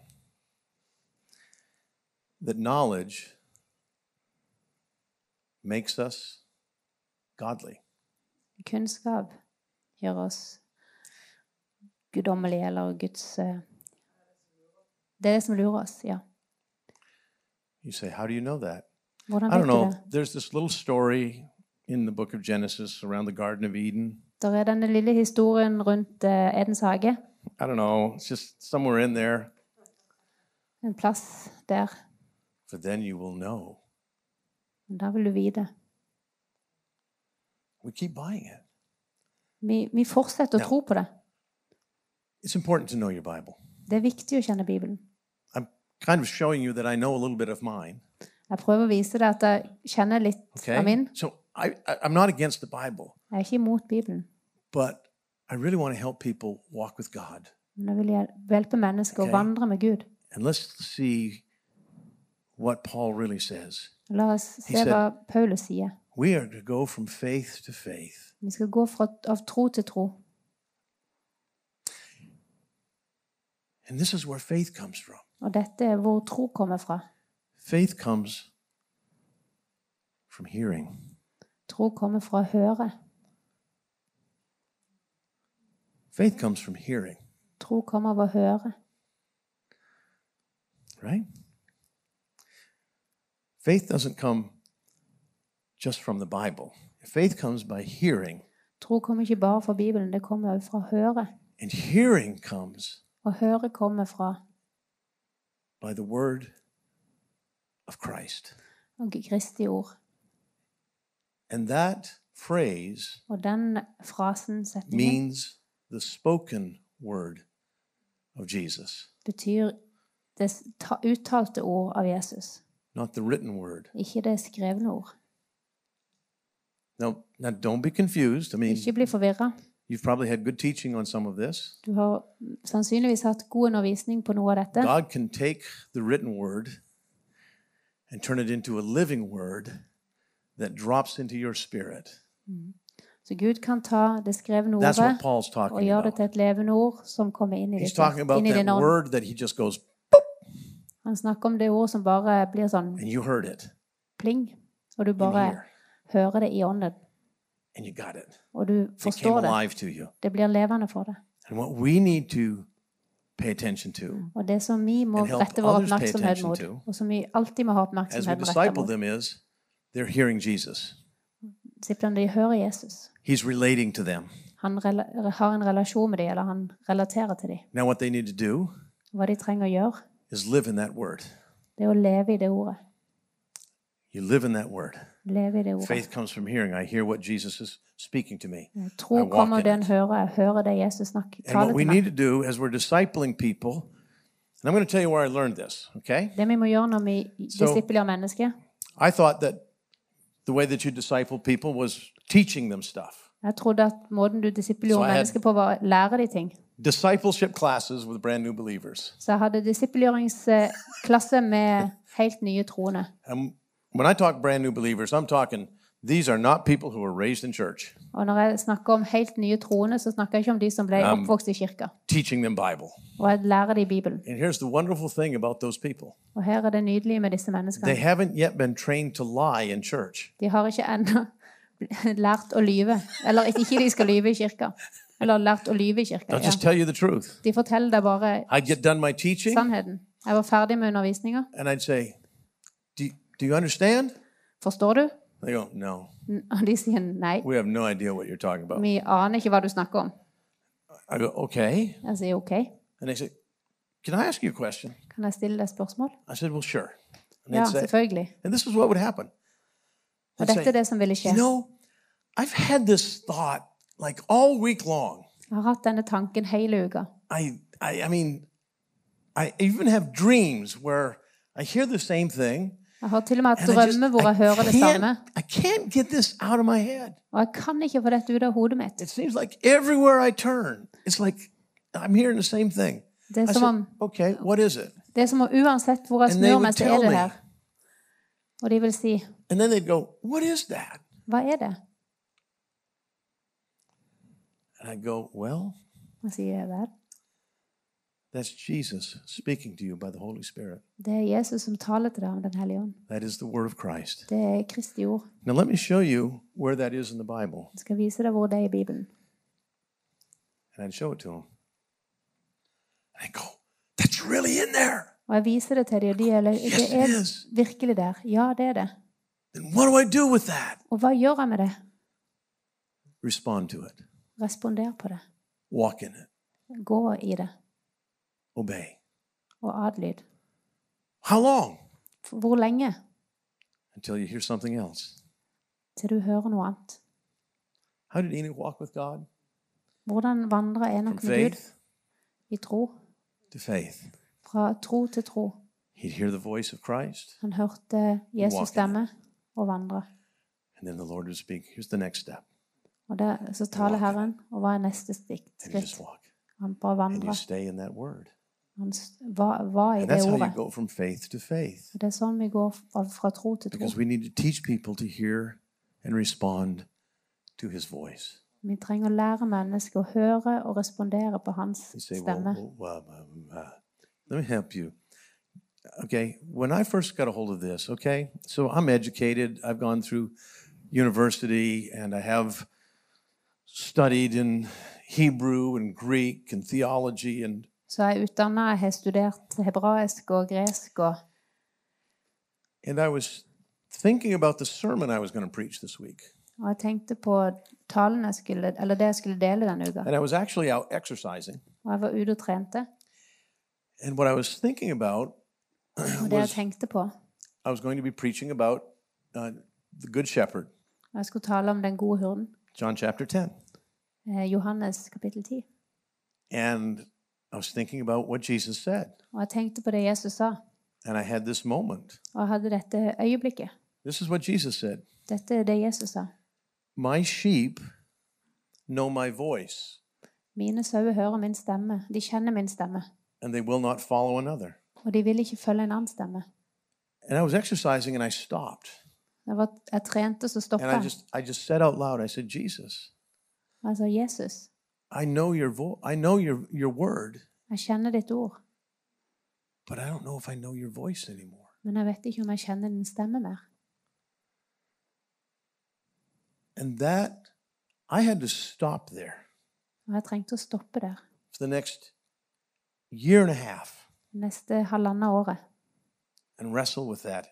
that knowledge makes us godly. Kunnskap gjør oss guddommelige, eller Guds eh, Det er det som lurer oss, ja. You say, How do you know that? Hvordan I vet don't du know. det? There's this little story in the book of Genesis around the Garden of Eden. Der er denne lille historien rundt eh, Edens hage. I don't know. It's just somewhere in there. En plass der. For then you will know. Men Da vil du vite. We keep buying it. Vi, vi fortsetter Ja. å tro på det. It's important to know your Bible. Det er viktig å kjenne Bibelen. I'm kind of showing you that I know a little bit of mine. Jeg prøver å vise deg at jeg kjenner litt Okay. av min. So I, I, I'm not against the Bible, Jeg er ikke imot Bibelen, but I really want to help people walk with God. men jeg vil hjel- hjelpe mennesker Ok. å vandre med Gud. And let's see what Paul really says. La oss se said- hva Paulus sier. We are to go from faith to faith. Vi skal gå fra, av tro til tro. And this is where faith comes from. Og dette er hvor tro kommer fra. Faith comes from hearing. Tro kommer fra å høre. Faith comes from hearing, Tro kommer av å høre. right? Faith doesn't come just from the Bible. Faith comes by hearing, Tro kommer ikke bare fra Bibelen, det kommer også fra å høre. and hearing comes Og høre kommer fra by the word of Christ. Kristi ord. And that phrase Og den frasen, setningen, means the spoken word of Jesus, betyr det s- ta- uttalte ord av Jesus, not the written word. ikke det skrevne ord. Now, now don't be confused. I mean, Ikke bli forvirra. you've probably had good teaching on some of this. Du har sannsynligvis hatt god undervisning på noe av dette. God can take the written word and turn it into a living word that drops into your spirit. Så Gud kan ta det skrevne That's ordet what Paul's og talking gjøre det about. til et levende ord som kommer inn i He's ditt talking about inn i that din ånd. word that he just goes, Han snakker om det ordet som bare blir sånn and you heard it pling, og du in bare here, hører det i ånden, and you got it. og du It came forstår det. alive to you. Det blir levende for deg. And what we need to pay attention to Og det som vi må And help rette vår others pay oppmerksomhet attention mot, to, og som vi alltid må ha as we oppmerksomhet rettet disciple mot, them is they're hearing Jesus, disiplene de hører Jesus. He's relating to them. Han rela har en relasjon med dem, eller han relaterer til dem. Now, what they need to do Hva de trenger å gjøre, is live in that word. det er å leve i det ordet. You live in that word. Leve i det ordet. Faith comes from hearing. I hear what Jesus is speaking to me. I Tro walk kommer in den it. hører, jeg hører det Jesus snakker, And taler what we til need meg. to do as we're discipling people And I'm going to tell you where I learned this, okay? Det vi må gjøre når vi So- disipler mennesker I thought that the way that you disciple people was teaching them stuff. Jeg trodde at måten du So I disipler had- mennesker på, var å lære de ting. Discipleship classes with brand new believers. Så jeg hadde disippelgjøringsklasse med helt nye troende. And when I talk brand new believers, I'm talking these are not people who were raised in church, Og når jeg snakker om helt nye troende, så snakker jeg ikke om de som ble oppvokst i kirka. teaching them Bible. Og jeg lærer de Bibelen. And here's the wonderful thing about those people Og her er det nydelige med disse they menneskene. haven't yet been trained to lie in church. De har ikke ennå lært å lyve. Eller ikke de skal lyve i kirka. Eller lært å lyve i kirka. They'll Ja. just tell you the truth. De forteller deg bare I'd get done my teaching sannheten. Jeg var ferdig med undervisninga. and I'd say, Do you, do you understand? Forstår du? They go, No, N- Og de sier nei. we have no idea what you're talking about. Vi aner ikke hva du snakker om. I go, Okay. Jeg sier OK. And they say, Can I ask you a question? Kan jeg stille deg spørsmål? I said, Well, sure. And, Ja, they'd say, selvfølgelig. and this is what would happen. Og They'd dette say, er det som ville skje. You know, I've had this thought like all week long. Jeg har hatt denne tanken hele uka. I, I, I mean, I even have dreams where I hear the same thing. Jeg har til og med hatt and I, drømmer hvor jeg hører det samme. can't, I can't get this out of my head. Og jeg kan ikke få dette ut av hodet mitt. It seems like everywhere I turn, it's like I'm hearing the same thing. Det I er som om, said, okay, what is it? det er som om uansett hvor jeg Altså- And they snur would meg, så tell er det me. der. Og de vil si And then they'd go, what is that? Hva er det? And I'd go, well, Og jeg sier vel, that's Jesus speaking to you by the Holy Spirit. det er Jesus som taler til deg om Den hellige ånd. That is the word of Christ. Det er Kristi ord. Now, let me show you where that is in the Bible. Jeg skal vise deg hvor det er i Bibelen. And I'd show it to them. And I'd go, that's really in there. Og jeg viser det til dem, og de er lø- Yes, Det it er is. virkelig der. Ja, det er det. Then what do I do with that? Og hva gjør jeg med det? Respond to it, Responder på det. walk in it, Gå i det. obey. Og adlyd. How long? For Hvor lenge? Until you hear something else. Til du hører noe annet. How did Enoch walk with God? Hvordan vandrer From Enok med Gud? faith I tro. to faith. Fra tro til tro. He'd hear the voice of Christ, Han hørte Walking. Jesus stemme og vandre. and then the Lord would speak. Here's the next step. Og der, så taler Walking. Herren, og hva er neste stik- And you just skritt? walk. Han bare And you vandrer. stay in that word. Han s- hva, hva er And det that's how you ordet? go from faith to faith. Og Det er sånn vi går fra, fra tro til tro. Because we need to teach people to hear and respond to his voice. Vi trenger å lære mennesker å høre og respondere på hans You say, well, stemme. well, well, um, uh, let me help you. Okay, when I first got a hold of this, okay, so I'm educated. I've gone through university and I have studied in Hebrew and Greek and theology and Så jeg er utdanna, jeg har studert hebraisk og gresk og and I was thinking about the sermon I was going to preach this week. Og jeg tenkte på talen jeg skulle, eller det jeg skulle dele denne uka. And I was actually out exercising. Og jeg var ute og trente. And what I was thinking about, Og det jeg tenkte på I was going to be preaching about uh, the Good Shepherd, Jeg skulle tale om den gode hurden. John chapter 10. Eh, Johannes kapittel 10. And I was thinking about what Jesus said. Og jeg tenkte på det Jesus sa. And I had this moment. Og jeg hadde dette øyeblikket. This is what Jesus said Dette er det Jesus sa. My sheep know my voice, Mine sauer hører min stemme. De kjenner min stemme. and they will not follow another. Og de vil ikke følge en annen stemme. And I was exercising and I stopped. Jeg, var, jeg trente, så And stoppa I jeg. just I just said out loud, I said, Jesus, Og Jeg sa, Jesus, I know your vo- I know your your word, jeg kjenner ditt ord, but I don't know if I know your voice anymore. men jeg vet ikke om jeg kjenner din stemme mer. And that I had to stop there Og jeg trengte å stoppe der. for the next year and a half Neste halvannet året. and wrestle with that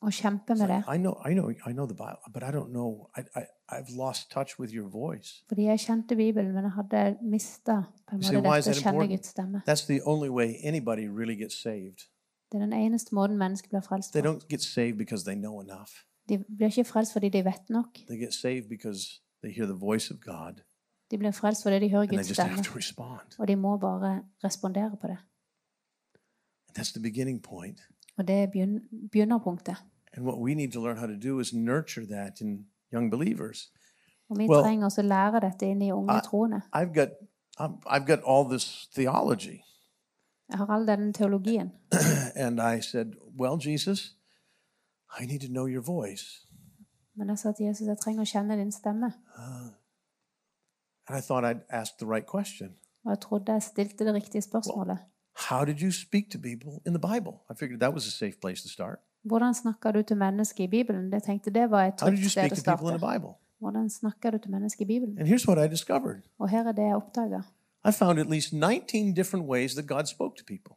Og kjempe It's med det. like, I know, I know, I know the Bible, but I don't know. I, I, I've lost touch with your voice. Fordi jeg kjente Bibelen, men jeg hadde mista på You en say, måte why is that dette å kjenne important? Guds stemme. That's the only way anybody really gets saved. Det er den eneste måten mennesker blir frelst They på. don't get saved because they know enough. De blir ikke frelst fordi de vet nok. They get saved because they hear the voice of God De blir frelst fordi de hører and they Guds just have stemme. to respond. Og de må bare respondere på det. That's the beginning point. Og det er begynn- begynnerpunktet. And what we need to learn how to do is nurture that in young believers. Og vi Well, trenger også å lære dette inn i unge I- troende. I've got, I'm, I've got all this theology. Jeg har all denne teologien. And I said, Well, Jesus, I need to know your voice. Men jeg sa til Jesus jeg trenger å kjenne din stemme. And I thought I'd asked the right question. Og jeg trodde jeg stilte det riktige spørsmålet. How did you speak to people in the Bible? I figured that was a safe place to start. Hvordan snakker du til mennesker i Bibelen? Jeg tenkte det var et How did trygt you sted speak å to people in the starte. Bible? Hvordan snakker du til mennesker i Bibelen? And here's what I discovered Og her er det jeg oppdaga. I found at least 19 different ways that God spoke to people.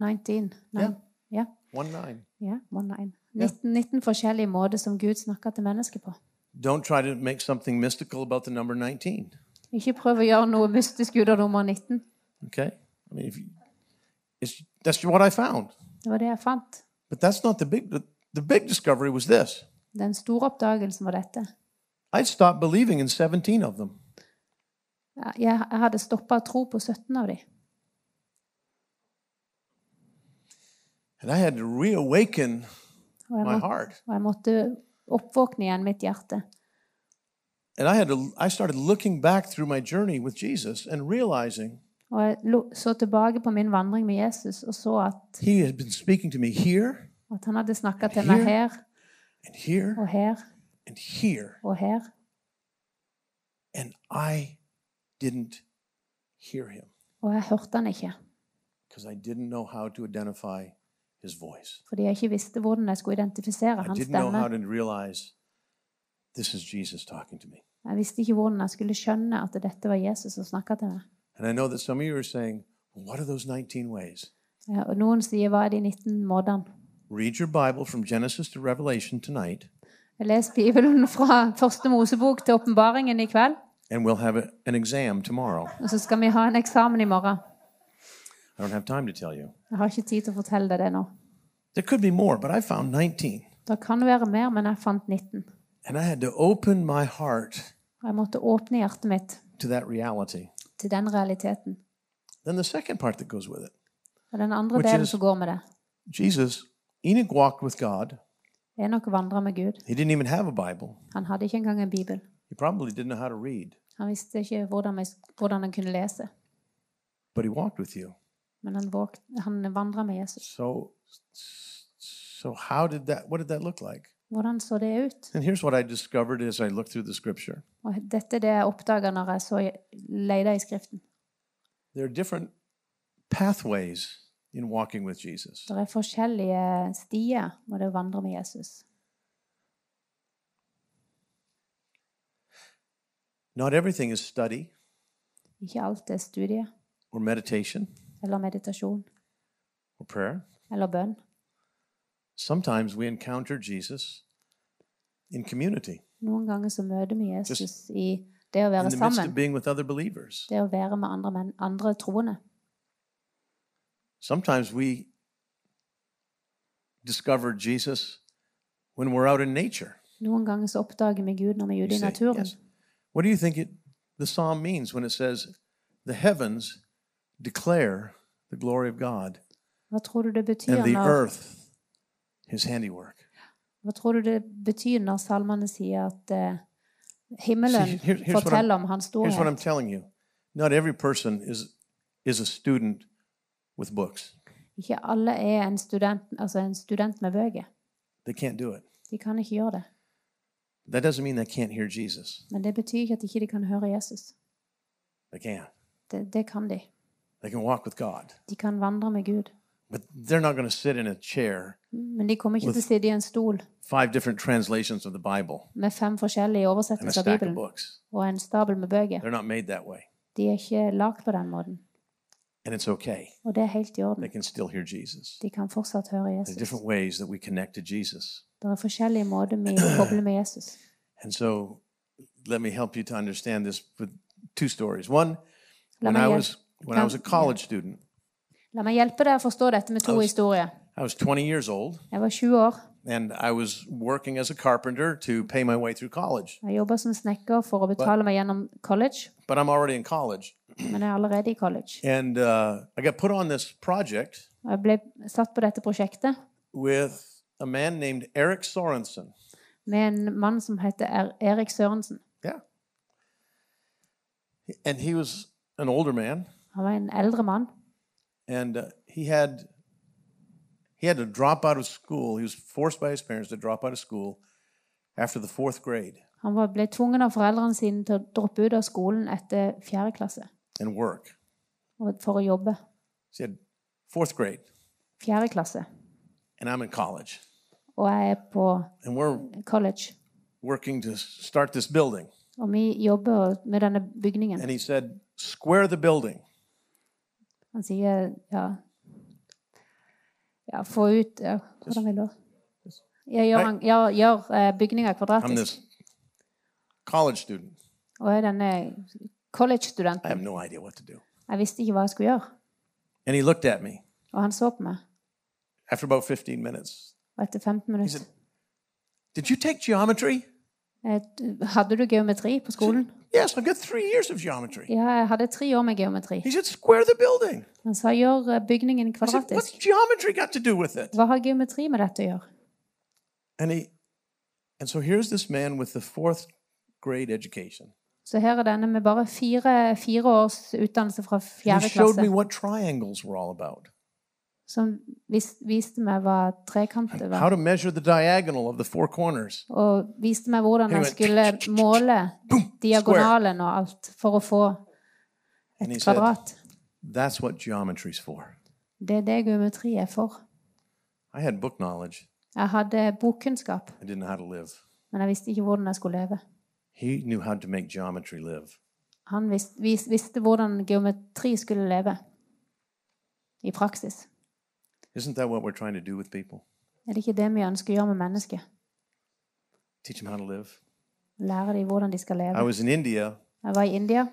19. Nei. Ja. One nine. Ja, one nine. 19, 19 forskjellige måter som Gud snakker til mennesker på. Don't try to make something mystical about the number 19. Ikke prøv å gjøre noe mystisk ut av nummer 19. Okay? I mean, if you, it's, that's what I found. Det var det jeg fant. But that's not the big, the, the big discovery was this. Den store oppdagelsen var dette. I stopped believing in 17 of them. Jeg, jeg hadde stoppa å tro på 17 av dem. And I had to reawaken Og jeg, my må, heart. og jeg måtte oppvåkne igjen mitt hjerte. And I had to I started looking back through my journey with Jesus and realizing Og jeg lo- så tilbake på min vandring med Jesus og så at, he had been speaking to me here at han hadde snakka til meg Here. her and here og her and here og her. and I didn't hear him Og jeg hørte han ikke, because I didn't know how to identify his voice. fordi jeg ikke visste hvordan jeg skulle identifisere I hans didn't know stemme. how to realize this is Jesus talking to me. Jeg visste ikke hvordan jeg skulle skjønne at dette var Jesus som snakka til meg. And I know that some of you are saying, well, what are those 19 ways? Ja, Eh, og noen sier 'hva er de 19 måtene'? Read your Bible from Genesis to Revelation tonight, Jeg leser Bibelen fra første Mosebok til åpenbaringen i kveld, and we'll have a, an exam tomorrow. og så skal vi ha en eksamen i morgen. I don't have time to tell you. Jeg har ikke tid til å fortelle deg det nå. There could be more, but I found 19. Det kan være mer, men jeg fant 19. And I had to open my heart Og jeg måtte åpne hjertet mitt to that reality. til den realiteten. Then the second part that goes with it Og den andre Which delen is- som går med det, Jesus, Enoch walked with God. er nok å vandre med Gud. He didn't even have a Bible, Han hadde ikke engang en bibel. he probably didn't know how to read, Han visste ikke hvordan, vi- hvordan han kunne lese, but he walked with you. men han, våg- han vandra med Jesus. So, so how did that, what did that look like? Hvordan så det ut? And here's what I discovered as I looked through the scripture Og dette er det jeg oppdaga når jeg så leita i Skriften. there are different pathways in walking with Jesus. Det er forskjellige stier når det å vandre med Jesus. Not everything is study Ikke alt er studie or meditation eller meditasjon or prayer. eller bønn. Sometimes we encounter Jesus in community, Noen ganger så møter vi Jesus i det å være in the midst sammen, of being with other believers. det å være med andre, menn, andre troende. Sometimes we discover Jesus when we're out in nature. Noen ganger så oppdager vi Gud når vi er you ute i say. naturen. Yes. What do you think it, the psalm means when it says, The heavens declare the glory of God, Hva tror du det betyr and the når, earth his handiwork? hva tror du det betyr når salmene sier at eh, himmelen See, here- here's what forteller I'm- om hans Here's what I'm storhet? telling you not every person is, is a student with books, Ikke alle er en student, altså en student med bøker. they can't do it. De kan ikke gjøre det. That doesn't mean they can't hear Jesus. Men det betyr ikke at ikke de ikke kan høre Jesus. They can. Det, det kan de. They can walk with God. De kan vandre med Gud. But they're not going to sit in a chair, Men de kommer ikke til å sitte i en stol five different translations of the Bible med fem forskjellige and a oversettelser av stack of Bibelen books. og en stabel med bøker. They're not made that way. De er ikke lagd på den måten. And it's okay. Og det er helt i They orden. can still hear Jesus. De kan fortsatt høre There's Jesus. different ways that we connect to Jesus. Det er forskjellige måter vi kobler med Jesus. And so let me help you to understand this with two stories. One, La when meg, I hjel- was when I was a college student, La meg hjelpe deg å forstå dette med to was- historier. I was 20 years old, Jeg var 20 år. and I was working as a carpenter to pay my way through college. Jeg jobba som snekker for å betale meg gjennom college, But I'm already in college, men jeg er allerede i college. and uh, I got put on this project Og jeg ble satt på dette prosjektet with a man named Eric Sorensen. med en mann som heter er Erik Sørensen. Yeah. And he was an older man, Han var en eldre mann. and uh, he had he had to drop out of school. He was forced by his parents to drop out of school after the fourth grade Han var, ble tvungen av foreldrene sine til å droppe ut av skolen etter fjerde klasse and work. og- for å jobbe. So he had fourth grade, Fjerde klasse. and I'm in college, Og jeg er på and we're college. working to start this building. Og vi jobber med denne bygningen. And he said, "Square the building." Han sier ja Ja, få ut ja, Hvordan vil du ja, gjør, han, ja, gjør eh, bygninga I'm kvadratisk. this college student. Og jeg er denne I college-studenten. have no idea what to do. Jeg visste ikke hva jeg skulle gjøre. And he looked at me Og han så på meg. after about 15 minutes. Og etter 15 He minutter said, "Did you take geometry?" eh, du- Hadde du geometri på skolen? Yes, I've got three years of geometry. Ja, jeg hadde tre år med geometri. He said, square the building. Han sa gjør eh, bygningen I said, what's kvadratisk. geometry got to do with it? Hva har geometri med dette å gjøre? And he, and so here's this man with the fourth grade education. Så her er denne med bare fire, fire års utdannelse fra And He fjerde showed me klasse, what triangles were all about, som vis, viste meg hva trekanter how var. to measure the diagonal of the four corners. Og viste meg hvordan Anyway, jeg skulle måle diagonalen og alt for å få And he et said, kvadrat. that's what geometry's for. Det er det geometri er for. I had book knowledge. Jeg hadde bokkunnskap, I didn't know how to live. men jeg visste ikke hvordan jeg skulle leve. He knew how to make geometry live. Han vis, vis, visste hvordan geometri skulle leve i praksis. Isn't that what we're trying to do with people? Er det ikke det vi ønsker å gjøre med mennesker? Teach them how to live. Lære dem hvordan de skal I leve. was in India, Jeg var i India,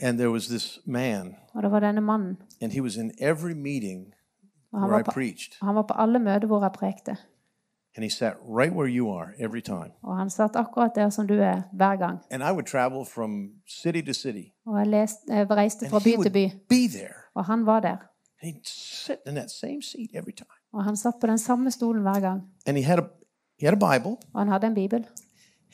and there was this man, og det var denne mannen. and he was in every meeting Og han where I var på, preached. han var på alle møter hvor jeg prekte. And he sat right where you are every time. Og han satt akkurat der som du er, hver gang. And I would travel from city to city. Og jeg, leste, jeg reiste fra And by he til by, would be there. og han var der. And he'd sit in that same seat every time. Og han satt på den samme stolen hver gang. And he had a he had a Bible, Og han hadde en bibel.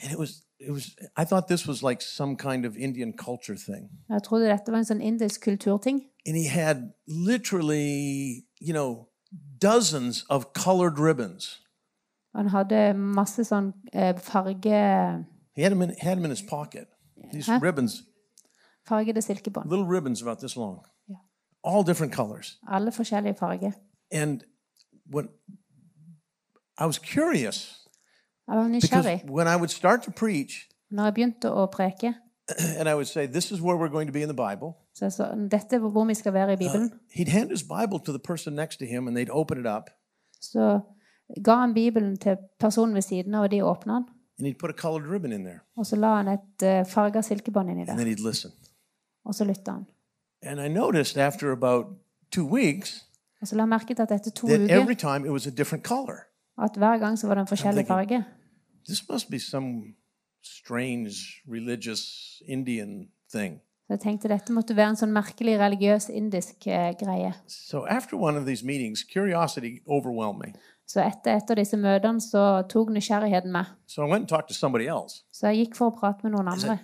and it was it was I thought this was like some kind of Indian culture thing. Og Jeg trodde dette var en sånn indisk kulturting. And he had literally, you know, dozens of colored ribbons. Og han hadde masse sånn eh, farge, He had them in, had them in his pocket. These Huh? ribbons, fargede silkebånd. little ribbons about this long. Yeah. All different colors. Alle forskjellige farger. And when I was curious Jeg var nysgjerrig. because when I would start to preach Når jeg begynte å preke, and I would say, This is where we're going to be in the Bible, så jeg sa dette er hvor vi skal være i Bibelen. he'd hand his Bible to the person next to him and they'd open it up Så ga han Bibelen til personen ved siden av, og de åpna den. and he'd put a colored ribbon in there Og så la han et eh, farga silkebånd inni and der, then he'd listen. og så lytta han. And I noticed after about two weeks Og så la han merke til at etter to that uker every time it was a different color. at hver gang så var det en forskjellig I'm farge. This must be some strange religious Indian thing. Så jeg tenkte dette måtte være en sånn merkelig religiøs indisk eh, greie. So after one of these meetings, curiosity overwhelmed me. Så etter et av disse møtene så tok nysgjerrigheten meg. So I went and talked to somebody else. Så jeg gikk for å prate med noen Altså, andre.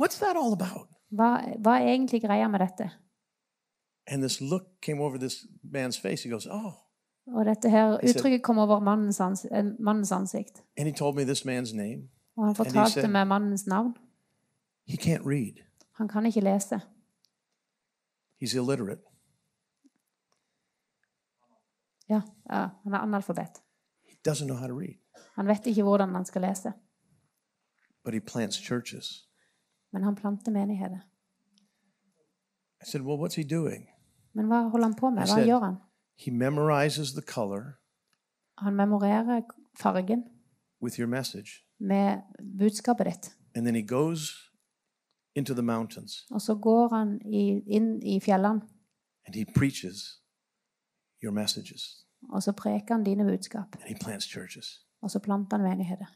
What's that all about? Hva, hva er egentlig greia med dette? And this look came over this man's face. He goes, Oh. Og dette her Jeg ser- uttrykket kom over mannens, ans eh, mannens ansikt. And he told me this man's name. Og han And he fortalte said- meg mannens navn. He can't read, Han kan ikke lese. he's illiterate. Ja, ja, han er analfabet. He doesn't know how to read, Han vet ikke hvordan han skal lese. but he plants churches. Men han planter menigheter. I said, Well, what's he doing? Men hva holder han på med? Jeg Hva ser- gjør han? He memorizes the color Han memorerer fargen with your message, med budskapet ditt. and then he goes into the mountains Og så går han i, inn i fjellene and he preaches your messages. Og så preker han dine budskap. and he plants churches. Og så planter han menigheter.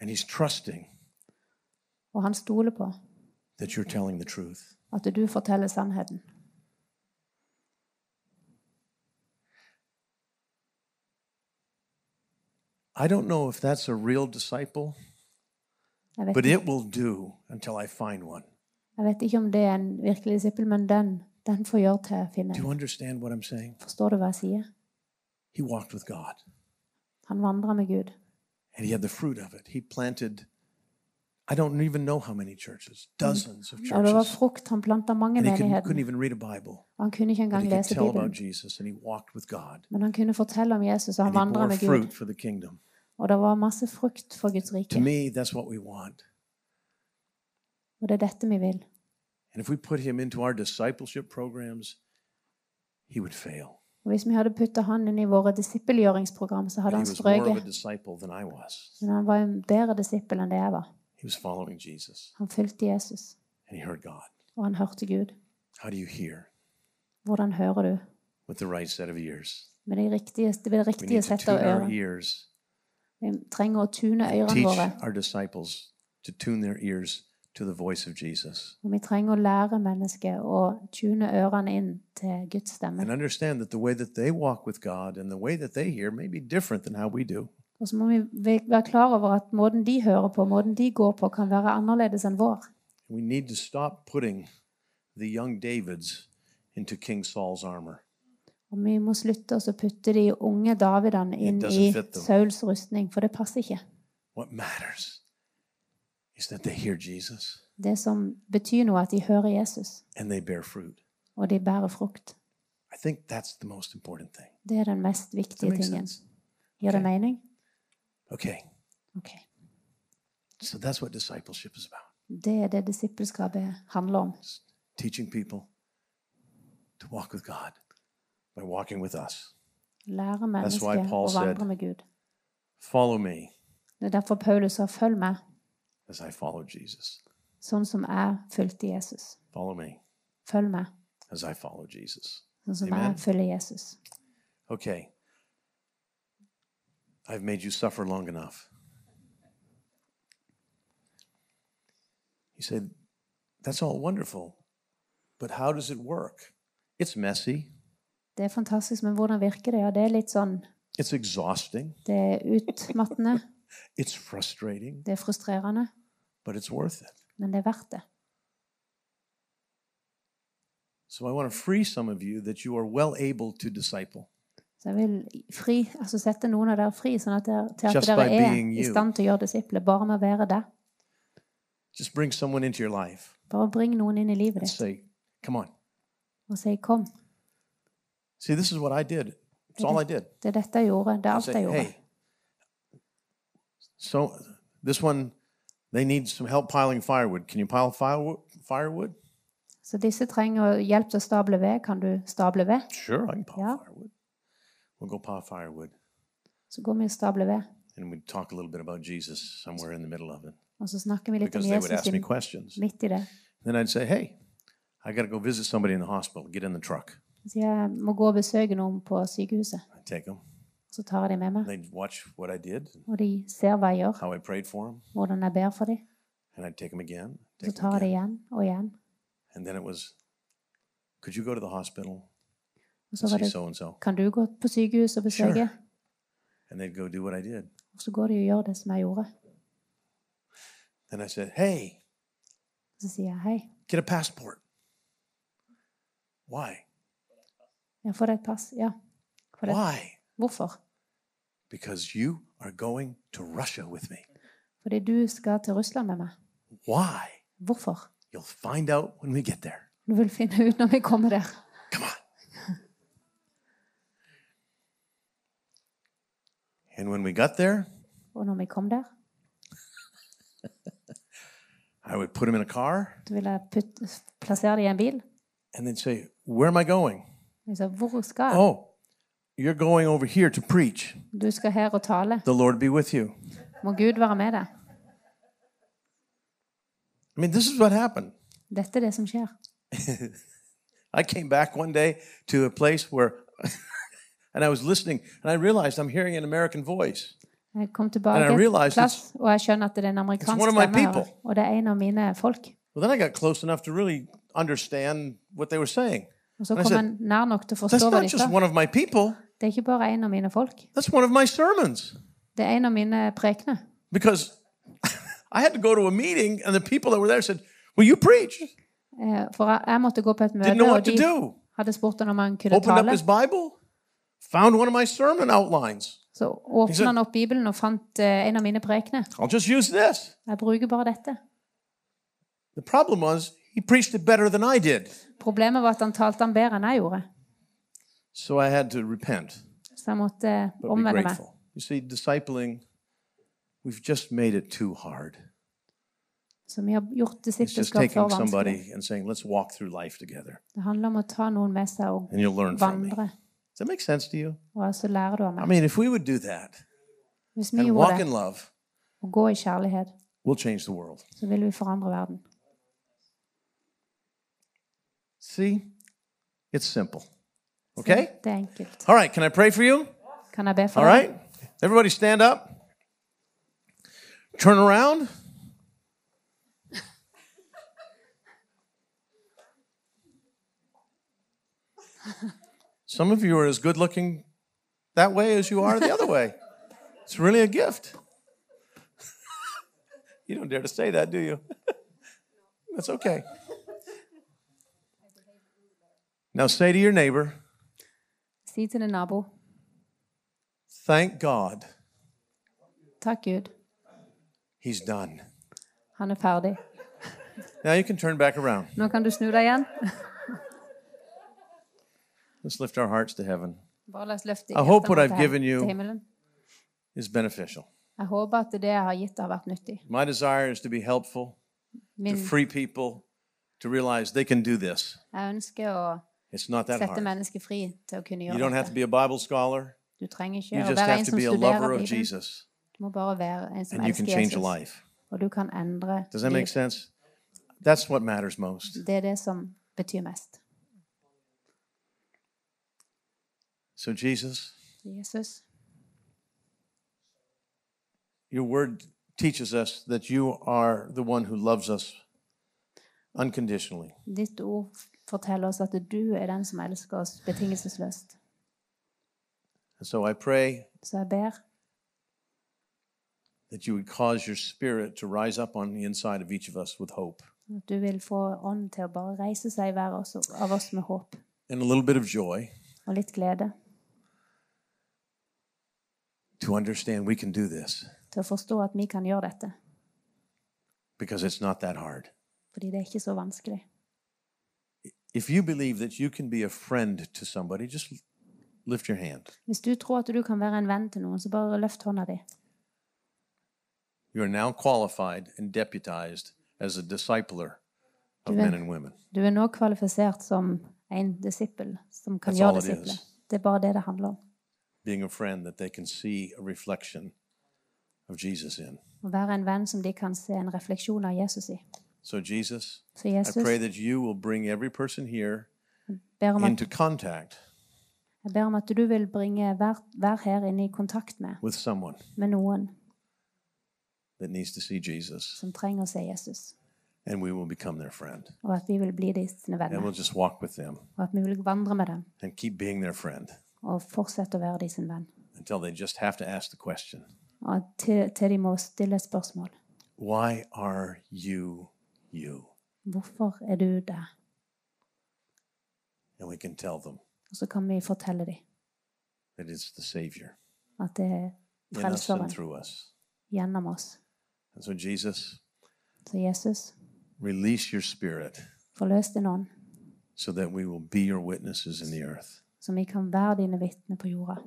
And he's trusting Og han stoler på that you're telling the truth. at du forteller sannheten. I don't know if that's a real disciple, Jeg vet, but ikke, it will do until I find one. jeg vet ikke om det er en virkelig disippel, men den, den får gjøre til jeg Do finner. you understand what I'm saying? Forstår du hva jeg sier? He walked with God Han vandrer med Gud. and he had the fruit of it. He planted, I don't even know how many churches, dozens of Og det var churches. frukt. Han planta mange And he couldn't, menigheter. couldn't even read a Bible, Og han kunne ikke but engang he could lese tell about Bibelen. Jesus and he walked with God. Men han kunne fortelle om Jesus, og And han he vandra bore med Gud. fruit for the kingdom. Og det var masse frukt for Guds To rike. me, that's what we want. Og det er dette vi vil. And if we put him into our discipleship programs, he would fail. Og hvis vi hadde putta han inn i våre disippelgjøringsprogram, så hadde And han he was more of a strøket. disciple than I was. Men han var en bedre disippel enn det jeg var. He was following Jesus Han fulgte Jesus, and he heard God. og han hørte Gud. How do you hear? Hvordan hører du? With the right set of ears. Med det riktige, det er det We riktige need to settet tune av our ørene. ears. Vi trenger å tune ørene Teach våre. our disciples to tune their ears to the voice of Jesus. Og vi trenger å lære mennesket å tune ørene inn til Guds stemme. And understand that the way that they walk with God and the way that they hear may be different than how we do. Og så må vi ve- være klar over at måten de hører på, måten de går på, kan være annerledes enn vår. We need to stop putting the young Davids into King Saul's armor. Og vi må slutte oss å putte de unge Davidene inn It doesn't i fit them. Sauls rustning, for det passer ikke. What matters is that they hear Jesus Det som betyr noe, er at de hører Jesus, and they bear fruit. og de bærer frukt. I think that's the most important thing. Det er den mest Does that viktige make tingen. sense? Gir det Okay. mening? Okay. Ok. So that's what discipleship is about Det er det disippelskapet handler om. teaching people to walk with God by walking with us. Lære why mennesket Paul å vandre said- med Gud. Follow me Det er derfor Paulus sa 'følg meg', as I follow Jesus. sånn som jeg fulgte Jesus. Follow me Følg meg, as I follow Jesus. sånn som Amen. jeg følger Jesus. Okay. I've made you suffer long enough. He said, That's all wonderful, but how does it work? It's messy, Det er fantastisk, men hvordan virker det? Ja, det er litt sånn it's exhausting, Det er utmattende, it's frustrating, det er frustrerende, but it's worth it. men det er verdt det. So I want to free some of you that you are well able to disciple. Så jeg vil fri, altså sette noen av dere fri, sånn at dere, til at Just dere by er being i you. stand til å gjøre disipler, bare med å være det. Just bring someone into your life Bare bring noen inn i livet and ditt say, Come on. og si 'kom'. See, this is what I did. It's all I did. Det er dette jeg gjorde. Det er I alt say, jeg gjorde. hey, so this one, they need some help piling firewood. Can you pile firewood? Firewood? Så disse trenger hjelp til å stable ved. Kan du stable ved? Sure, I can pile Yeah. firewood. We'll go pile firewood, Så går vi og stabler ved. and we talk a little bit about Jesus somewhere in the middle of it, Og så snakker vi litt om because they would Jesus ask me inn, questions. midt i det. Then I'd say, hey, I got to go visit somebody in the hospital. Get in the truck. Så jeg må gå og besøke noen på sykehuset. I take them. Så tar jeg dem med meg. They'd watch what I did, Og de ser hva jeg gjør, how I prayed for them, hvordan jeg ber for dem. and I'd take them again. Så Take 'em tar jeg det again. igjen og igjen. And then it was, could you go to the hospital Og så and var see det so and so? Kan du gå på sykehus og besøke? Sure. And they'd go do what I did. Og så går de og gjør det som jeg gjorde. And I said, Hey, Og så sier jeg hei, get a passport. Why? jeg får deg et pass. Ja. Får deg. Why? Hvorfor? Because you are going to Russia with me. Fordi du skal til Russland med meg. Why? Hvorfor? You'll find out when we get there. Du vil finne ut når vi kommer der. Come on. and when we got there, Og når vi kom der, I would put him in a car så vil jeg putte, plassere det i en bil. and then say, Where am I going? Og jeg sa, hvor skal jeg? Oh, you're going over here to preach. Du skal her og tale. The Lord be with you. Må Gud være med deg. I mean, this is what happened. Dette er det som skjer. I came back one day to a place where and I was listening, and I realized I'm hearing an American voice. Jeg kom And I tilbake realized til plass, og jeg skjønner at det er en amerikansk one of my stemme her. people. Og det er en av mine folk. Well, then I got close enough to really understand what they were saying. Og så I kom said, han nær nok til å That's forstå hva not de just sa. one of my people. Det er ikke bare en av mine folk. That's one of my sermons. Det er en av mine prekener. Because I had to go to a meeting, and the people that were there said, Will you preach? Eh, For jeg- jeg måtte gå på et Didn't know møte, og what to de do. hadde spurt han om han kunne Opened up tale. his Bible, found one of my sermon outlines. Så He said- åpna han opp Bibelen og fant eh, en av mine prekener. I'll just use this. Jeg bruker bare dette. The problem was, he preached it better than I did. Problemet var at han talte han bedre enn jeg gjorde. So I had to repent, Så jeg måtte eh, but be omvende meg. grateful. You see, discipling, we've just made it too hard. Så vi har gjort It's just disippelskap for taking vanskelig. somebody and saying, Let's walk through life together, Det handler om å ta noen med seg og and you'll learn from me. Does vandre. that make sense to you? Og så lærer du av I meg. mean, if we would do that Hvis vi and walk gjorde in det, love, og gå i kjærlighet, we'll change the world. så vil vi forandre verden. See, it's simple. Okay? Det er enkelt. All right, can I pray for you? Kan jeg be All for deg? right? Everybody stand up. Turn around. Some of you are as good looking that way as you are the other way. It's really a gift. you don't dare to say that, do you? That's okay. Now say to your neighbor, Si til din nabo thank God takk Gud, he's done. han er ferdig. Now you can turn back around. Nå kan du snu deg igjen. Let's lift our hearts to heaven. Bare la oss løfte I hope what hjertene I've til given you- til himmelen. It's beneficial. Jeg håper at det jeg har gitt, har vært nyttig. My desire is to be helpful, to Min, free people to realize they can do this. jeg ønsker å It's not that sette hard. mennesket fri til å kunne You don't gjøre have to dette. be a Bible scholar. Du trenger You ikke å just være have en to som be a studerer lover of Bibelen. Jesus, Du må bare være en som and you can elsker change a Jesus, life. og du kan endre Does that make liv. sense? That's what matters most. Det er det som betyr mest. So, Jesus, Jesus, your word teaches us that you are the one who loves us unconditionally. ditt ord forteller oss at du er den som elsker oss betingelsesløst. And so, I pray Så jeg ber that you would cause your spirit to rise up on the inside of each of us with hope at du vil få ånden til å bare reise seg i hver oss- av oss med håp and a little bit of joy. og litt glede to understand we can do this til å forstå at vi kan gjøre dette. because it's not that hard. Fordi det er ikke så vanskelig. If you believe that you can be a friend to somebody, just lift your hand. Hvis du tror at du kan være en venn til noen, så bare løft hånda di. You are now qualified and deputized as a discipler of men and women. Du er nå kvalifisert som en disippel som kan That's all gjøre it disipler. is. Det er bare det det handler om. Being a friend that they can see a reflection of Jesus in. Å være en venn som de kan se en refleksjon av Jesus i. So, Jesus, Så I Jesus pray that you will bring every person here ber om at, into contact jeg ber om at du vil bringe hver, hver her inn i kontakt med, with someone med noen that needs to see Jesus, som trenger å se Jesus. and we will become their friend. Og at vi vil bli de sine And venner. we'll just walk with them Og at vi vil vandre med dem and keep being their friend og fortsette å være de sin venn. until they just have to ask the question. Og at til, til de må stille et spørsmål. Why are you you? Hvorfor er du der? And we can tell them Og så kan vi fortelle dem that it's the Savior at det er in us and frelseren through us. gjennom oss. And so, Jesus, Så Jesus, release your spirit forløs din ånd, so that we will be your witnesses in the earth så vi kan være dine vitner på jorda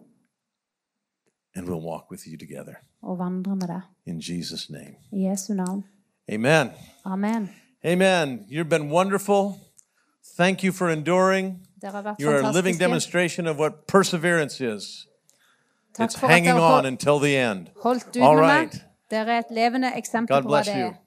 and we'll walk with you together. og vandre med deg. In Jesus' name. I Jesu navn. Amen. Amen. Amen. You've been wonderful. Thank you for enduring. Dere har vært You're a living fantastiske. demonstration of what perseverance is. Takk It's for at hanging dere on hol- until the end. holdt ut All med meg. right. Dere er et levende eksempel God på hva bless det you. er.